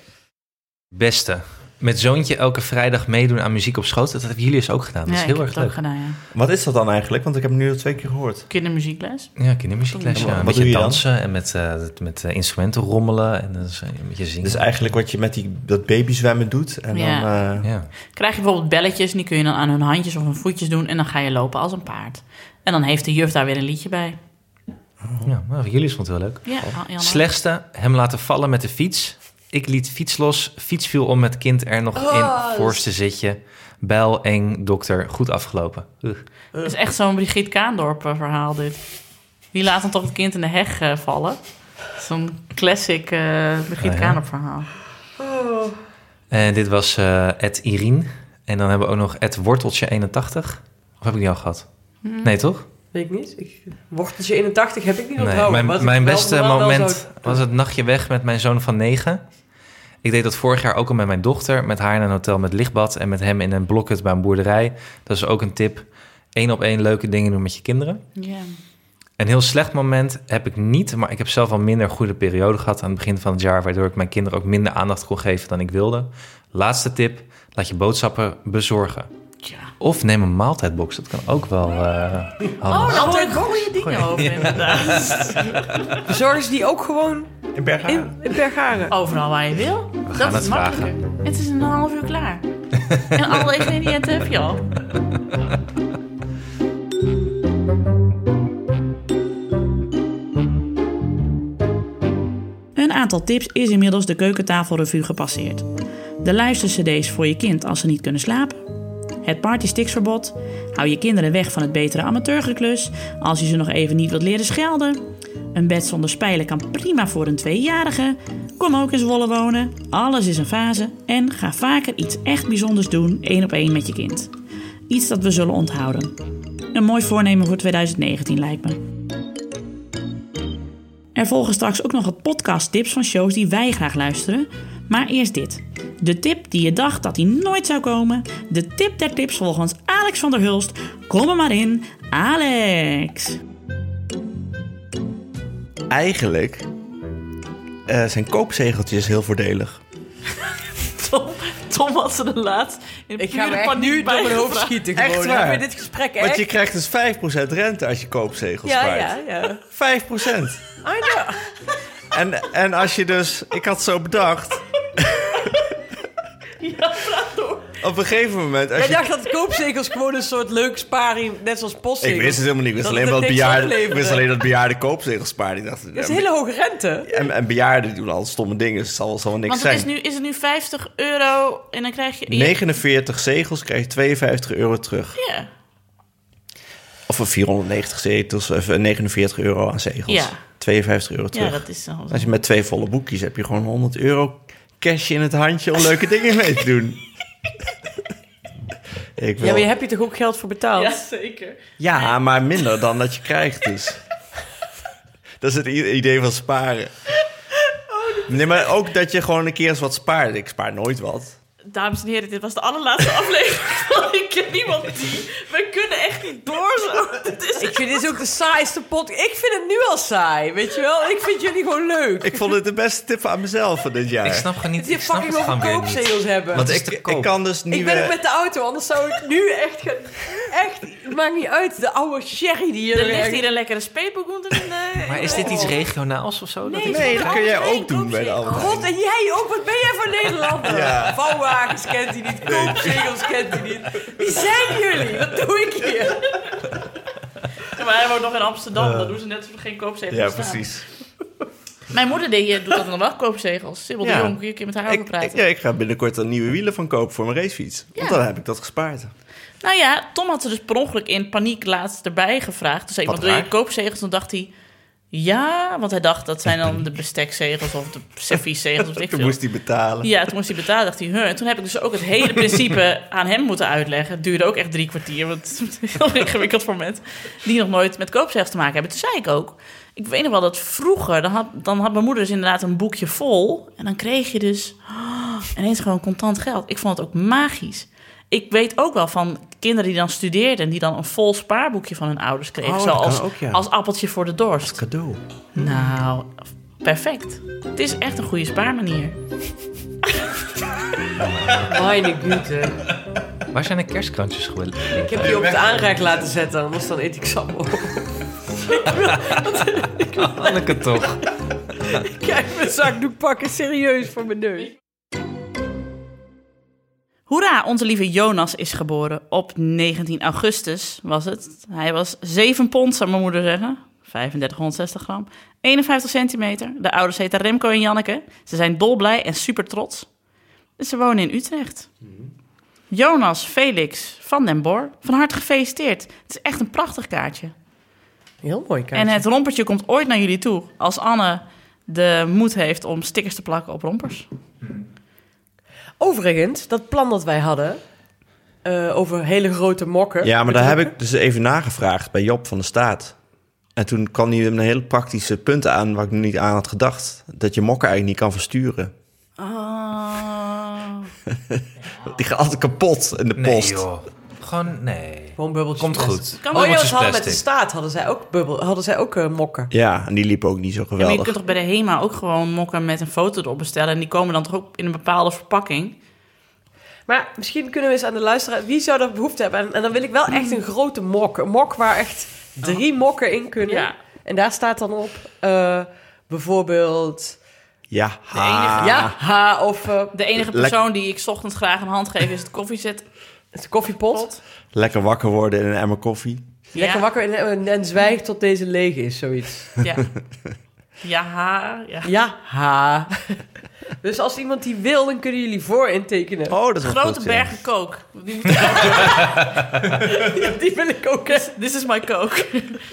F: Beste. Met zoontje elke vrijdag meedoen aan muziek op schoot. Dat hebben jullie dus ook gedaan. Dat is heel erg leuk.
C: gedaan, ja.
B: Wat is dat dan eigenlijk? Want ik heb het nu al twee keer gehoord.
C: Kindermuziekles.
F: Ja, kindermuziekles.
B: En
F: Ja.
B: wat
F: Een
B: doe
F: beetje
B: je dan?
F: dansen en met, eh, met eh, instrumenten rommelen. En dan is- een beetje zingen.
B: Dus eigenlijk wat je met die, dat babyzwemmen doet en
C: Ja.
B: dan... eh,
F: ja.
C: Krijg je bijvoorbeeld belletjes, die kun je dan aan hun handjes of hun voetjes doen. En dan ga je lopen als een paard. En dan heeft de juf daar weer een liedje bij.
F: Ja, maar jullie vond het wel leuk.
C: Ja, Jan.
F: Slechtste, hem laten vallen met de fiets. Ik liet fiets los. Fiets viel om met kind er nog in. Voorste zitje. Bijl, eng, dokter. Goed afgelopen. Ugh.
C: Het is echt zo'n Brigitte Kaandorp eh, verhaal dit. Die laat dan toch het kind in de heg eh, vallen. Zo'n classic eh Brigitte
F: Ah, ja.
C: Kaandorp verhaal.
F: En dit was eh Ed Irine. En dan hebben we ook nog Ed Worteltje 81. Of heb ik die al gehad? Nee, toch?
E: Weet ik niet. Ik, worteltje 81 heb ik niet
F: Nee,
E: onthouden.
F: mijn,
E: wat ik
F: mijn
E: wel-
F: beste
E: wel- wel
F: moment
E: zou-
F: was het nachtje weg met mijn zoon van negen. Ik deed dat vorig jaar ook al met mijn dochter. Met haar in een hotel met lichtbad en met hem in een blokhut bij een boerderij. Dat is ook een tip. Eén op één leuke dingen doen met je kinderen.
C: Ja.
F: Een heel slecht moment heb ik niet, maar ik heb zelf al minder goede periode gehad aan het begin van het jaar, waardoor ik mijn kinderen ook minder aandacht kon geven dan ik wilde. Laatste tip, laat je boodschappen bezorgen.
C: Tja.
F: Of neem een maaltijdbox, dat kan ook wel eh handig.
C: Oh, daar hoor ik goede dingen over inderdaad.
E: Bezorgen ze die ook gewoon
B: in Bergharen?
E: in, in Bergharen?
C: Overal waar je wil.
F: gaan
C: dat is
F: het vragen.
C: makkelijker. Het is in een half uur klaar. (laughs) en alle ingrediënten heb je al. Een aantal tips is inmiddels de keukentafelrevue gepasseerd. De luistercd's voor je kind als ze niet kunnen slapen. Het partysticksverbod. Hou je kinderen weg van het betere amateurgeklus als je ze nog even niet wilt leren schelden. Een bed zonder spijlen kan prima voor een tweejarige. Kom ook in Zwolle wonen. Alles is een fase. En ga vaker iets echt bijzonders doen, één op één met je kind. Iets dat we zullen onthouden. Een mooi voornemen voor 2019 lijkt me. Er volgen straks ook nog wat podcasttips van shows die wij graag luisteren. Maar eerst dit. De tip die je dacht dat die nooit zou komen. De tip der tips volgens Alex van der Hulst. Kom er maar in, Alex.
B: Eigenlijk eh, zijn koopzegeltjes heel voordelig.
C: Tom, Tom had ze de laatst in
E: Ik ga me echt nu door mijn hoofd schieten gewoon.
B: Echt waar?
E: Heb je dit gesprek
B: Want
E: echt?
B: je krijgt dus 5% rente als je koopzegels
E: ja,
B: spaart.
E: ja, ja.
B: 5%.
E: I know.
B: En, en als je dus... Ik had zo
E: (laughs)
B: bedacht... Op een gegeven moment... Als
E: Jij
B: je,
E: dacht dat koopzekels gewoon een soort leuk sparing, net zoals postzegels.
B: ik wist het helemaal niet. Ik wist
E: Dat
B: alleen
E: het
B: dat
E: niks
B: bejaarden, ik
E: opleverde.
B: wist alleen dat bejaarden koopzegels spaarden. Ik dacht,
E: Dat is
B: ja,
E: een hele hoge rente.
B: en, en bejaarden doen al stomme dingen. Dus het zal, zal wel niks
C: Want het
B: zijn.
C: is, nu, is het nu 50 euro en dan krijg je...
B: 49 zegels krijg je 52 euro terug.
C: Ja.
B: Of voor 490 zetels, of eh, 49 euro aan zegels.
C: Ja.
B: 52 euro terug.
C: ja, dat is dan...
B: Als je met twee volle boekjes heb je gewoon 100 euro cash in het handje om leuke dingen mee te doen.
E: (laughs)
B: Ik wil...
E: Ja, maar je hebt je toch ook geld voor betaald?
C: Ja, zeker.
B: Ja, maar minder dan dat je krijgt dus. dat is het i- idee van sparen. Nee, maar ook dat je gewoon een keer eens wat spaart. Ik spaar nooit wat.
C: Dames en heren, dit was de allerlaatste (laughs) aflevering van Ik ken niemand die... We kunnen echt niet door zo. Dit is
E: Ik vind dit ook de saaiste podcast. Ik vind het nu al saai, weet je wel? Ik vind jullie gewoon leuk.
B: Ik vond het de beste tip aan mezelf van dit jaar.
F: Ik snap gewoon niet,
E: Dat je
F: ik snap
E: fucking
F: het
E: over
F: gewoon weer niet.
E: koopzegels hebben.
B: Want
F: Want is
B: ik,
F: te
B: ik
F: koop.
B: kan dus niet
E: Ik ben ook
B: meer...
E: met de auto, anders zou ik nu echt gaan... echt, het maakt niet uit. De oude sherry die hier
D: Er ligt
E: ergens-
D: hier een lekkere speetbegond in de...
F: Maar is dit iets regionaals of zo? Dat
D: Nee,
F: is-
B: Nee,
D: van
B: dat kun jij
D: Albert
B: ook doen
D: Heijn,
B: bij de Albert
E: God, en jij ook. Wat ben jij voor Nederlander?
B: Ja.
E: Vouwwagens kent hij niet. Koopzegels kent hij niet. Wie zijn jullie? Wat doe ik hier?
D: Ja, Maar hij woont nog in Amsterdam, dan doen ze net alsof er geen koopzegels
B: Ja,
D: bestaan.
B: precies.
D: Mijn moeder deed, eh, doet dat nog wel, koopzegels. Sibyl
B: Ja.
D: de Jong, kun je een keer met haar over
B: Ik, ik-
D: praten.
B: ja, ik ga binnenkort een nieuwe wielen van kopen voor mijn racefiets. Want
D: Ja.
B: dan heb ik dat gespaard.
D: Nou ja, Tom had ze dus per ongeluk in paniek laatst erbij gevraagd. Dus iemand
B: Wat
D: wil je
B: raar.
D: koopzegels? Dan dacht hij, ja, want hij dacht dat zijn dan de bestekzegels of de servieszegels of weet
B: (laughs)
D: ik
B: Toen
D: veel.
B: moest hij betalen.
D: Ja, toen moest hij betalen, dacht hij, huh. En toen heb ik dus ook het hele
B: (laughs)
D: principe aan hem moeten uitleggen. Het duurde ook echt drie kwartier, want (laughs) het is heel ingewikkeld voor mensen die nog nooit met koopzegels te maken hebben. Toen zei ik ook, ik weet nog wel dat vroeger, dan had, dan had mijn moeder dus inderdaad een boekje vol. En dan kreeg je dus (gasps) oh, ineens gewoon contant geld. Ik vond het ook magisch. Ik weet ook wel van kinderen die dan studeerden... en die dan een vol spaarboekje van hun ouders kregen.
B: Oh, dat kan
D: zoals
B: ook, ja.
D: als appeltje voor de dorst.
B: Cadeau.
D: Nou, perfect. Het is echt een goede spaarmanier.
E: Meine Güte.
F: Waar zijn de kerstkrantjes geworden?
E: Ik heb die op het aanraak laten zetten, anders dan eet ik sappel.
F: Anneke toch?
E: (laughs) Kijk, mijn zakdoek pakken serieus voor mijn neus.
D: Hoera, onze lieve Jonas is geboren. Op 19 augustus was het. Hij was 7 pond, zou mijn moeder zeggen. 3560 gram. 51 centimeter. De ouders heten Remco en Janneke. Ze zijn dolblij en super trots. Dus Ze wonen in Utrecht. Jonas Felix van den Bor, van harte gefeliciteerd. Het is echt een prachtig kaartje.
E: Heel mooi, kijk.
D: En eh, het rompertje komt ooit naar jullie toe. Als Anne de moed heeft om stickers te plakken op rompers.
E: Overigens, dat plan dat wij hadden... eh, over hele grote mokken.
B: Ja, maar daar heb ik dus even nagevraagd bij Job van de Staat. En toen kwam hij met een hele praktische punt aan waar ik niet aan had gedacht. Dat je mokken eigenlijk niet kan versturen.
D: Oh.
B: (laughs) Die gaat altijd kapot in de
F: Nee,
B: post.
F: joh. Gewoon, nee.
E: Gewoon bubbeltjes.
F: Komt
E: plastic.
F: goed.
D: Kan
E: Oh ja,
D: Bubbeltjes
E: ze hadden met de
F: plastic.
E: staat hadden zij ook, bubbel, hadden zij ook eh, mokken.
B: Ja, en die liep ook niet zo
D: Ja, maar je
B: geweldig.
D: kunt toch bij de HEMA ook gewoon mokken met een foto erop bestellen. En die komen dan toch ook in een bepaalde verpakking.
E: Maar misschien kunnen we eens aan de luisteraar... Wie zou er behoefte hebben? En, en dan wil ik wel echt een grote mok. Een mok waar echt drie mokken in kunnen.
D: Oh. Ja.
E: En daar staat dan op eh, bijvoorbeeld...
B: Ja, ha.
D: enige-
E: Ja, ha, of eh,
D: De enige
B: Lek-
D: persoon die ik 's ochtends graag een hand geef is het koffiezet.
E: het koffiepot.
B: Lekker wakker worden in een emmer koffie.
E: Lekker
D: ja,
E: wakker en, en, en zwijg tot deze leeg is, zoiets. (laughs)
D: Ja. Ja, ha, ja.
E: Ja, ha. dus als iemand die wil, dan kunnen jullie voor intekenen.
B: Oh, dat is wel
D: Grote
B: goed, ja.
D: bergen kook. Die-
E: (laughs) die wil ik ook.
D: This, this is my coke. (laughs)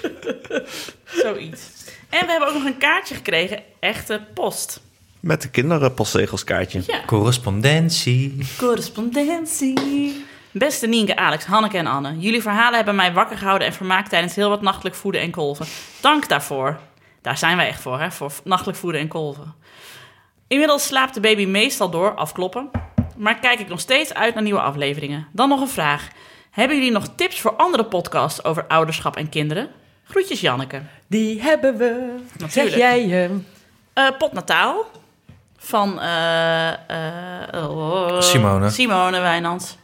D: Zoiets. En we hebben ook nog een kaartje gekregen. Echte post.
B: Met de kinderpostzegelskaartje.
D: Ja.
F: Correspondentie.
D: Correspondentie. Beste Nienke, Alex, Hanneke en Anne. Jullie verhalen hebben mij wakker gehouden en vermaakt tijdens heel wat nachtelijk voeden en kolven. Dank daarvoor. Daar zijn wij echt voor, hè? Voor nachtelijk voeden en kolven. Inmiddels slaapt de baby meestal door, afkloppen. Maar kijk ik nog steeds uit naar nieuwe afleveringen. Dan nog een vraag. Hebben jullie nog tips voor andere podcasts over ouderschap en kinderen? Groetjes Janneke.
E: Die hebben we. Zeg
D: Natuurlijk.
E: jij hem.
D: Eh Pot Nataal van eh, eh, oh,
F: Simone.
D: Simone Wijnands.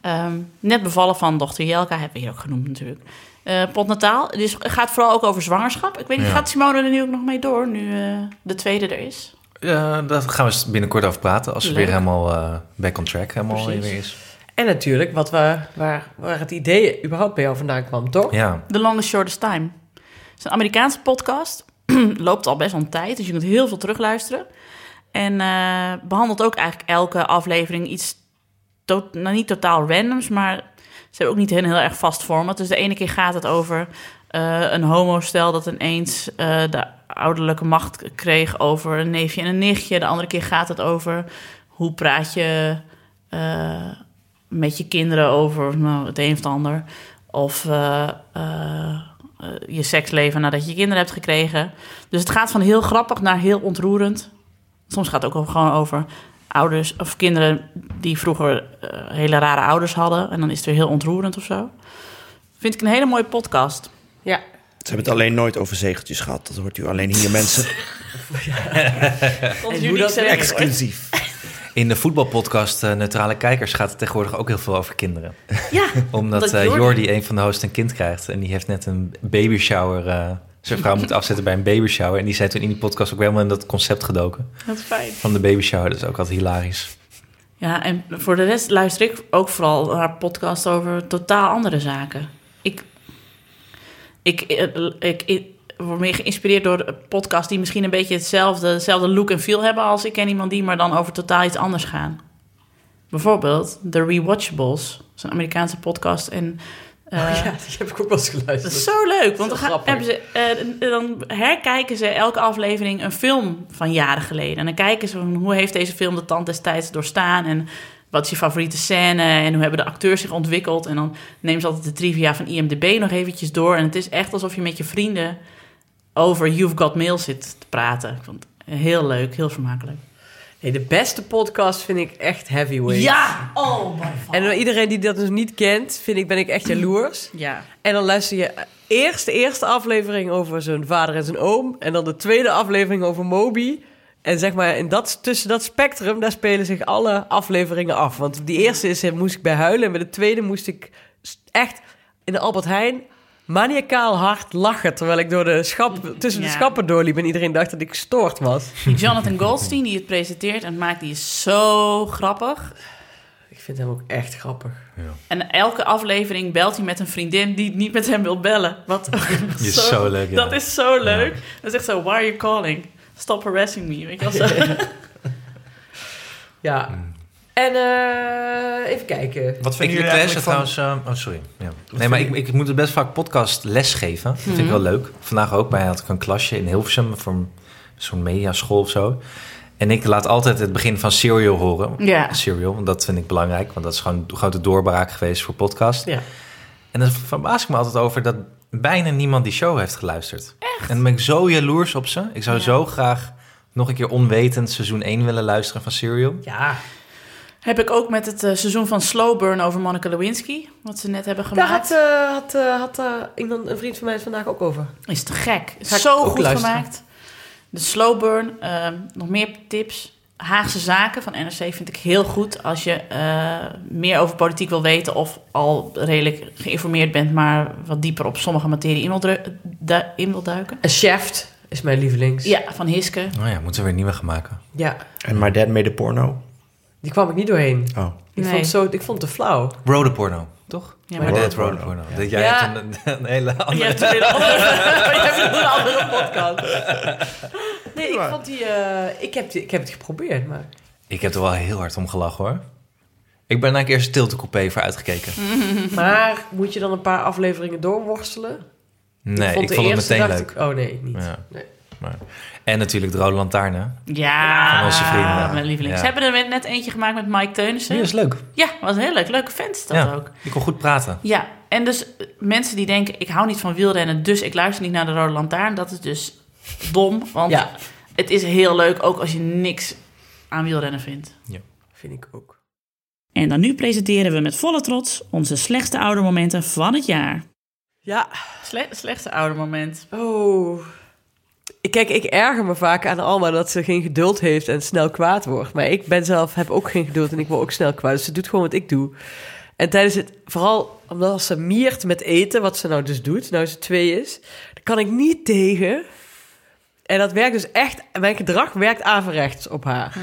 D: Ehm, net bevallen van dochter Jelka, hebben we hier ook genoemd natuurlijk. Eh Pot Nataal, dus het gaat vooral ook over zwangerschap. Ik weet niet,
F: Ja.
D: gaat Simone er nu ook nog mee door, nu eh, de tweede er is?
F: Ja, daar gaan we eens binnenkort over praten. Als ze
D: Leuk.
F: weer helemaal eh, back on track helemaal
D: Precies.
F: weer is.
E: En natuurlijk, wat we, waar, waar het idee überhaupt bij jou vandaan kwam, toch?
F: Ja.
D: The Longest Shortest Time. Het is een Amerikaanse podcast. (clears throat) Loopt al best wel een tijd, dus je kunt heel veel terugluisteren. En eh, behandelt ook eigenlijk elke aflevering iets... to- nou, niet totaal randoms, maar ze hebben ook niet een heel erg vast format. Dus de ene keer gaat het over eh, een homostel dat ineens eh, de ouderlijke macht kreeg over een neefje en een nichtje. De andere keer gaat het over hoe praat je eh, met je kinderen over nou, het een of het ander. Of eh, eh, eh, je seksleven nadat je kinderen hebt gekregen. Dus het gaat van heel grappig naar heel ontroerend. Soms gaat het ook gewoon over ouders of kinderen die vroeger eh, hele rare ouders hadden. En dan is het weer heel ontroerend of zo. Vind ik een hele mooie podcast.
E: Ja.
B: Ze hebben het alleen nooit over zegeltjes gehad. Dat hoort u alleen hier, mensen.
D: En
E: jullie zeggen-
D: hoe dat werkt, hoor.
B: Exclusief.
F: In de voetbalpodcast eh, Neutrale Kijkers gaat het tegenwoordig ook heel veel over kinderen.
C: Ja,
F: (laughs) Omdat
C: dat
F: eh,
C: Jordi-
F: Jordi, een van de hosts, een kind krijgt. En die heeft net een baby shower. eh, zijn vrouw moet afzetten bij een baby shower. En die zijn toen in die podcast ook weer helemaal in dat concept gedoken.
C: wat fijn.
F: Van de baby shower. Dat is ook altijd hilarisch.
C: Ja, en voor de rest luister ik ook vooral haar podcast over totaal andere zaken. Ik, ik, eh, ik, ik word meer geïnspireerd door podcasts die misschien een beetje hetzelfde, hetzelfde look en feel hebben als ik ken iemand die, maar dan over totaal iets anders gaan. Bijvoorbeeld The Rewatchables, dat is een Amerikaanse podcast. En, eh,
E: Oh, ja, die heb ik ook wel eens
C: dat
E: geluisterd.
C: is
D: dus-
C: zo leuk, want dan,
E: wel
C: gaan, hebben
E: grappig.
C: ze, eh, dan herkijken ze elke aflevering een film van jaren geleden. En dan kijken ze van, hoe heeft deze film de tand destijds doorstaan en wat is je favoriete scène en hoe hebben de acteurs zich ontwikkeld. En dan nemen ze altijd de trivia van IMDb nog eventjes door. En het is echt alsof je met je vrienden over You've Got Mail zit te praten. Ik vond het heel leuk, heel vermakelijk.
E: Nee, de beste podcast vind ik echt heavyweight.
C: Ja! Oh my god.
E: En iedereen die dat dus niet kent, vind ik, ben ik
D: (clears throat)
E: echt jaloers.
C: Ja.
E: En dan luister je eerst de eerste aflevering over zijn vader en zijn oom. En dan de tweede aflevering over Moby. En zeg maar, in dat, tussen dat spectrum, daar spelen zich alle afleveringen af. Want die eerste is, eh, moest ik bij huilen. En bij de tweede moest ik s- echt in de Albert Heijn maniacaal hard lachen. Terwijl ik door de schap, tussen
C: Ja.
E: de schappen doorliep. En iedereen dacht dat ik gestoord was.
C: Die Jonathan Goldstein die het presenteert en maakt, die is zo grappig.
E: Ik vind hem ook echt grappig.
C: En elke aflevering belt hij met een vriendin die niet met hem wil bellen. Wat (laughs)
F: Die is zo leuk, ja.
C: Dat is zo leuk. Dat is echt zo, why are you calling? Stop harassing me. Weet je wel
F: (laughs)
C: zo.
E: Ja. Mm. En eh, even kijken.
F: Wat
B: vinden
F: ik,
B: jullie
F: ik lees het
B: eigenlijk van-
F: trouwens... eh, oh, sorry. Ja. Nee, maar ik, ik moet het best vaak podcast lesgeven. Dat vind ik wel leuk. Vandaag ook. Bij had ik een klasje in Hilversum voor een- zo'n mediaschool of zo. En ik laat altijd het begin van Serial horen.
C: Ja.
F: Serial, want dat vind ik belangrijk. Want dat is gewoon een grote doorbraak geweest voor podcast.
E: Ja.
F: En daar verbaas ik me altijd over dat bijna niemand die show heeft geluisterd. Echt? En dan ben ik zo jaloers op ze. Ik zou
C: Ja.
F: zo graag nog een keer onwetend seizoen 1 willen luisteren van Serial.
E: Ja.
C: Heb ik ook met het eh, seizoen van Slow Burn over Monica Lewinsky. Wat ze net hebben
E: Daar
C: gemaakt.
E: had, eh, had, eh, had eh, iemand, een vriend van mij het vandaag ook over.
C: Is te gek.
E: Ga ik
C: Zo
E: ook
C: goed
E: luisteren.
C: gemaakt. De slow burn. ehm, nog meer tips. Haagse Zaken van NRC vind ik heel goed. Als je eh, meer over politiek wil weten of al redelijk geïnformeerd bent, maar wat dieper op sommige materie in wil, dru- du- in wil duiken.
E: Een chef is mijn lievelings.
C: Ja, van Hiske.
F: Oh ja, moeten we weer nieuwe gaan maken.
E: Ja,
B: En My Dad Made a Porno.
E: Die kwam ik niet doorheen.
B: Oh.
E: Ik,
C: Nee.
E: vond, het zo, ik vond het
C: (laughs)
E: te flauw.
F: Rode porno, toch?
C: Ja,
F: maar
C: maar-
F: dat
B: Rode
F: rode porno. Dat jij
E: Ja.
F: hebt een, een hele andere...
C: Je hebt weer een andere-
E: Jij hebt een andere podcast. Nee, ik vond die... eh, ik, heb die ik heb het geprobeerd, maar...
F: Ik heb er wel heel hard om gelachen, hoor. Ik ben naar eerst een tiltecoupé voor uitgekeken.
E: Mm. Maar moet je dan een paar afleveringen doorworstelen?
F: Nee, ik vond,
E: de
F: het
E: eerste,
F: meteen
E: dacht
F: leuk.
E: ik, oh nee, niet.
F: Ja.
E: Nee.
F: Maar... En natuurlijk de Rode Lantaarn,
C: Ja,
E: Ah,
F: Van onze vrienden.
C: mijn lieveling.
F: Ja.
C: Ze hebben er net eentje gemaakt met Mike
F: hè?
C: Teunissen.
F: Ja, is leuk.
C: Ja, was heel leuk. Leuke fans dat
F: ja,
C: ook.
F: ik kon goed praten.
C: Ja, en dus eh, mensen die denken: ik hou niet van wielrennen, dus ik luister niet naar de Rode Lantaarn. Dat is dus dom, want
E: Ja.
C: het is heel leuk ook als je niks aan wielrennen vindt.
E: Vind ik ook.
D: En dan nu presenteren we met volle trots onze slechtste oudermomenten van het jaar.
E: Ja.
C: Sle slechtste oude moment.
E: Oh. Ik- Kijk, ik erger me vaak aan Alma dat ze geen geduld heeft en snel kwaad wordt. Maar ik ben zelf, heb ook geen geduld en ik word ook snel kwaad. Dus ze doet gewoon wat ik doe. En tijdens het, vooral omdat als ze miert met eten, wat ze nou dus doet, nou ze twee is, daar kan ik niet tegen. En dat werkt dus echt, mijn gedrag werkt averechts op haar.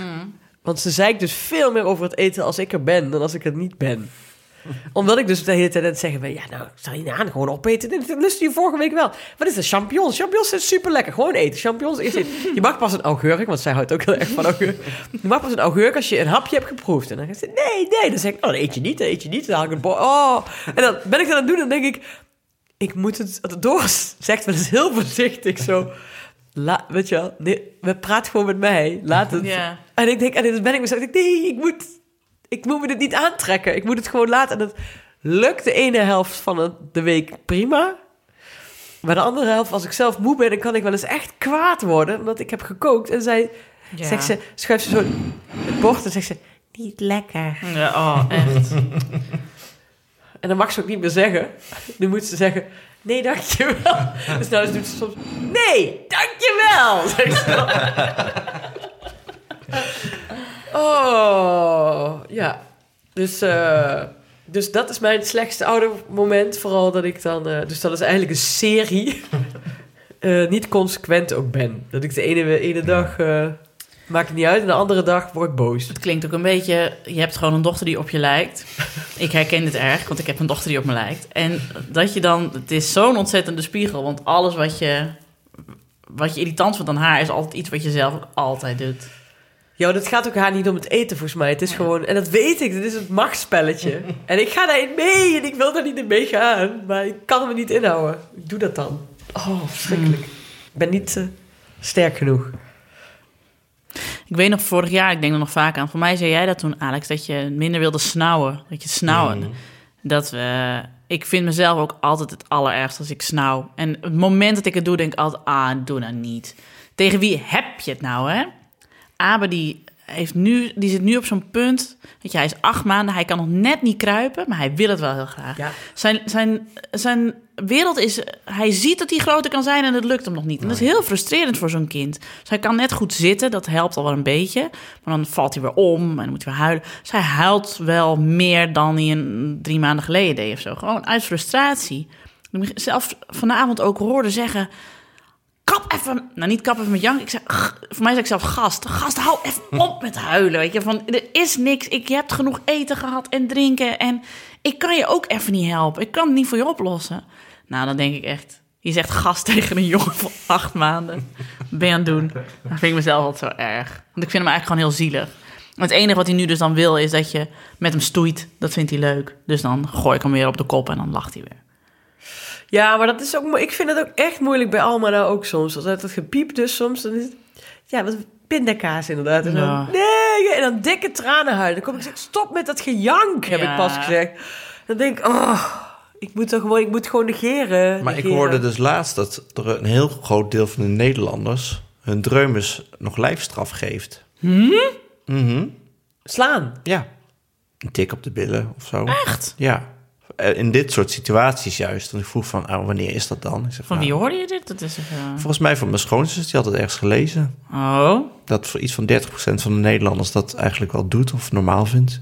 E: Want ze zeikt dus veel meer over het eten als ik er ben dan als ik er niet ben. Omdat ik dus de hele tijd aan het zeggen ben, ja nou, ik zal je aan gewoon opeten. Dit lust je vorige week wel. Wat is dat, champignons? Champignons zijn super lekker, gewoon eten. Champignons is het. Je mag pas een augurk, want zij houdt ook heel erg van augurk. Je mag pas een augurk als je een hapje hebt geproefd. En dan zegt ze, nee, nee. Dan zeg ik, oh, dan eet je niet, dan eet je niet. Dan haal ik het bord. Oh. En dan ben ik dat aan het doen en dan denk ik, ik moet het door. Zegt maar, dat is heel voorzichtig zo. La, weet je wel, nee, we praat gewoon met mij. Laat het.
C: Ja.
E: En ik denk, en dit ben ik mezelf. Ik denk, nee, ik moet, ik moet me dit niet aantrekken. Ik moet het gewoon laten. En dat lukt de ene helft van het- de week prima. Maar de andere helft, als ik zelf moe ben, dan kan ik wel eens echt kwaad worden. Omdat ik heb gekookt. En zij,
C: Ja.
E: zegt ze, schuift ze zo het bord en zegt ze, niet lekker.
C: Ja, oh, echt.
E: En dan mag ze ook niet meer zeggen. Nu moet ze zeggen, nee, dankjewel. Dus nou doet ze soms, (laughs) nee, dankjewel. Zegt ze dan. Oh, ja. Dus, eh, dus dat is mijn slechtste oude moment. Vooral dat ik dan... eh, dus dat is eigenlijk een serie. eh, niet consequent ook ben. Dat ik de ene, ene dag... eh, maakt het niet uit. En de andere dag word ik boos.
C: Het klinkt ook een beetje, je hebt gewoon een dochter die op je lijkt. Ik herken dit erg, want ik heb een dochter die op me lijkt. En dat je dan, het is zo'n ontzettende spiegel, want alles wat je, wat je irritant vindt aan haar is altijd iets wat je zelf ook altijd doet.
E: Ja, maar dat gaat ook haar niet om het eten volgens mij. Het is gewoon... En dat weet ik. Dit is het machtspelletje. en ik ga daarin mee. En ik wil daar niet in mee gaan. Maar ik kan me niet inhouden. Ik doe dat dan. Oh, verschrikkelijk. Ik ben niet eh, sterk genoeg.
C: Ik weet nog vorig jaar, ik denk er nog vaak aan. Voor mij zei jij dat toen, Alex, dat je minder wilde snauwen. Dat je snauwen. Dat we. Ik vind mezelf ook altijd het allerergst als ik snauw. En het moment dat ik het doe, denk ik altijd: ah, doe nou niet. Tegen wie heb je het nou, hè? Abe die, heeft nu, die zit nu op zo'n punt. Weet je, hij is acht maanden, hij kan nog net niet kruipen, maar hij wil het wel heel graag.
E: Ja.
C: Zijn, zijn, zijn wereld is. Hij ziet dat hij groter kan zijn en het lukt hem nog niet. En dat is heel frustrerend voor zo'n kind. Dus hij kan net goed zitten, dat helpt al wel een beetje. Maar dan valt hij weer om en dan moet hij weer huilen. Dus hij huilt wel meer dan hij een, drie maanden geleden deed of zo. Gewoon uit frustratie. Ik heb Zelf vanavond ook hoorde zeggen kap even, nou niet kap even met jank. Ik zei, "G- voor mij zei ik zelf gast. Gast, hou even op met huilen. Weet je, van er is niks. Ik, je hebt genoeg eten gehad en drinken. En ik kan je ook even niet helpen. Ik kan het niet voor je oplossen. Nou, dan denk ik echt. Je zegt gast (laughs) tegen een jongen van acht maanden. Wat Ben je aan het doen? Dat vind ik mezelf altijd zo erg. Want ik vind hem eigenlijk gewoon heel zielig. Het enige wat hij nu dus dan wil is dat je met hem stoeit. Dat vindt hij leuk. Dus dan gooi ik hem weer op de kop en dan lacht hij weer.
E: Ja, maar dat is ook. mo- Ik vind het ook echt moeilijk bij Alma nou ook soms. Als uit dat gepiep dus soms, dan is het. Ja, wat pindakaas inderdaad. En
C: Ja.
E: dan, nee, en dan dikke tranen huilen. Dan kom ik zeggen, stop met dat gejank, heb
C: Ja.
E: ik pas gezegd. Dan denk ik, oh, ik moet toch gewoon, ik moet gewoon negeren.
B: Maar ik
E: negeren.
B: hoorde dus laatst dat er een heel groot deel van de Nederlanders hun dreumes nog lijfstraf geeft.
E: Slaan.
B: Ja. Een tik op de billen of zo.
C: Echt?
B: Ja. Eh, In dit soort situaties juist. Want ik vroeg van, ah, wanneer is dat dan? Ik zeg,
C: Van
B: nou,
C: wie hoorde je dit? Dat is echt, eh,
B: Volgens mij van mijn schoonzus, die had het ergens gelezen.
C: Oh,
B: Dat voor iets van 30% van de Nederlanders dat eigenlijk wel doet of normaal vindt.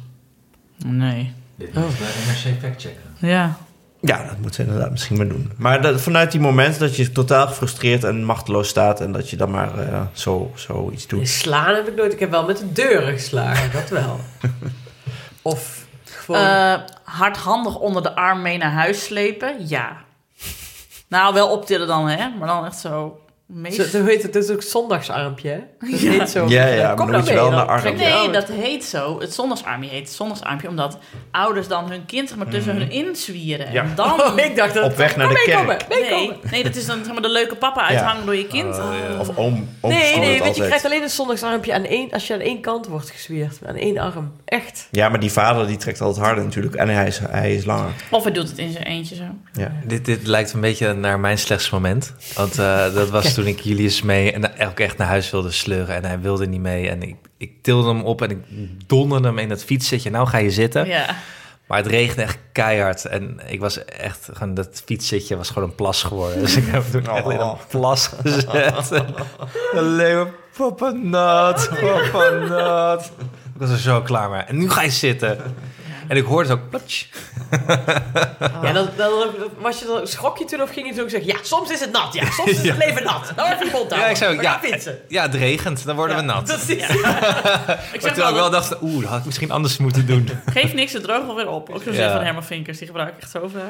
C: nee.
F: Dit moet bij NRC factchecken.
C: Ja.
B: Ja, dat moeten ze inderdaad misschien maar doen. Maar dat, vanuit die moment dat je totaal gefrustreerd en machteloos staat... en dat je dan maar eh, zo, zo iets
E: Nee,
B: doet.
E: Slaan heb ik nooit. Ik heb wel met de deuren geslagen, dat wel. Of gewoon.
C: Eh, hardhandig onder de arm mee naar huis slepen, ja. Nou, wel optillen dan, hè? Maar dan echt zo... Meest...
E: zo, zo heet het, dat is ook zondagsarmpje, hè? Dat
C: Ja.
E: heet zo.
B: Ja, ja, maar
E: kom nou
B: dan moet je
E: mee,
B: wel
E: dan
B: naar
E: trek je
B: arm.
C: Nee,
E: uit.
C: dat heet zo. Het zondagsarmje heet het zondagsarmpje... omdat ouders dan hun kind zeg maar, tussen hun inzwieren.
B: Ja.
C: En dan...
E: Oh, ik dacht dat.
B: Op weg naar de
E: meekomen,
B: kerk.
C: nee,
E: meekomen.
C: nee, dat is dan zeg maar, de leuke papa uithangen door je kind.
B: Of oom, oom
E: Nee,
B: verstoort
E: nee, want je
B: altijd.
E: krijgt alleen een zondagsarmpje aan één, als je aan één kant wordt gezwierd. Aan één arm. Echt.
B: Ja, maar die vader die trekt altijd harder natuurlijk. En hij is, hij is langer.
C: Of hij doet het in zijn eentje zo.
B: Ja.
F: Dit, dit lijkt een beetje naar mijn slechtste moment. Want eh, dat was toen ik Julius mee en ook echt naar huis wilde sleuren. En hij wilde niet mee. En ik, ik tilde hem op en ik donderde hem in het fietszitje. Nou ga je zitten.
C: Ja.
F: Maar het regende echt keihard. En ik was echt, gewoon dat fietszitje was gewoon een plas geworden. Dus ik heb toen echt in een plas gezet. En De leeuw, papa nat, papa nat. Ik was er zo klaar mee. En nu ga je zitten. En ik hoorde het ook, platsch.
E: Ja, dan, dan, was je dan, schrok je toen of ging je toen ook zeggen... Ja, soms is het nat. Ja, soms
B: (laughs)
E: is het leven nat. Nou even je mond houden.
F: Ja, ik zei ook,
E: We gaan
F: ja,
E: fietsen.
F: ja, het regent, dan worden we
E: (laughs)
F: nat.
E: Dat is,
C: Ik
F: Maar
C: zeg
F: toen ik
C: wel,
F: wel dacht, oeh, dat had ik misschien anders moeten doen. (laughs)
C: geef niks, het droogt wel weer op. Ook zo'n zin
F: Ja.
C: van Herman Vinkers, die gebruik ik echt zo vaak.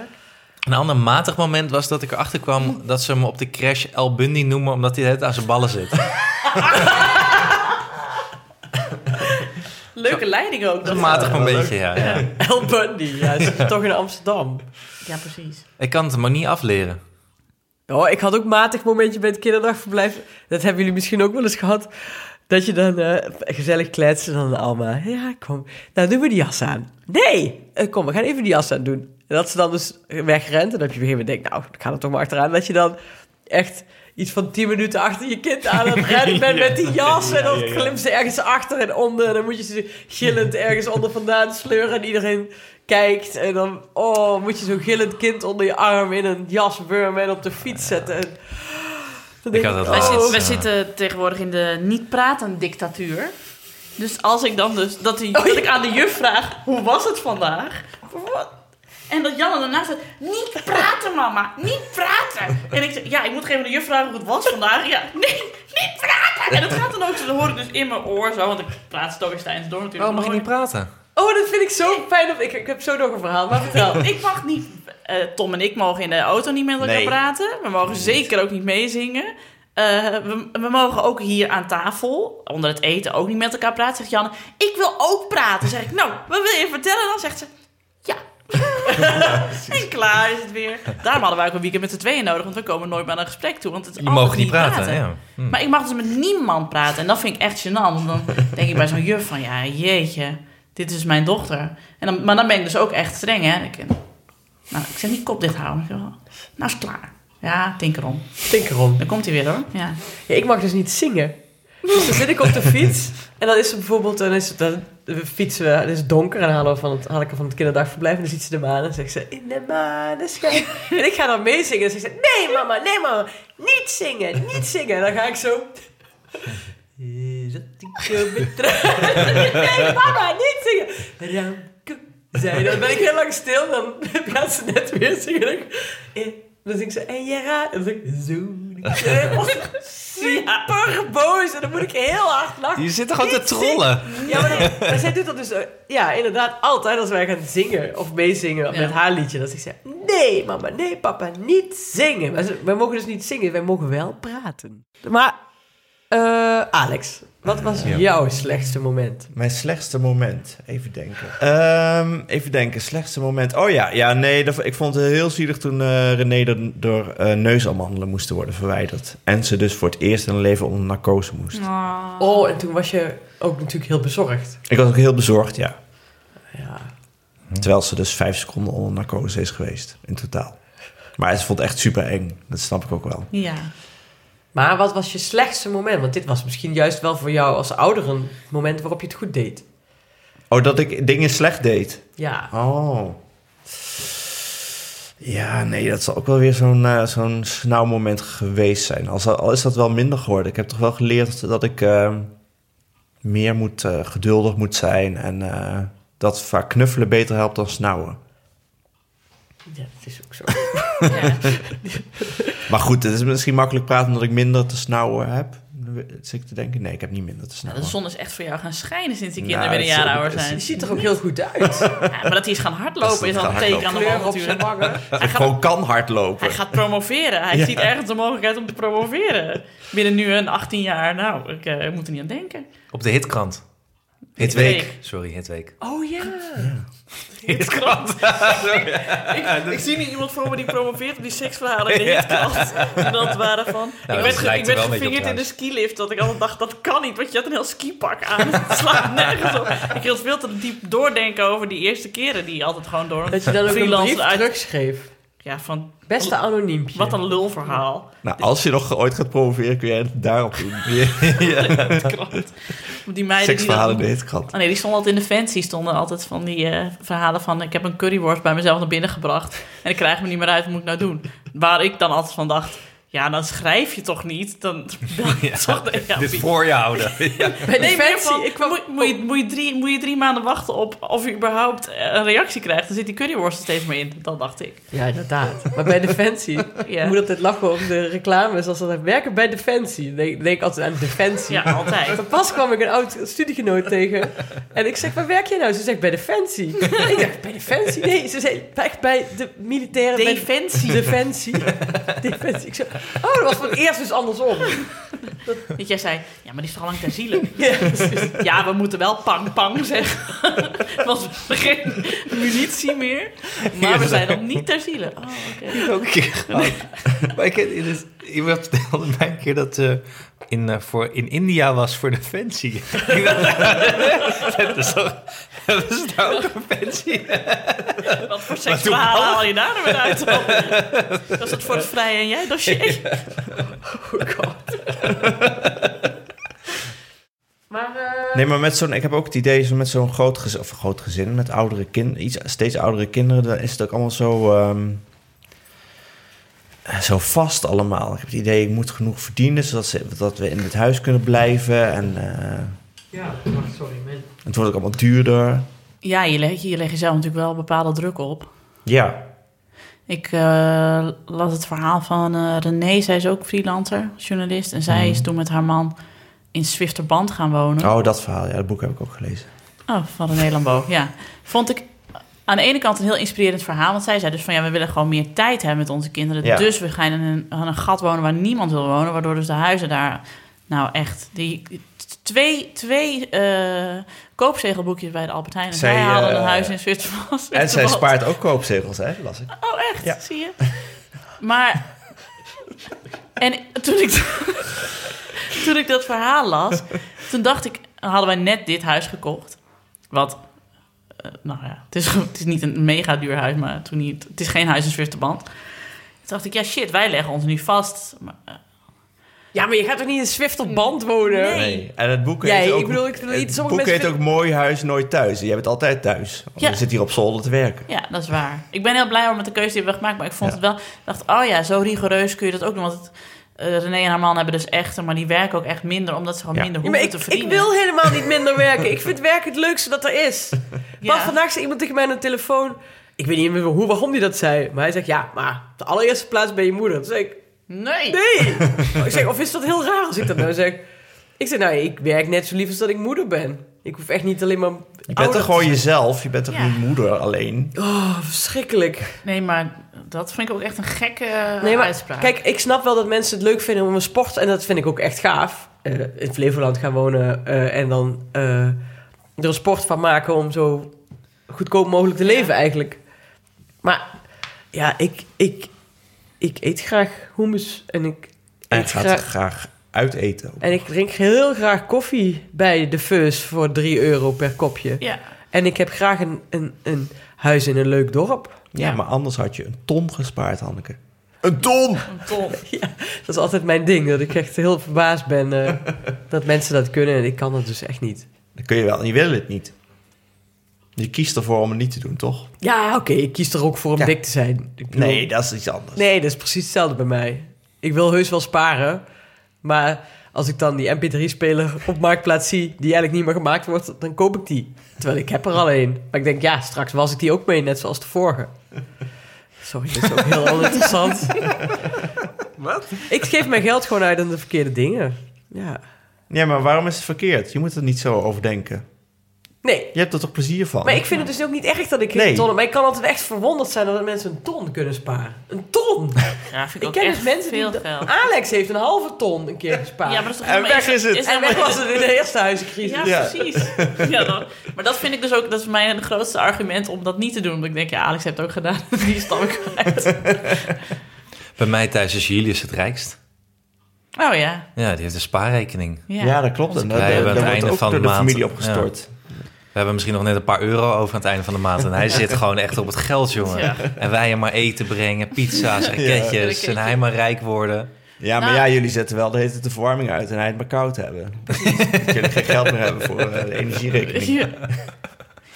F: Een ander matig moment was dat ik erachter kwam dat ze hem op de crash El Bundy noemen omdat hij het aan zijn ballen zit. Dat
C: Leuke leiding ook.
F: is
C: Dat
F: een matig momentje, ja, ja.
E: El Bundy. Ja, ze is toch in Amsterdam.
C: Ja, precies.
F: Ik kan het hem maar niet afleren.
E: Oh, ik had ook matig momentje bij het kinderdagverblijf. Dat hebben jullie misschien ook wel eens gehad. Dat je dan eh, gezellig kletst en dan Alma. Ja, kom. Nou, doen we die jas aan. Nee! Eh, kom, we gaan even die jas aan doen. En dat ze dan dus wegrent. En dat je op een gegeven moment denkt, nou, ik ga er toch maar achteraan. Dat je dan echt iets van 10 minuten achter je kind aan het rennen bent met die jas. En dan klimt ze ergens achter en onder. En dan moet je ze gillend ergens onder vandaan sleuren. En iedereen kijkt. En dan oh, moet je zo'n gillend kind onder je arm in een jas wurmen en op de fiets zetten. En dan denk
F: had dat
C: Wij,
F: Oh.
C: zitten, wij
F: Ja.
C: zitten tegenwoordig in de niet-praten-dictatuur. Dus als ik dan dus, dat, die,
F: Oh,
C: dat ik aan de juf vraag, hoe was het vandaag? Wat? En dat Janne daarna zegt, niet praten mama, niet praten. En ik zeg, ja, ik moet even de juf vragen hoe het was vandaag. Ja, nee, niet praten. En dat gaat dan ook, zo, dat hoor ik dus in mijn oor zo, want ik praat Stoïcijns door natuurlijk.
F: Oh, mag ik niet praten?
E: Oh, dat vind ik zo fijn. Op, ik, ik heb zo nog een verhaal, maar vertel.
C: (laughs) Ik mag niet. eh, Tom en ik mogen in de auto niet met elkaar
B: Nee.
C: praten. We mogen zeker ook niet meezingen. Eh, we, we mogen ook hier aan tafel, onder het eten, ook niet met elkaar praten. Zegt Janne, ik wil ook praten. Zeg ik, nou, wat wil je vertellen? Dan zegt ze, ja. en klaar is het weer. Daarom hadden wij ook een weekend met z'n tweeën nodig, want we komen nooit meer aan een gesprek toe. Want het is
F: Je
C: altijd
F: mag niet praten. Ja. Hm.
C: Maar ik mag dus met niemand praten. En dat vind ik echt gênant. Want Dan denk ik bij zo'n juf van, ja, jeetje, dit is mijn dochter. En dan, maar dan ben ik dus ook echt streng, hè. Ik, nou, ik zeg niet kop dicht houden. Ik zeg wel, nou is het klaar. Ja, denk erom.
E: Denk erom.
C: Dan komt hij weer, hoor. Ja.
E: Ja, ik mag dus niet zingen. Dus dan zit ik op de fiets en dan is er bijvoorbeeld, dan is het, dan we fietsen we, het is donker en dan halen we van het, haal ik haar van het kinderdagverblijf en dan ziet ze de maan en zegt ze, in de maan de schijnt. En ik ga dan meezingen en dan zegt ze, nee mama, nee mama, niet zingen, niet zingen. En dan ga ik zo... Is Eh, dat ik zo
F: (laughs)
E: betrouw? Nee mama, niet zingen. Ramke, zei dan ben ik heel lang stil, dan (laughs) gaat ze net weer zingen. En eh, dan zing ze, en je raad, en dan zeg ik,
F: (laughs)
E: zo super boos. En dan moet ik heel hard lachen.
F: Je zit toch gewoon te
E: Niet
F: trollen?
E: zingen. Ja, maar, dan- maar zij doet dat dus... eh, Ja, inderdaad. Altijd als wij gaan zingen of meezingen
C: Ja.
E: met haar liedje. Dan zegt ze... Nee, mama. Nee, papa. Niet zingen. Maar ze- wij mogen dus niet zingen. Wij mogen wel praten. Maar, eh, Alex. Wat was
B: Ja.
E: jouw slechtste moment?
B: Mijn slechtste moment. Even denken. Ehm, even denken. Slechtste moment. Oh ja, ja nee. dat- ik vond het heel zielig toen eh, René er- door eh neusamandelen moesten worden verwijderd. En ze dus voor het eerst in haar leven onder narcose moest.
E: Oh, en toen was je ook natuurlijk heel bezorgd.
B: Ik was ook heel bezorgd, ja.
E: Ja.
B: Terwijl ze dus vijf seconden onder narcose is geweest. In totaal. Maar ze vond het echt super eng. Dat snap ik ook wel.
C: Ja.
E: Maar wat was je slechtste moment? Want dit was misschien juist wel voor jou als ouder een moment waarop je het goed deed.
B: Oh, dat ik dingen slecht deed.
E: Ja.
B: Oh. Ja, nee, dat zal ook wel weer zo'n eh, zo'n snauwmoment geweest zijn. Al, zal- al is dat wel minder geworden. Ik heb toch wel geleerd dat ik eh, meer moet, eh, geduldig moet zijn. En eh, dat vaak knuffelen beter helpt dan snauwen.
E: Ja, dat is ook zo.
B: Maar goed, het is misschien makkelijk praten omdat ik minder te snauwen heb. Zit ik te denken? Nee, ik heb niet minder te
C: Nou,
B: snauwen.
C: de zon is echt voor jou gaan schijnen sinds die
B: Nou,
C: kinderen weer een
B: het is-
C: jaar ouder
B: het is-
C: zijn.
E: Je ziet er ook heel goed uit.
C: Ja, maar dat hij is gaan
B: Dat
C: hardlopen
B: is
C: is al een
B: gaan
C: teken aan de wand
E: kleur op zijn
C: natuurlijk.
E: wangen.
B: Dat
C: Hij
B: ik
C: gaat-
B: gewoon kan hardlopen.
C: Hij gaat promoveren. Hij ziet ergens de mogelijkheid om te promoveren. Binnen nu een 18 jaar. Nou, ik eh, moet er niet aan denken.
F: Op de hitkrant.
C: Hitweek.
F: Hitweek. Sorry, hitweek.
E: Oh ja.
F: Hitkrant.
C: ik, ik zie nu iemand voor me die promoveert op die seksverhalen
F: (laughs)
C: in de hitkrant. En dat waren van...
F: Nou, dat
C: ik werd, ge-
F: lijkt
C: ik werd
F: er wel een beetje op
C: gevingerd in de
F: trouwens.
C: skilift. Dat ik altijd dacht, dat kan niet. Want je had een heel skipak aan. (laughs) Het slaat nergens op. Ik hield veel te diep doordenken over die eerste keren. Die je altijd gewoon door...
E: Dat je dan ook een
C: Freelancer
E: brief
C: uit-
E: terugschreef.
C: Ja, van...
E: Beste anoniempje.
C: Wat een lulverhaal.
B: Nou, als je nog ooit gaat promoveren, kun jij het daarop doen.
C: Krant. Die meiden die
B: Seksverhalen
C: dan
B: in de hitkrant.
C: Oh nee, die stonden altijd in de fancy. Stonden altijd van die eh, verhalen van... ik heb een curryworst bij mezelf naar binnen gebracht... en ik krijg me niet meer uit, wat moet ik nou doen? Waar ik dan altijd van dacht... ja, dan schrijf je toch niet? Dan, dan toch, ja,
F: Dit voor je houden. Ja.
E: Bij
C: Nee,
E: de
C: maar in ieder
E: fancy.
C: geval,
E: Ik kwam...
C: moet, moet, je, moet, je drie, moet je drie maanden wachten op of je überhaupt eh, een reactie krijgt. Dan zit die curryworst er steeds meer in. Dat dacht ik.
E: Ja, inderdaad. Maar bij Defensie.
C: Ja,
E: Ik moet altijd lachen over de reclames als ze dat werken bij Defensie. Dan denk, denk ik altijd aan Defensie.
C: ja
E: (laughs)
C: altijd.
E: Maar pas kwam ik een oud studiegenoot tegen. En ik zeg, waar werk je nou? Ze zegt, bij Defensie. (laughs) ik dacht, bij Defensie? Nee, ze zei, echt bij de militaire... bij-
C: Defensie.
E: Defensie. Defensie. Ik zei, oh, dat was voor het eerst dus andersom.
C: Dat jij zei, ja, maar die is toch al lang ter ziele?
E: Ja,
C: Ja, we moeten wel pang-pang zeggen. (laughs) Want we hebben geen munitie meer. Maar we zijn nog niet ter ziele. Oh, oké.
F: ook een keer (laughs) gehad. Oh. Maar ik, het is, iemand vertelde mij een keer dat eh in, eh, voor, in India was voor defensie. (laughs) Ik dacht, (laughs) dat is toch, hebben ze daar ook een fancy?
C: Wat voor seksverhalen haal je daar nou weer uit? Dat is het voor het vrije en jij dossier. (laughs)
E: Maar... eh,
B: Nee, maar met zo'n, ik heb ook het idee, zo met zo'n groot gezin, of groot gezin, met oudere kind, iets, steeds oudere kinderen, dan is het ook allemaal zo, ehm, zo vast allemaal. Ik heb het idee, ik moet genoeg verdienen, zodat ze, dat we in het huis kunnen blijven. En eh,
E: Ja, wacht, sorry.
B: Het wordt ook allemaal duurder.
C: Ja, je legt je legt jezelf natuurlijk wel bepaalde druk op.
B: Ja.
C: Ik eh, las het verhaal van eh, René. Zij is ook freelancer, journalist. En zij is toen met haar man in Zwifterband gaan wonen.
B: Mm. Oh, dat verhaal. Ja, dat boek heb ik ook gelezen.
C: Oh, van René Lambeau, ja. Vond ik aan de ene kant een heel inspirerend verhaal. Want zij zei dus van ja, we willen gewoon meer tijd hebben met onze kinderen.
B: Ja.
C: Dus we gaan in een, aan een gat wonen waar niemand wil wonen. Waardoor dus de huizen daar, nou echt, die t- twee, twee eh, koopzegelboekjes bij de Albert Heijn. En
B: Zij,
C: zij, hadden een
B: eh,
C: huis in Zwitserland.
B: En zij
C: Zwitserland.
B: spaart ook koopzegels, hè? Las ik.
C: Oh, echt?
B: Ja.
C: Zie je? Maar. En toen ik, toen ik dat verhaal las, toen dacht ik: hadden wij net dit huis gekocht? Wat. eh, nou ja, het is, het is niet een mega duur huis, maar toen niet, het is geen huis in Zwitserland. Toen dacht ik: ja, shit, wij leggen ons nu vast. Maar, eh,
E: Ja, maar je gaat toch niet in Zwift op band wonen?
C: Nee.
B: En het boek
E: Ja,
B: heet
E: ik
B: ook...
E: bedoel, ik bedoel,
B: het
E: sommige
B: boek
E: mensen
B: heet ook Mooi Huis Nooit Thuis. Jij bent altijd thuis. Want
C: Ja.
B: Je zit hier op zolder te werken.
C: ja, dat is waar. Ik ben heel blij hoor met de keuze die we hebben gemaakt, maar ik vond
B: Ja.
C: het wel. Ik dacht: oh ja, zo rigoureus kun je dat ook doen. Want het, eh, René en haar man hebben dus echter, maar die werken ook echt minder, omdat ze gewoon
B: Ja.
C: minder
E: Ja,
C: hoeven
E: maar ik,
C: te
E: ik
C: verdienen.
E: wil helemaal niet minder werken. Ik vind werk het leukste dat er is.
C: Ja.
E: Maar vandaag zei iemand tegen mij aan de telefoon... Ik weet niet meer hoe, waarom hij dat zei. Maar hij zegt, ja, maar de allereerste plaats ben je moeder. Toen zei ik,
C: Nee.
E: nee.
C: (laughs)
E: ik zeg, of is dat heel raar als ik dat nou zeg? Ik zeg, nou, ik werk net zo lief als dat ik moeder ben. Ik hoef echt niet alleen maar...
B: Je bent toch gewoon jezelf? Je bent toch
C: Ja.
B: niet moeder alleen?
E: Oh, verschrikkelijk.
C: Nee, maar dat vind ik ook echt een gekke eh,
E: Nee, maar
C: Ah, uitspraak.
E: kijk, ik snap wel dat mensen het leuk vinden om een sport... En dat vind ik ook echt gaaf. eh, in Flevoland gaan wonen eh, en dan eh, er een sport van maken... om zo goedkoop mogelijk te leven eigenlijk. Maar ja, ik, ik, ik eet graag hummus en ik
B: En
E: eet
B: gaat
E: graag...
B: graag uit eten. ook.
E: En ik drink heel graag koffie bij de Fus voor 3 euro per kopje.
C: Ja,
E: En ik heb graag een, een, een huis in een leuk dorp.
B: Ja, maar anders had je een ton gespaard, Hanneke. Een ton!
C: een ton.
E: Dat is altijd mijn ding, dat ik echt heel verbaasd ben
B: (laughs)
E: eh, dat mensen dat kunnen. En ik kan dat dus echt niet.
B: Dat kun je wel en je wil het niet. Je kiest ervoor om het niet te doen, toch?
E: Ja, oké, ik kies er ook voor om
B: Ja.
E: dik te zijn. Ik bedoel-
B: Nee, dat is iets anders.
E: nee, dat is precies hetzelfde bij mij. Ik wil heus wel sparen, maar als ik dan die mp3-speler op Marktplaats zie... die eigenlijk niet meer gemaakt wordt, dan koop ik die. Terwijl ik heb er al één. Maar ik denk, ja, straks was ik die ook mee, net zoals de vorige. Sorry, dat is ook heel oninteressant.
B: (laughs) Wat?
E: Ik geef mijn geld gewoon uit aan de verkeerde dingen. Ja.
B: Ja, maar waarom is het verkeerd? Je moet er niet zo over denken.
E: Nee,
B: Je hebt er toch plezier van?
E: maar ik vind het dus ook niet erg dat ik
B: Nee.
E: een ton heb. Maar ik kan altijd echt verwonderd zijn dat mensen een ton kunnen sparen. Een ton!
C: Ja, vind ik,
E: Ik
C: ook
E: ken
C: echt
E: dus mensen
C: veel
E: die...
C: geld.
E: Alex heeft een halve ton een keer gespaard.
C: Ja, maar dat is toch
B: En
C: helemaal-
B: weg is het.
E: En weg was het in de eerste huizencrisis.
C: Ja,
B: Ja.
C: precies. (laughs) Ja, dan- maar dat vind ik dus ook, dat is mijn grootste argument om dat niet te doen. Want ik denk, ja, Alex heeft het ook gedaan. (laughs) Die stap ik uit.
F: Bij mij thuis is Julius het rijkst.
C: Oh ja.
F: Ja, die heeft een spaarrekening.
C: Ja,
B: Ja, dat klopt. En
C: Onze-
B: dat,
F: wij
B: dat,
F: hebben
B: dat
F: aan het
B: wordt
F: einde
B: ook
F: van
B: door
F: de
B: de
F: maand-
B: familie opgestort.
F: We hebben misschien nog net een paar euro over aan het einde van de maand. En (laughs) hij zit gewoon echt op het geld, jongen.
C: Ja.
F: En wij hem maar eten brengen, pizza's, raketjes.
C: Raketje.
F: En hij maar rijk worden.
B: Ja, maar
C: Nou.
B: ja, jullie zetten wel de hele tijd de verwarming uit en hij het maar koud hebben. dat jullie geen geld meer hebben voor eh, de energierekening.
C: Ja. (laughs)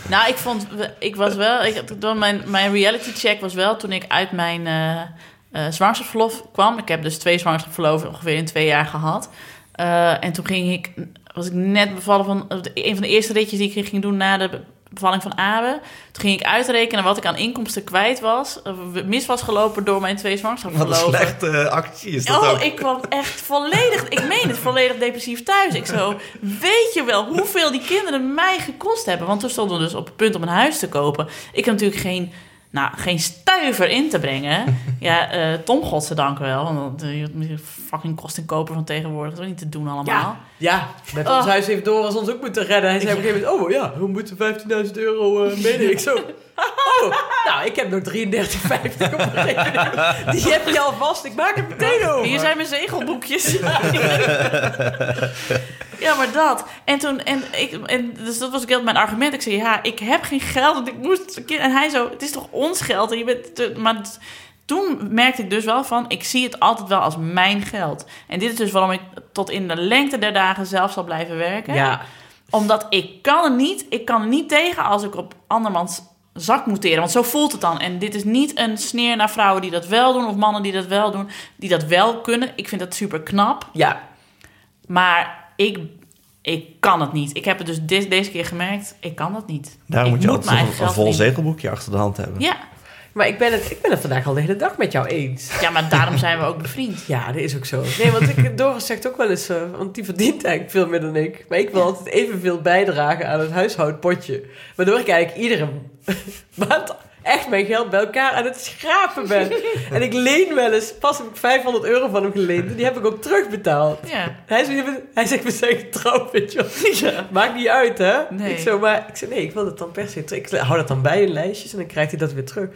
C: Nou, ik vond, ik was wel, ik, door mijn, mijn reality check was wel toen ik uit mijn eh eh, zwangerschapsverlof kwam. Ik heb dus twee zwangerschapsverloven ongeveer in twee jaar gehad. Eh, en toen ging ik, was ik net bevallen van, een van de eerste ritjes die ik ging doen na de bevalling van Abe. Toen ging ik uitrekenen wat ik aan inkomsten kwijt was, eh, mis was gelopen door mijn twee
B: Wat een
C: zwangerschapsverloven.
B: slechte eh, actie is dat
C: Oh,
B: ook.
C: ik kwam echt volledig, ik meen het, volledig depressief thuis. Ik zo, weet je wel hoeveel die kinderen mij gekost hebben? Want toen stonden we dus op het punt om een huis te kopen. Ik heb natuurlijk geen, nou, geen stuiver in te brengen. Ja, eh Tom godzijdank wel. Want eh, je fucking kost en koper van tegenwoordig. Dat is ook niet te doen allemaal.
E: Ja, ja, met ons
C: Oh.
E: huis heeft Doris ons ook moeten redden. Hij zei op een gegeven moment, oh ja, we moeten 15.000 euro eh meenemen. Ik zo, oh, nou, ik heb nog 33,50 op mijn rekening. Die heb je al vast, ik maak het meteen over.
C: Hier zijn mijn zegelboekjes. (laughs) ja, maar dat. En toen, en ik, en dus dat was ook heel mijn argument. Ik zei, ja, ik heb geen geld, want ik moest. een kind- En hij zo, het is toch ons geld? En je bent, te- maar t- toen merkte ik dus wel van, ik zie het altijd wel als mijn geld. En dit is dus waarom ik tot in de lengte der dagen zelf zal blijven werken.
E: Ja,
C: Omdat ik kan er niet, ik kan er niet tegen als ik op andermans zak moet teren. Want zo voelt het dan. En dit is niet een sneer naar vrouwen die dat wel doen of mannen die dat wel doen, die dat wel kunnen. Ik vind dat super knap.
E: ja,
C: Maar ik, ik kan het niet. Ik heb het dus de- deze keer gemerkt, ik kan dat niet.
B: Daarom
C: ik
B: moet je
C: mijn
B: altijd nog
C: eigen
B: een, een
C: geld
B: vol
C: verdienen.
B: zegelboekje achter de hand hebben.
C: Ja.
E: Maar ik ben, het, ik ben het vandaag al de hele dag met jou eens.
C: ja, maar daarom zijn we ook bevriend.
E: Ja, dat is ook zo. Nee, want ik, Doris zegt ook wel eens, eh, want die verdient eigenlijk veel meer dan ik. Maar ik wil altijd evenveel bijdragen aan het huishoudpotje. Waardoor ik eigenlijk iedere maand echt mijn geld bij elkaar aan het schrapen ben. En ik leen wel eens, pas heb ik 500 euro van hem geleend. En die heb ik ook terugbetaald.
C: Ja.
E: Hij, zegt, hij zegt, we zijn getrouwd, weet je wel.
C: ja.
E: Maakt niet uit, hè?
C: Nee.
E: Ik zo, maar ik zei, nee, ik wil dat dan per se terug. Ik hou dat dan bij in lijstjes en dan krijgt hij dat weer terug.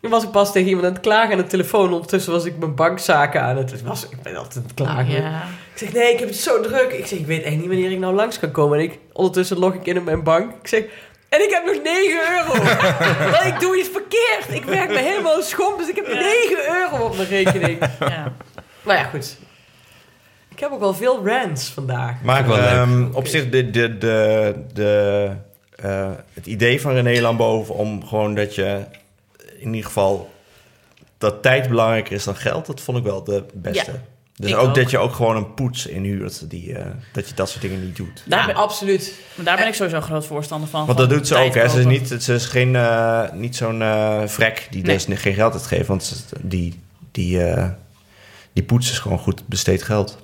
E: Toen was ik pas tegen iemand aan het klagen aan de telefoon. Ondertussen was ik mijn bankzaken aan het... het Was, ik ben altijd aan het klagen.
C: Ja.
E: Ik zeg, nee, ik heb het zo druk. Ik zeg, ik weet echt niet wanneer ik nou langs kan komen. En ik, ondertussen log ik in op mijn bank. Ik zeg, en ik heb nog 9
C: (laughs)
E: euro. Want ik doe iets verkeerd. Ik werk me helemaal schomp, dus ik heb 9 euro op mijn rekening.
C: ja.
E: nou ja, goed. Ik heb ook wel veel rants vandaag.
B: Maar
F: Vind ik wel
B: ehm,
E: Oké.
B: op zich, de, de, de, de, eh, het idee van René Lamboven om gewoon dat je eh, in ieder geval dat tijd belangrijker is dan geld, dat vond ik wel de beste.
C: Ja,
B: dus
C: ik
B: ook,
C: ook.
B: dat je ook gewoon een poets inhuurt, die, eh, dat je dat soort dingen niet doet.
E: Daar
C: Ja.
E: ben- absoluut.
C: Maar daar ben ik sowieso groot voorstander van.
B: Want
C: van
B: dat doet ze
C: tijd
B: ook, hè? Ze is,
C: kopen.
B: niet, ze is geen, eh, niet zo'n eh vrek die
C: Nee.
B: dus geen geld uitgeeft, want ze- die, die, eh, die poets is gewoon goed besteed geld.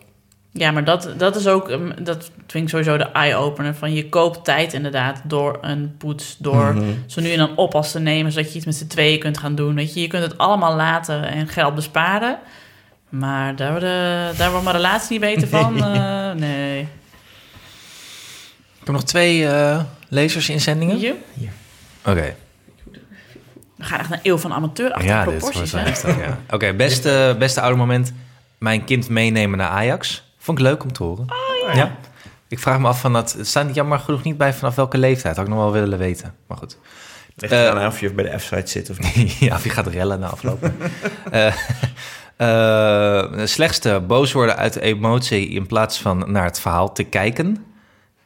C: Ja, maar dat, dat is ook, ehm, dat vind ik sowieso de eye-opener. Van je koopt tijd inderdaad door een poets, door zo nu en dan oppas te nemen, zodat je iets met z'n tweeën kunt gaan doen. Weet je, je kunt het allemaal laten en geld besparen. Maar daar, wordt, eh, daar wordt mijn relatie niet beter
B: (laughs)
C: van. eh, nee.
F: Ik heb nog twee eh, lezersinzendingen.
C: Je?
F: Oké.
C: We gaan echt naar eeuw van amateur achter
F: Ja, dit
C: proporties.
F: wordt
C: hè?
F: wel echt. wel, ja. Oké, beste, beste oude moment. Mijn kind meenemen naar Ajax. Vond ik leuk om te horen.
C: Oh,
F: ja. Ik vraag me af van dat. Het staat jammer genoeg niet bij vanaf welke leeftijd. Had ik nog wel willen weten. Maar goed.
B: Ligt
F: Eh,
B: eraan of je bij de F-site zit of niet.
F: (laughs) ja, of je gaat rellen na afloop.
B: (laughs)
F: Eh, eh, de slechtste, boos worden uit de emotie in plaats van naar het verhaal te kijken.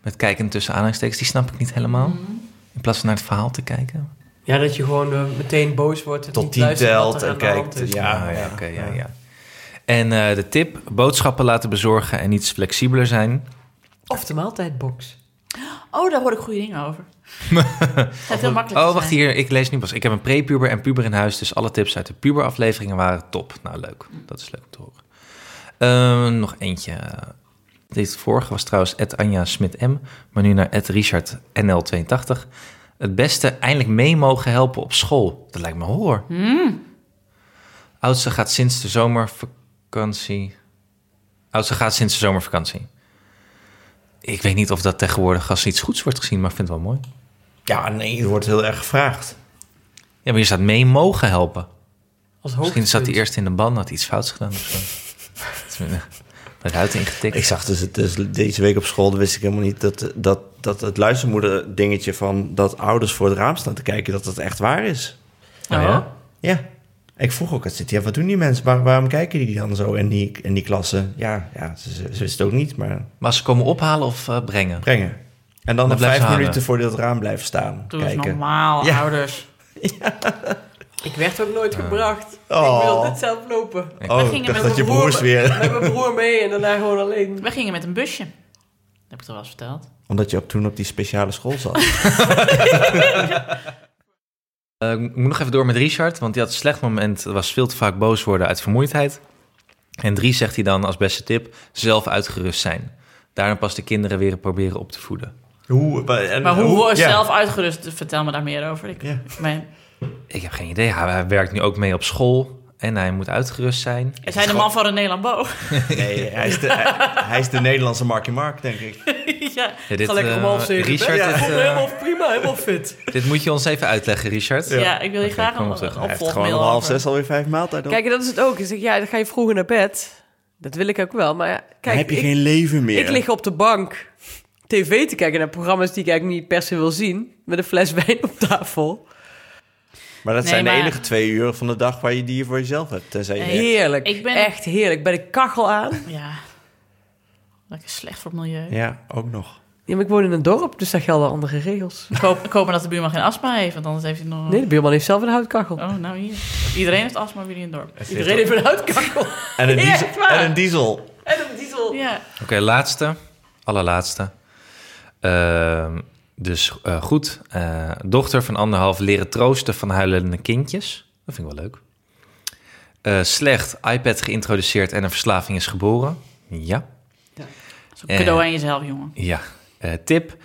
F: Met kijken tussen aanhalingstekens, die snap ik niet helemaal.
B: Mhm.
F: In plaats van naar het verhaal te kijken.
E: Ja, dat je gewoon eh, meteen boos wordt. en
B: Tot
E: niet
B: die
E: luistert wat
B: telt
E: er
B: en
E: aan de hand
B: kijkt.
E: is.
B: Ja,
F: Ah,
B: ja,
F: oké, ja, ja. En eh, de tip, boodschappen laten bezorgen en iets flexibeler zijn.
E: Of de maaltijdbox.
C: Oh, daar hoor ik goede dingen over. het gaat heel makkelijk.
F: Oh,
C: te
F: wacht
C: zijn.
F: hier, ik lees nu pas. Ik heb een prepuber en puber in huis, dus alle tips uit de puberafleveringen waren top. Nou, leuk. Dat is leuk om te horen. Ehm, nog eentje. Dit vorige was trouwens Ed Anja Smit M, maar nu naar Ed Richard NL82. Het beste eindelijk mee mogen helpen op school. Dat lijkt me hoor. Oudste gaat sinds de zomervakantie. Oudste gaat sinds de zomervakantie. Ik weet niet of dat tegenwoordig als iets goeds wordt gezien, maar ik vind het wel mooi.
B: Ja, nee, er wordt heel erg gevraagd.
F: Ja, maar je staat mee mogen helpen.
E: Als
F: Misschien zat hij
E: hoogtepunt.
F: eerst in de ban, had hij iets fouts gedaan of (laughs) zo. Dat is me- Met ruiten ingetikt.
B: Ik zag dus, het, dus deze week op school, dan wist ik helemaal niet dat, dat, dat het luistermoeder dingetje van dat ouders voor het raam staan te kijken, dat dat echt waar is.
F: Oh, ja?
B: Ja. Ik vroeg ook, het zit, ja, wat doen die mensen? Waar- waarom kijken die dan zo in die, in die klasse? Ja, ja ze, ze ze wisten het ook niet, maar
F: Maar ze komen ophalen of eh, brengen?
B: brengen. En dan nog
F: blijven
B: vijf
F: hangen.
B: minuten voor dat raam blijven staan.
C: Doe eens
B: kijken.
C: normaal,
B: Ja.
C: ouders.
E: Ik werd ook nooit gebracht.
B: Oh.
E: Ik wilde het zelf lopen.
C: We
B: Oh,
C: gingen
B: ik dacht
C: met
B: dat je
E: mijn
B: broers
E: broer-
B: weer...
E: Met mijn broer mee en daarna gewoon alleen.
C: We gingen met een busje. Dat heb ik toch wel eens verteld.
B: Omdat je op, toen op die speciale school zat.
F: Eh, ik moet nog even door met Richard, want die had een slecht moment. Er was veel te vaak boos worden uit vermoeidheid. En drie zegt hij dan als beste tip, zelf uitgerust zijn. Daarna pas de kinderen weer proberen op te voeden.
B: hoe, wa- en,
C: Maar hoe, word je
B: ja.
C: zelf uitgerust? Vertel me daar meer over. Ik,
B: Ja.
C: mijn-
F: Ik heb geen idee. Hij, hij werkt nu ook mee op school en hij moet uitgerust zijn.
C: is hij de man van René Lambeau? (laughs)
B: Nee, hij is, de, hij, hij is de Nederlandse Marky Mark, denk ik.
C: ja.
F: Ja, dit,
E: Ga lekker om
F: eh,
E: half zeven.
F: Richard,
E: Ja.
F: dit,
E: Ik voel me
F: eh,
E: (laughs) helemaal prima, helemaal fit.
F: dit moet je ons even uitleggen, Richard.
C: Ja. ik wil je
F: Oké,
C: graag
F: kom
C: een
F: op terug. Hij
B: Hij heeft
C: opvolgmail
B: gewoon om half
C: over.
B: zes alweer vijf maaltijden. op.
E: Kijk, en dat is het ook. Je zegt, ja, dan ga je vroeger naar bed. Dat wil ik ook wel. Maar ja,
B: Dan
E: kijk,
B: heb je
E: ik,
B: geen leven meer.
E: ik lig op de bank tv te kijken naar programma's die ik eigenlijk niet per se wil zien. Met een fles wijn op tafel.
B: Maar dat
C: Nee,
B: zijn
C: maar-
B: de enige twee uur van de dag waar je die je voor jezelf hebt. Tenzij je
C: Nee.
B: werkt.
E: Heerlijk.
C: Ik ben-
E: Echt heerlijk. Bij de kachel aan.
C: Ja. Lekker slecht voor het milieu.
B: Ja, ook nog.
E: Ja, maar ik woon in een dorp, dus daar gelden andere regels.
C: Ik, hoop, ik hoop maar dat de buurman geen astma heeft, want anders heeft hij nog...
E: Nee, de buurman heeft zelf een houtkachel.
C: Oh, nou hier. Iedereen heeft astma bij jullie in het dorp.
E: Iedereen heeft een houtkachel.
B: En een
E: Ja,
B: diesel.
E: echt waar.
B: en een diesel.
E: En een diesel.
C: Ja.
F: Oké, laatste. Allerlaatste. Ehm, dus eh, goed. Eh, dochter van anderhalf leren troosten van huilende kindjes. Dat vind ik wel leuk. Eh, slecht, iPad geïntroduceerd en een verslaving is geboren. Ja.
C: Zo'n cadeau aan jezelf, jongen.
F: Ja, eh, tip.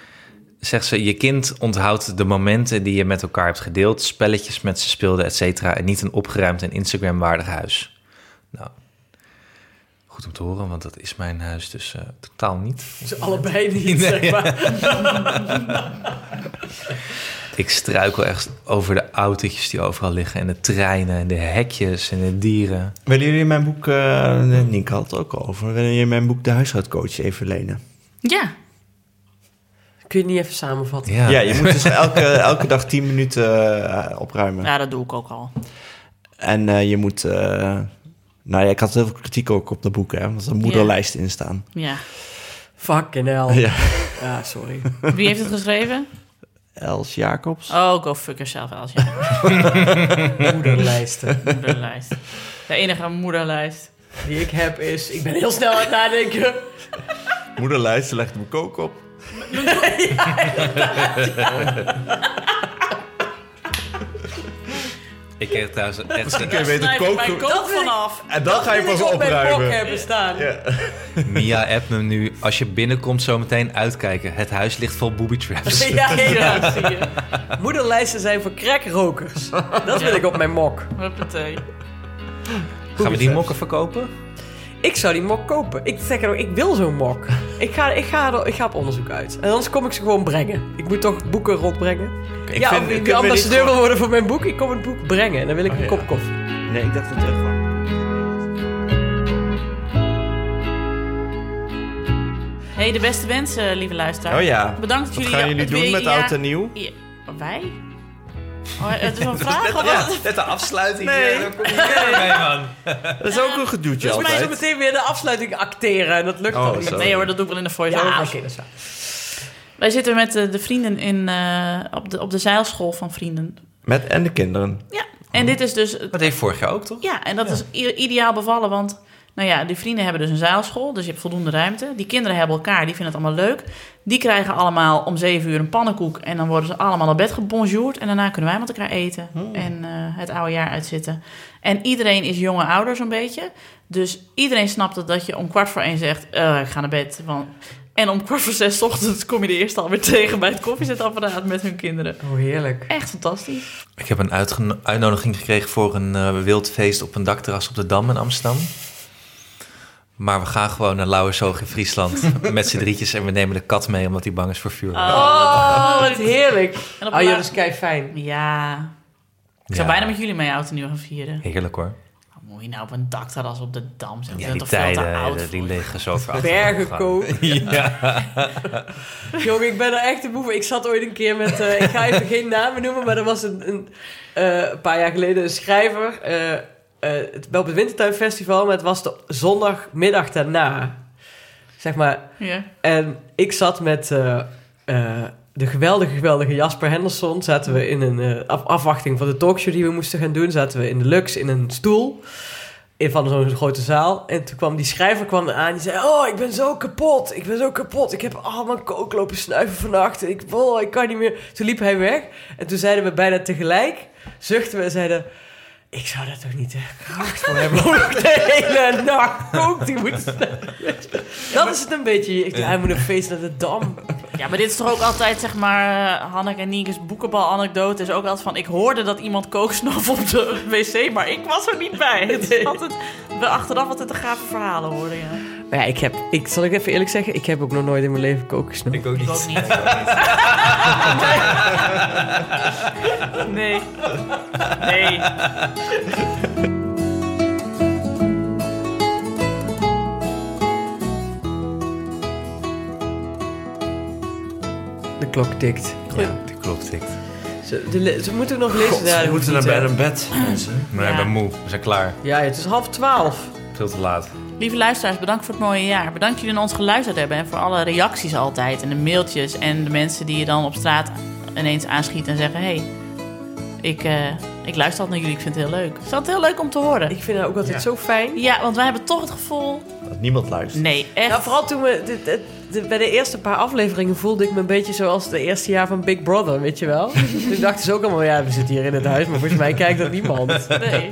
F: Zegt ze, je kind onthoudt de momenten die je met elkaar hebt gedeeld, spelletjes met ze speelde, et cetera, en niet een opgeruimd en Instagram-waardig huis. Nou, goed om te horen, want dat is mijn huis dus eh, totaal niet.
E: Ze allebei niet, zeg maar.
F: Ik struikel echt over de autootjes die overal liggen en de treinen en de hekjes en de dieren.
B: Willen jullie mijn boek, eh Nienke had het ook al over, willen jullie mijn boek De Huishoudcoach even lenen?
C: Ja,
E: Kun je het niet even samenvatten?
B: Ja, je moet dus (laughs) elke, elke dag 10 minuten eh, opruimen.
C: ja, dat doe ik ook al.
B: En eh, je moet, eh, nou ja, ik had heel veel kritiek ook op dat boek, hè, omdat er een moederlijst in staan.
C: Ja.
E: Fucking hell.
B: Ja.
E: Ja, sorry.
C: Wie heeft het geschreven?
B: Els Jacobs.
C: Oh, go fuck yourself, als ja.
E: Moederlijsten.
C: Moederlijst. De enige moederlijst.
E: Die ik heb is... Ik ben heel snel aan het nadenken.
B: Moederlijst, ze legt hem ook op.
F: Ik kreeg trouwens echt
B: Kun je beter
C: Snijf mijn
B: koken.
C: kop vanaf.
B: En dan ga je
E: Wil ik
B: pas
E: op mijn bok
B: opruimen.
E: hebben staan.
F: Mia app me nu, als je binnenkomt zometeen uitkijken. Het huis ligt vol booby traps.
E: Ja, ja.
C: Ja, zie je.
E: Moederlijsten zijn voor crackrokers. Dat wil ik op mijn mok.
C: Huppatee.
F: Gaan we die mokken verkopen?
E: Ik zou die mok kopen. Ik zeg er ook, ik wil zo'n mok. Ik ga, ik, ga er, ik ga op onderzoek uit. En anders kom ik ze gewoon brengen. Ik moet toch boeken rondbrengen.
B: Ik
E: ja,
B: vind-
E: of
B: kunnen
E: ik
B: we
E: de ambassadeur
B: niet Oh,
E: wil worden voor mijn boek. Ik kom het boek brengen. En dan wil ik een
B: ja.
E: kop koffie.
B: gewoon- Nee, ik dacht dat het echt was.
C: Hey, de beste wensen, lieve luisteraar.
B: Oh ja.
C: Bedankt dat
B: Wat
C: jullie...
B: gaan jullie
C: het
B: doen
C: weer-
B: met
C: ja-
B: oud en nieuw?
C: Ja, wij? Oh, het is een vraag of wat?
F: net de afsluiting.
B: Nee.
F: Ja, daar kom je weer mee, man.
B: Dat is ook een gedoetje
E: Volgens mij zo
B: altijd.
E: meteen weer de afsluiting acteren. En dat lukt
B: Oh,
E: dan niet.
B: zo.
C: Nee hoor, dat doe ik wel in de voice
E: Ja, oké, dat is waar.
C: Wij zitten met eh, de vrienden in, eh, op, de, op de zeilschool van vrienden.
B: Met en de kinderen.
C: Ja. En dit is dus...
F: Dat heeft vorig jaar ook, toch?
C: Ja, en dat is i- ideaal bevallen, want... Nou ja, die vrienden hebben dus een zeilschool, dus je hebt voldoende ruimte. Die kinderen hebben elkaar, die vinden het allemaal leuk. Die krijgen allemaal om zeven uur een pannenkoek... en dan worden ze allemaal naar bed gebonjourd... en daarna kunnen wij met elkaar eten en eh, het oude jaar uitzitten. En iedereen is jonge ouder zo'n beetje. Dus iedereen snapt het dat je om kwart voor één zegt... "Eh, ik ga naar bed, want... En om kwart voor zes 's ochtends kom je de eerste alweer (laughs) tegen... bij het koffiezetapparaat met hun kinderen.
E: Oh, heerlijk.
C: Echt fantastisch.
F: Ik heb een uitgeno- uitnodiging gekregen voor een eh, wild feest op een dakterras op de Dam in Amsterdam. Maar we gaan gewoon naar Lauwersoog in Friesland met z'n drietjes en we nemen de kat mee omdat hij bang is voor vuur.
E: Oh, wat heerlijk.
C: En op
E: Oh,
C: de
E: joh,
C: la-
E: dat is kei fijn.
C: Ja. Ik
F: Ja.
C: zou bijna met jullie mee oud en nieuw gaan vieren.
F: Heerlijk hoor.
C: Wat moet je nou op een dakterras op de Dam zijn?
F: Ja,
C: Ja,
F: die
C: toch veel te
F: tijden
C: oud
F: eh, die
C: voor.
F: liggen zo ver achter
E: Bergen
F: elkaar.
E: koken.
F: (laughs) Ja.
E: Jong, ik ben er echt een boef. Ik zat ooit een keer met, eh, ik ga even geen namen noemen, maar er was een, een, eh, een paar jaar geleden een schrijver. eh, eh, het, wel op het Wintertuinfestival, maar het was de zondagmiddag daarna. Zeg maar.
C: Ja.
E: En ik zat met eh, eh, de geweldige, geweldige Jasper Henderson. Zaten we in een eh, af- afwachting van de talkshow die we moesten gaan doen. Zaten we in de Lux in een stoel. In van zo'n grote zaal. En toen kwam die schrijver kwam aan. Die zei: Oh, ik ben zo kapot. Ik ben zo kapot. Ik heb al mijn kook lopen snuiven vannacht. Ik, oh, ik kan niet meer. Toen liep hij weg. En toen zeiden we bijna tegelijk: Zuchten we en zeiden. Ik zou daar toch niet de kracht voor hebben om de hele nacht kook te moeten snuiven." Dat is het een beetje. Ik dacht, hij moet een feest naar de dam.
C: ja, maar dit is toch ook altijd, zeg maar, eh, Hanneke en Nieke's boekenbal-anekdote is ook altijd van... Ik hoorde dat iemand kook snaf op de wc, maar ik was er niet bij. Het is altijd, we achteraf altijd de gave verhalen horen, ja.
E: Maar ja, ik heb, ik, zal ik even eerlijk zeggen, ik heb ook nog nooit in mijn leven kook gesnoept.
F: Ik ook
C: Ik ook
F: niet.
C: niet.
E: (laughs)
C: Nee. Nee.
E: De klok tikt.
F: Ja, die klopt. Ik.
E: Ze, de le- ze moeten nog lezen. Ja, dat hoeft niet, hè.
B: en bed, mensen.
F: Nee, ik ben moe. We zijn klaar.
E: Ja, het is half twaalf.
F: Veel te laat.
C: Lieve luisteraars, bedankt voor het mooie jaar. Bedankt dat jullie naar ons geluisterd hebben en voor alle reacties altijd. En de mailtjes en de mensen die je dan op straat ineens aanschiet en zeggen... hey, ik, eh, ik luister altijd naar jullie, ik vind het heel leuk. Het is altijd heel leuk om te horen.
E: Ik vind het ook altijd zo fijn.
C: Ja, want wij hebben toch het gevoel
B: Dat Niemand luistert.
D: Nee, echt.
E: Ja, Nou, vooral toen we... dit- dit- dit- bij de eerste paar afleveringen voelde ik me een beetje zoals de eerste jaar van Big Brother, weet je (laughs) wel? toen dachten ze ook allemaal, ja, we zitten hier in het huis, maar volgens mij kijkt er (laughs) niemand.
D: Nee.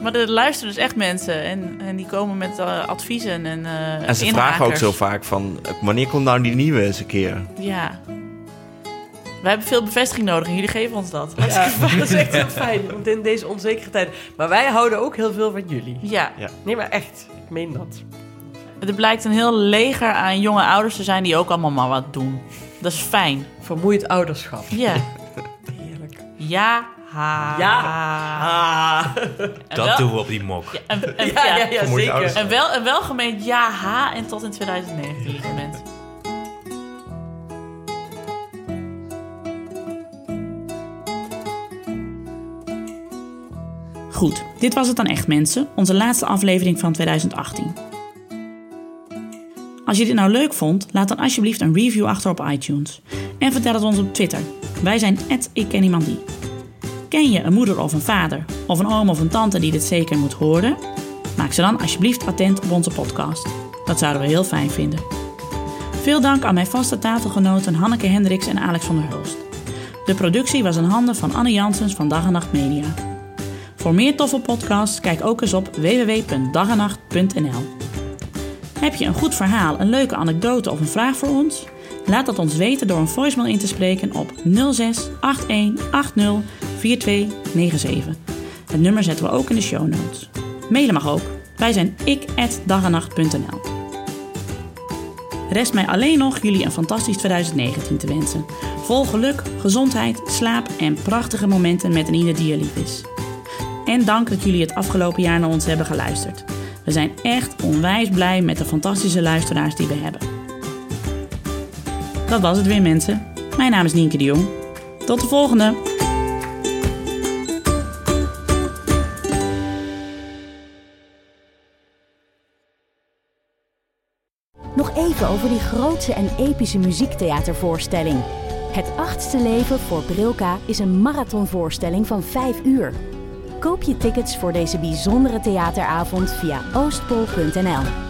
D: Maar er luisteren dus echt mensen en, en die komen met eh, adviezen en eh
B: En ze vragen ook
D: inhakers.
B: zo vaak van, eh, wanneer komt nou die nieuwe eens een keer?
D: Ja. Wij hebben veel bevestiging nodig en jullie geven ons dat. Ja.
E: Ja, dat is echt heel fijn, want in deze onzekere tijd. Maar wij houden ook heel veel van jullie. Nee, maar echt. Ik meen dat.
D: Er blijkt een heel leger aan jonge ouders te zijn die ook allemaal maar wat doen. Dat is fijn.
E: Vermoeid ouderschap.
D: Ja.
E: Heerlijk.
D: Ja. Ha.
E: Ja.
D: En
F: Dat
D: wel-
F: doen we op die mok.
D: En,
E: Ah.
D: en-
E: (laughs) Ja,
D: ja.
E: ja, ja,
B: Vermoeid
E: zeker.
B: ouderschap.
D: En wel, en wel gemeend ja, ha en tot in 2019 moment.
C: Goed, dit was het dan echt mensen, onze laatste aflevering van 2018. Als je dit nou leuk vond, laat dan alsjeblieft een review achter op iTunes. En vertel het ons op Twitter. Wij zijn ik ken iemand die. Ken je een moeder of een vader, of een oom of een tante die dit zeker moet horen? Maak ze dan alsjeblieft attent op onze podcast. Dat zouden we heel fijn vinden. Veel dank aan mijn vaste tafelgenoten Hanneke Hendricks en Alex van der Hulst. De productie was in handen van Anne Janssens van Dag en Nacht Media. Voor meer toffe podcasts kijk ook eens op www.dagenacht.nl. Heb je een goed verhaal, een leuke anekdote of een vraag voor ons? Laat dat ons weten door een voicemail in te spreken op 06 81 80 42 97. Het nummer zetten we ook in de show notes. Mailen mag ook. Wij zijn ik@dagenacht.nl. Rest mij alleen nog jullie een fantastisch 2019 te wensen. Vol geluk, gezondheid, slaap en prachtige momenten met een ieder die je lief is. En dank dat jullie het afgelopen jaar naar ons hebben geluisterd. We zijn echt onwijs blij met de fantastische luisteraars die we hebben. Dat was het weer mensen. Mijn naam is Nienke de Jong. Tot de volgende!
A: Nog even over die grootse en epische muziektheatervoorstelling. Het achtste leven voor Brilka is een marathonvoorstelling van 5 uur. Koop je tickets voor deze bijzondere theateravond via oostpol.nl.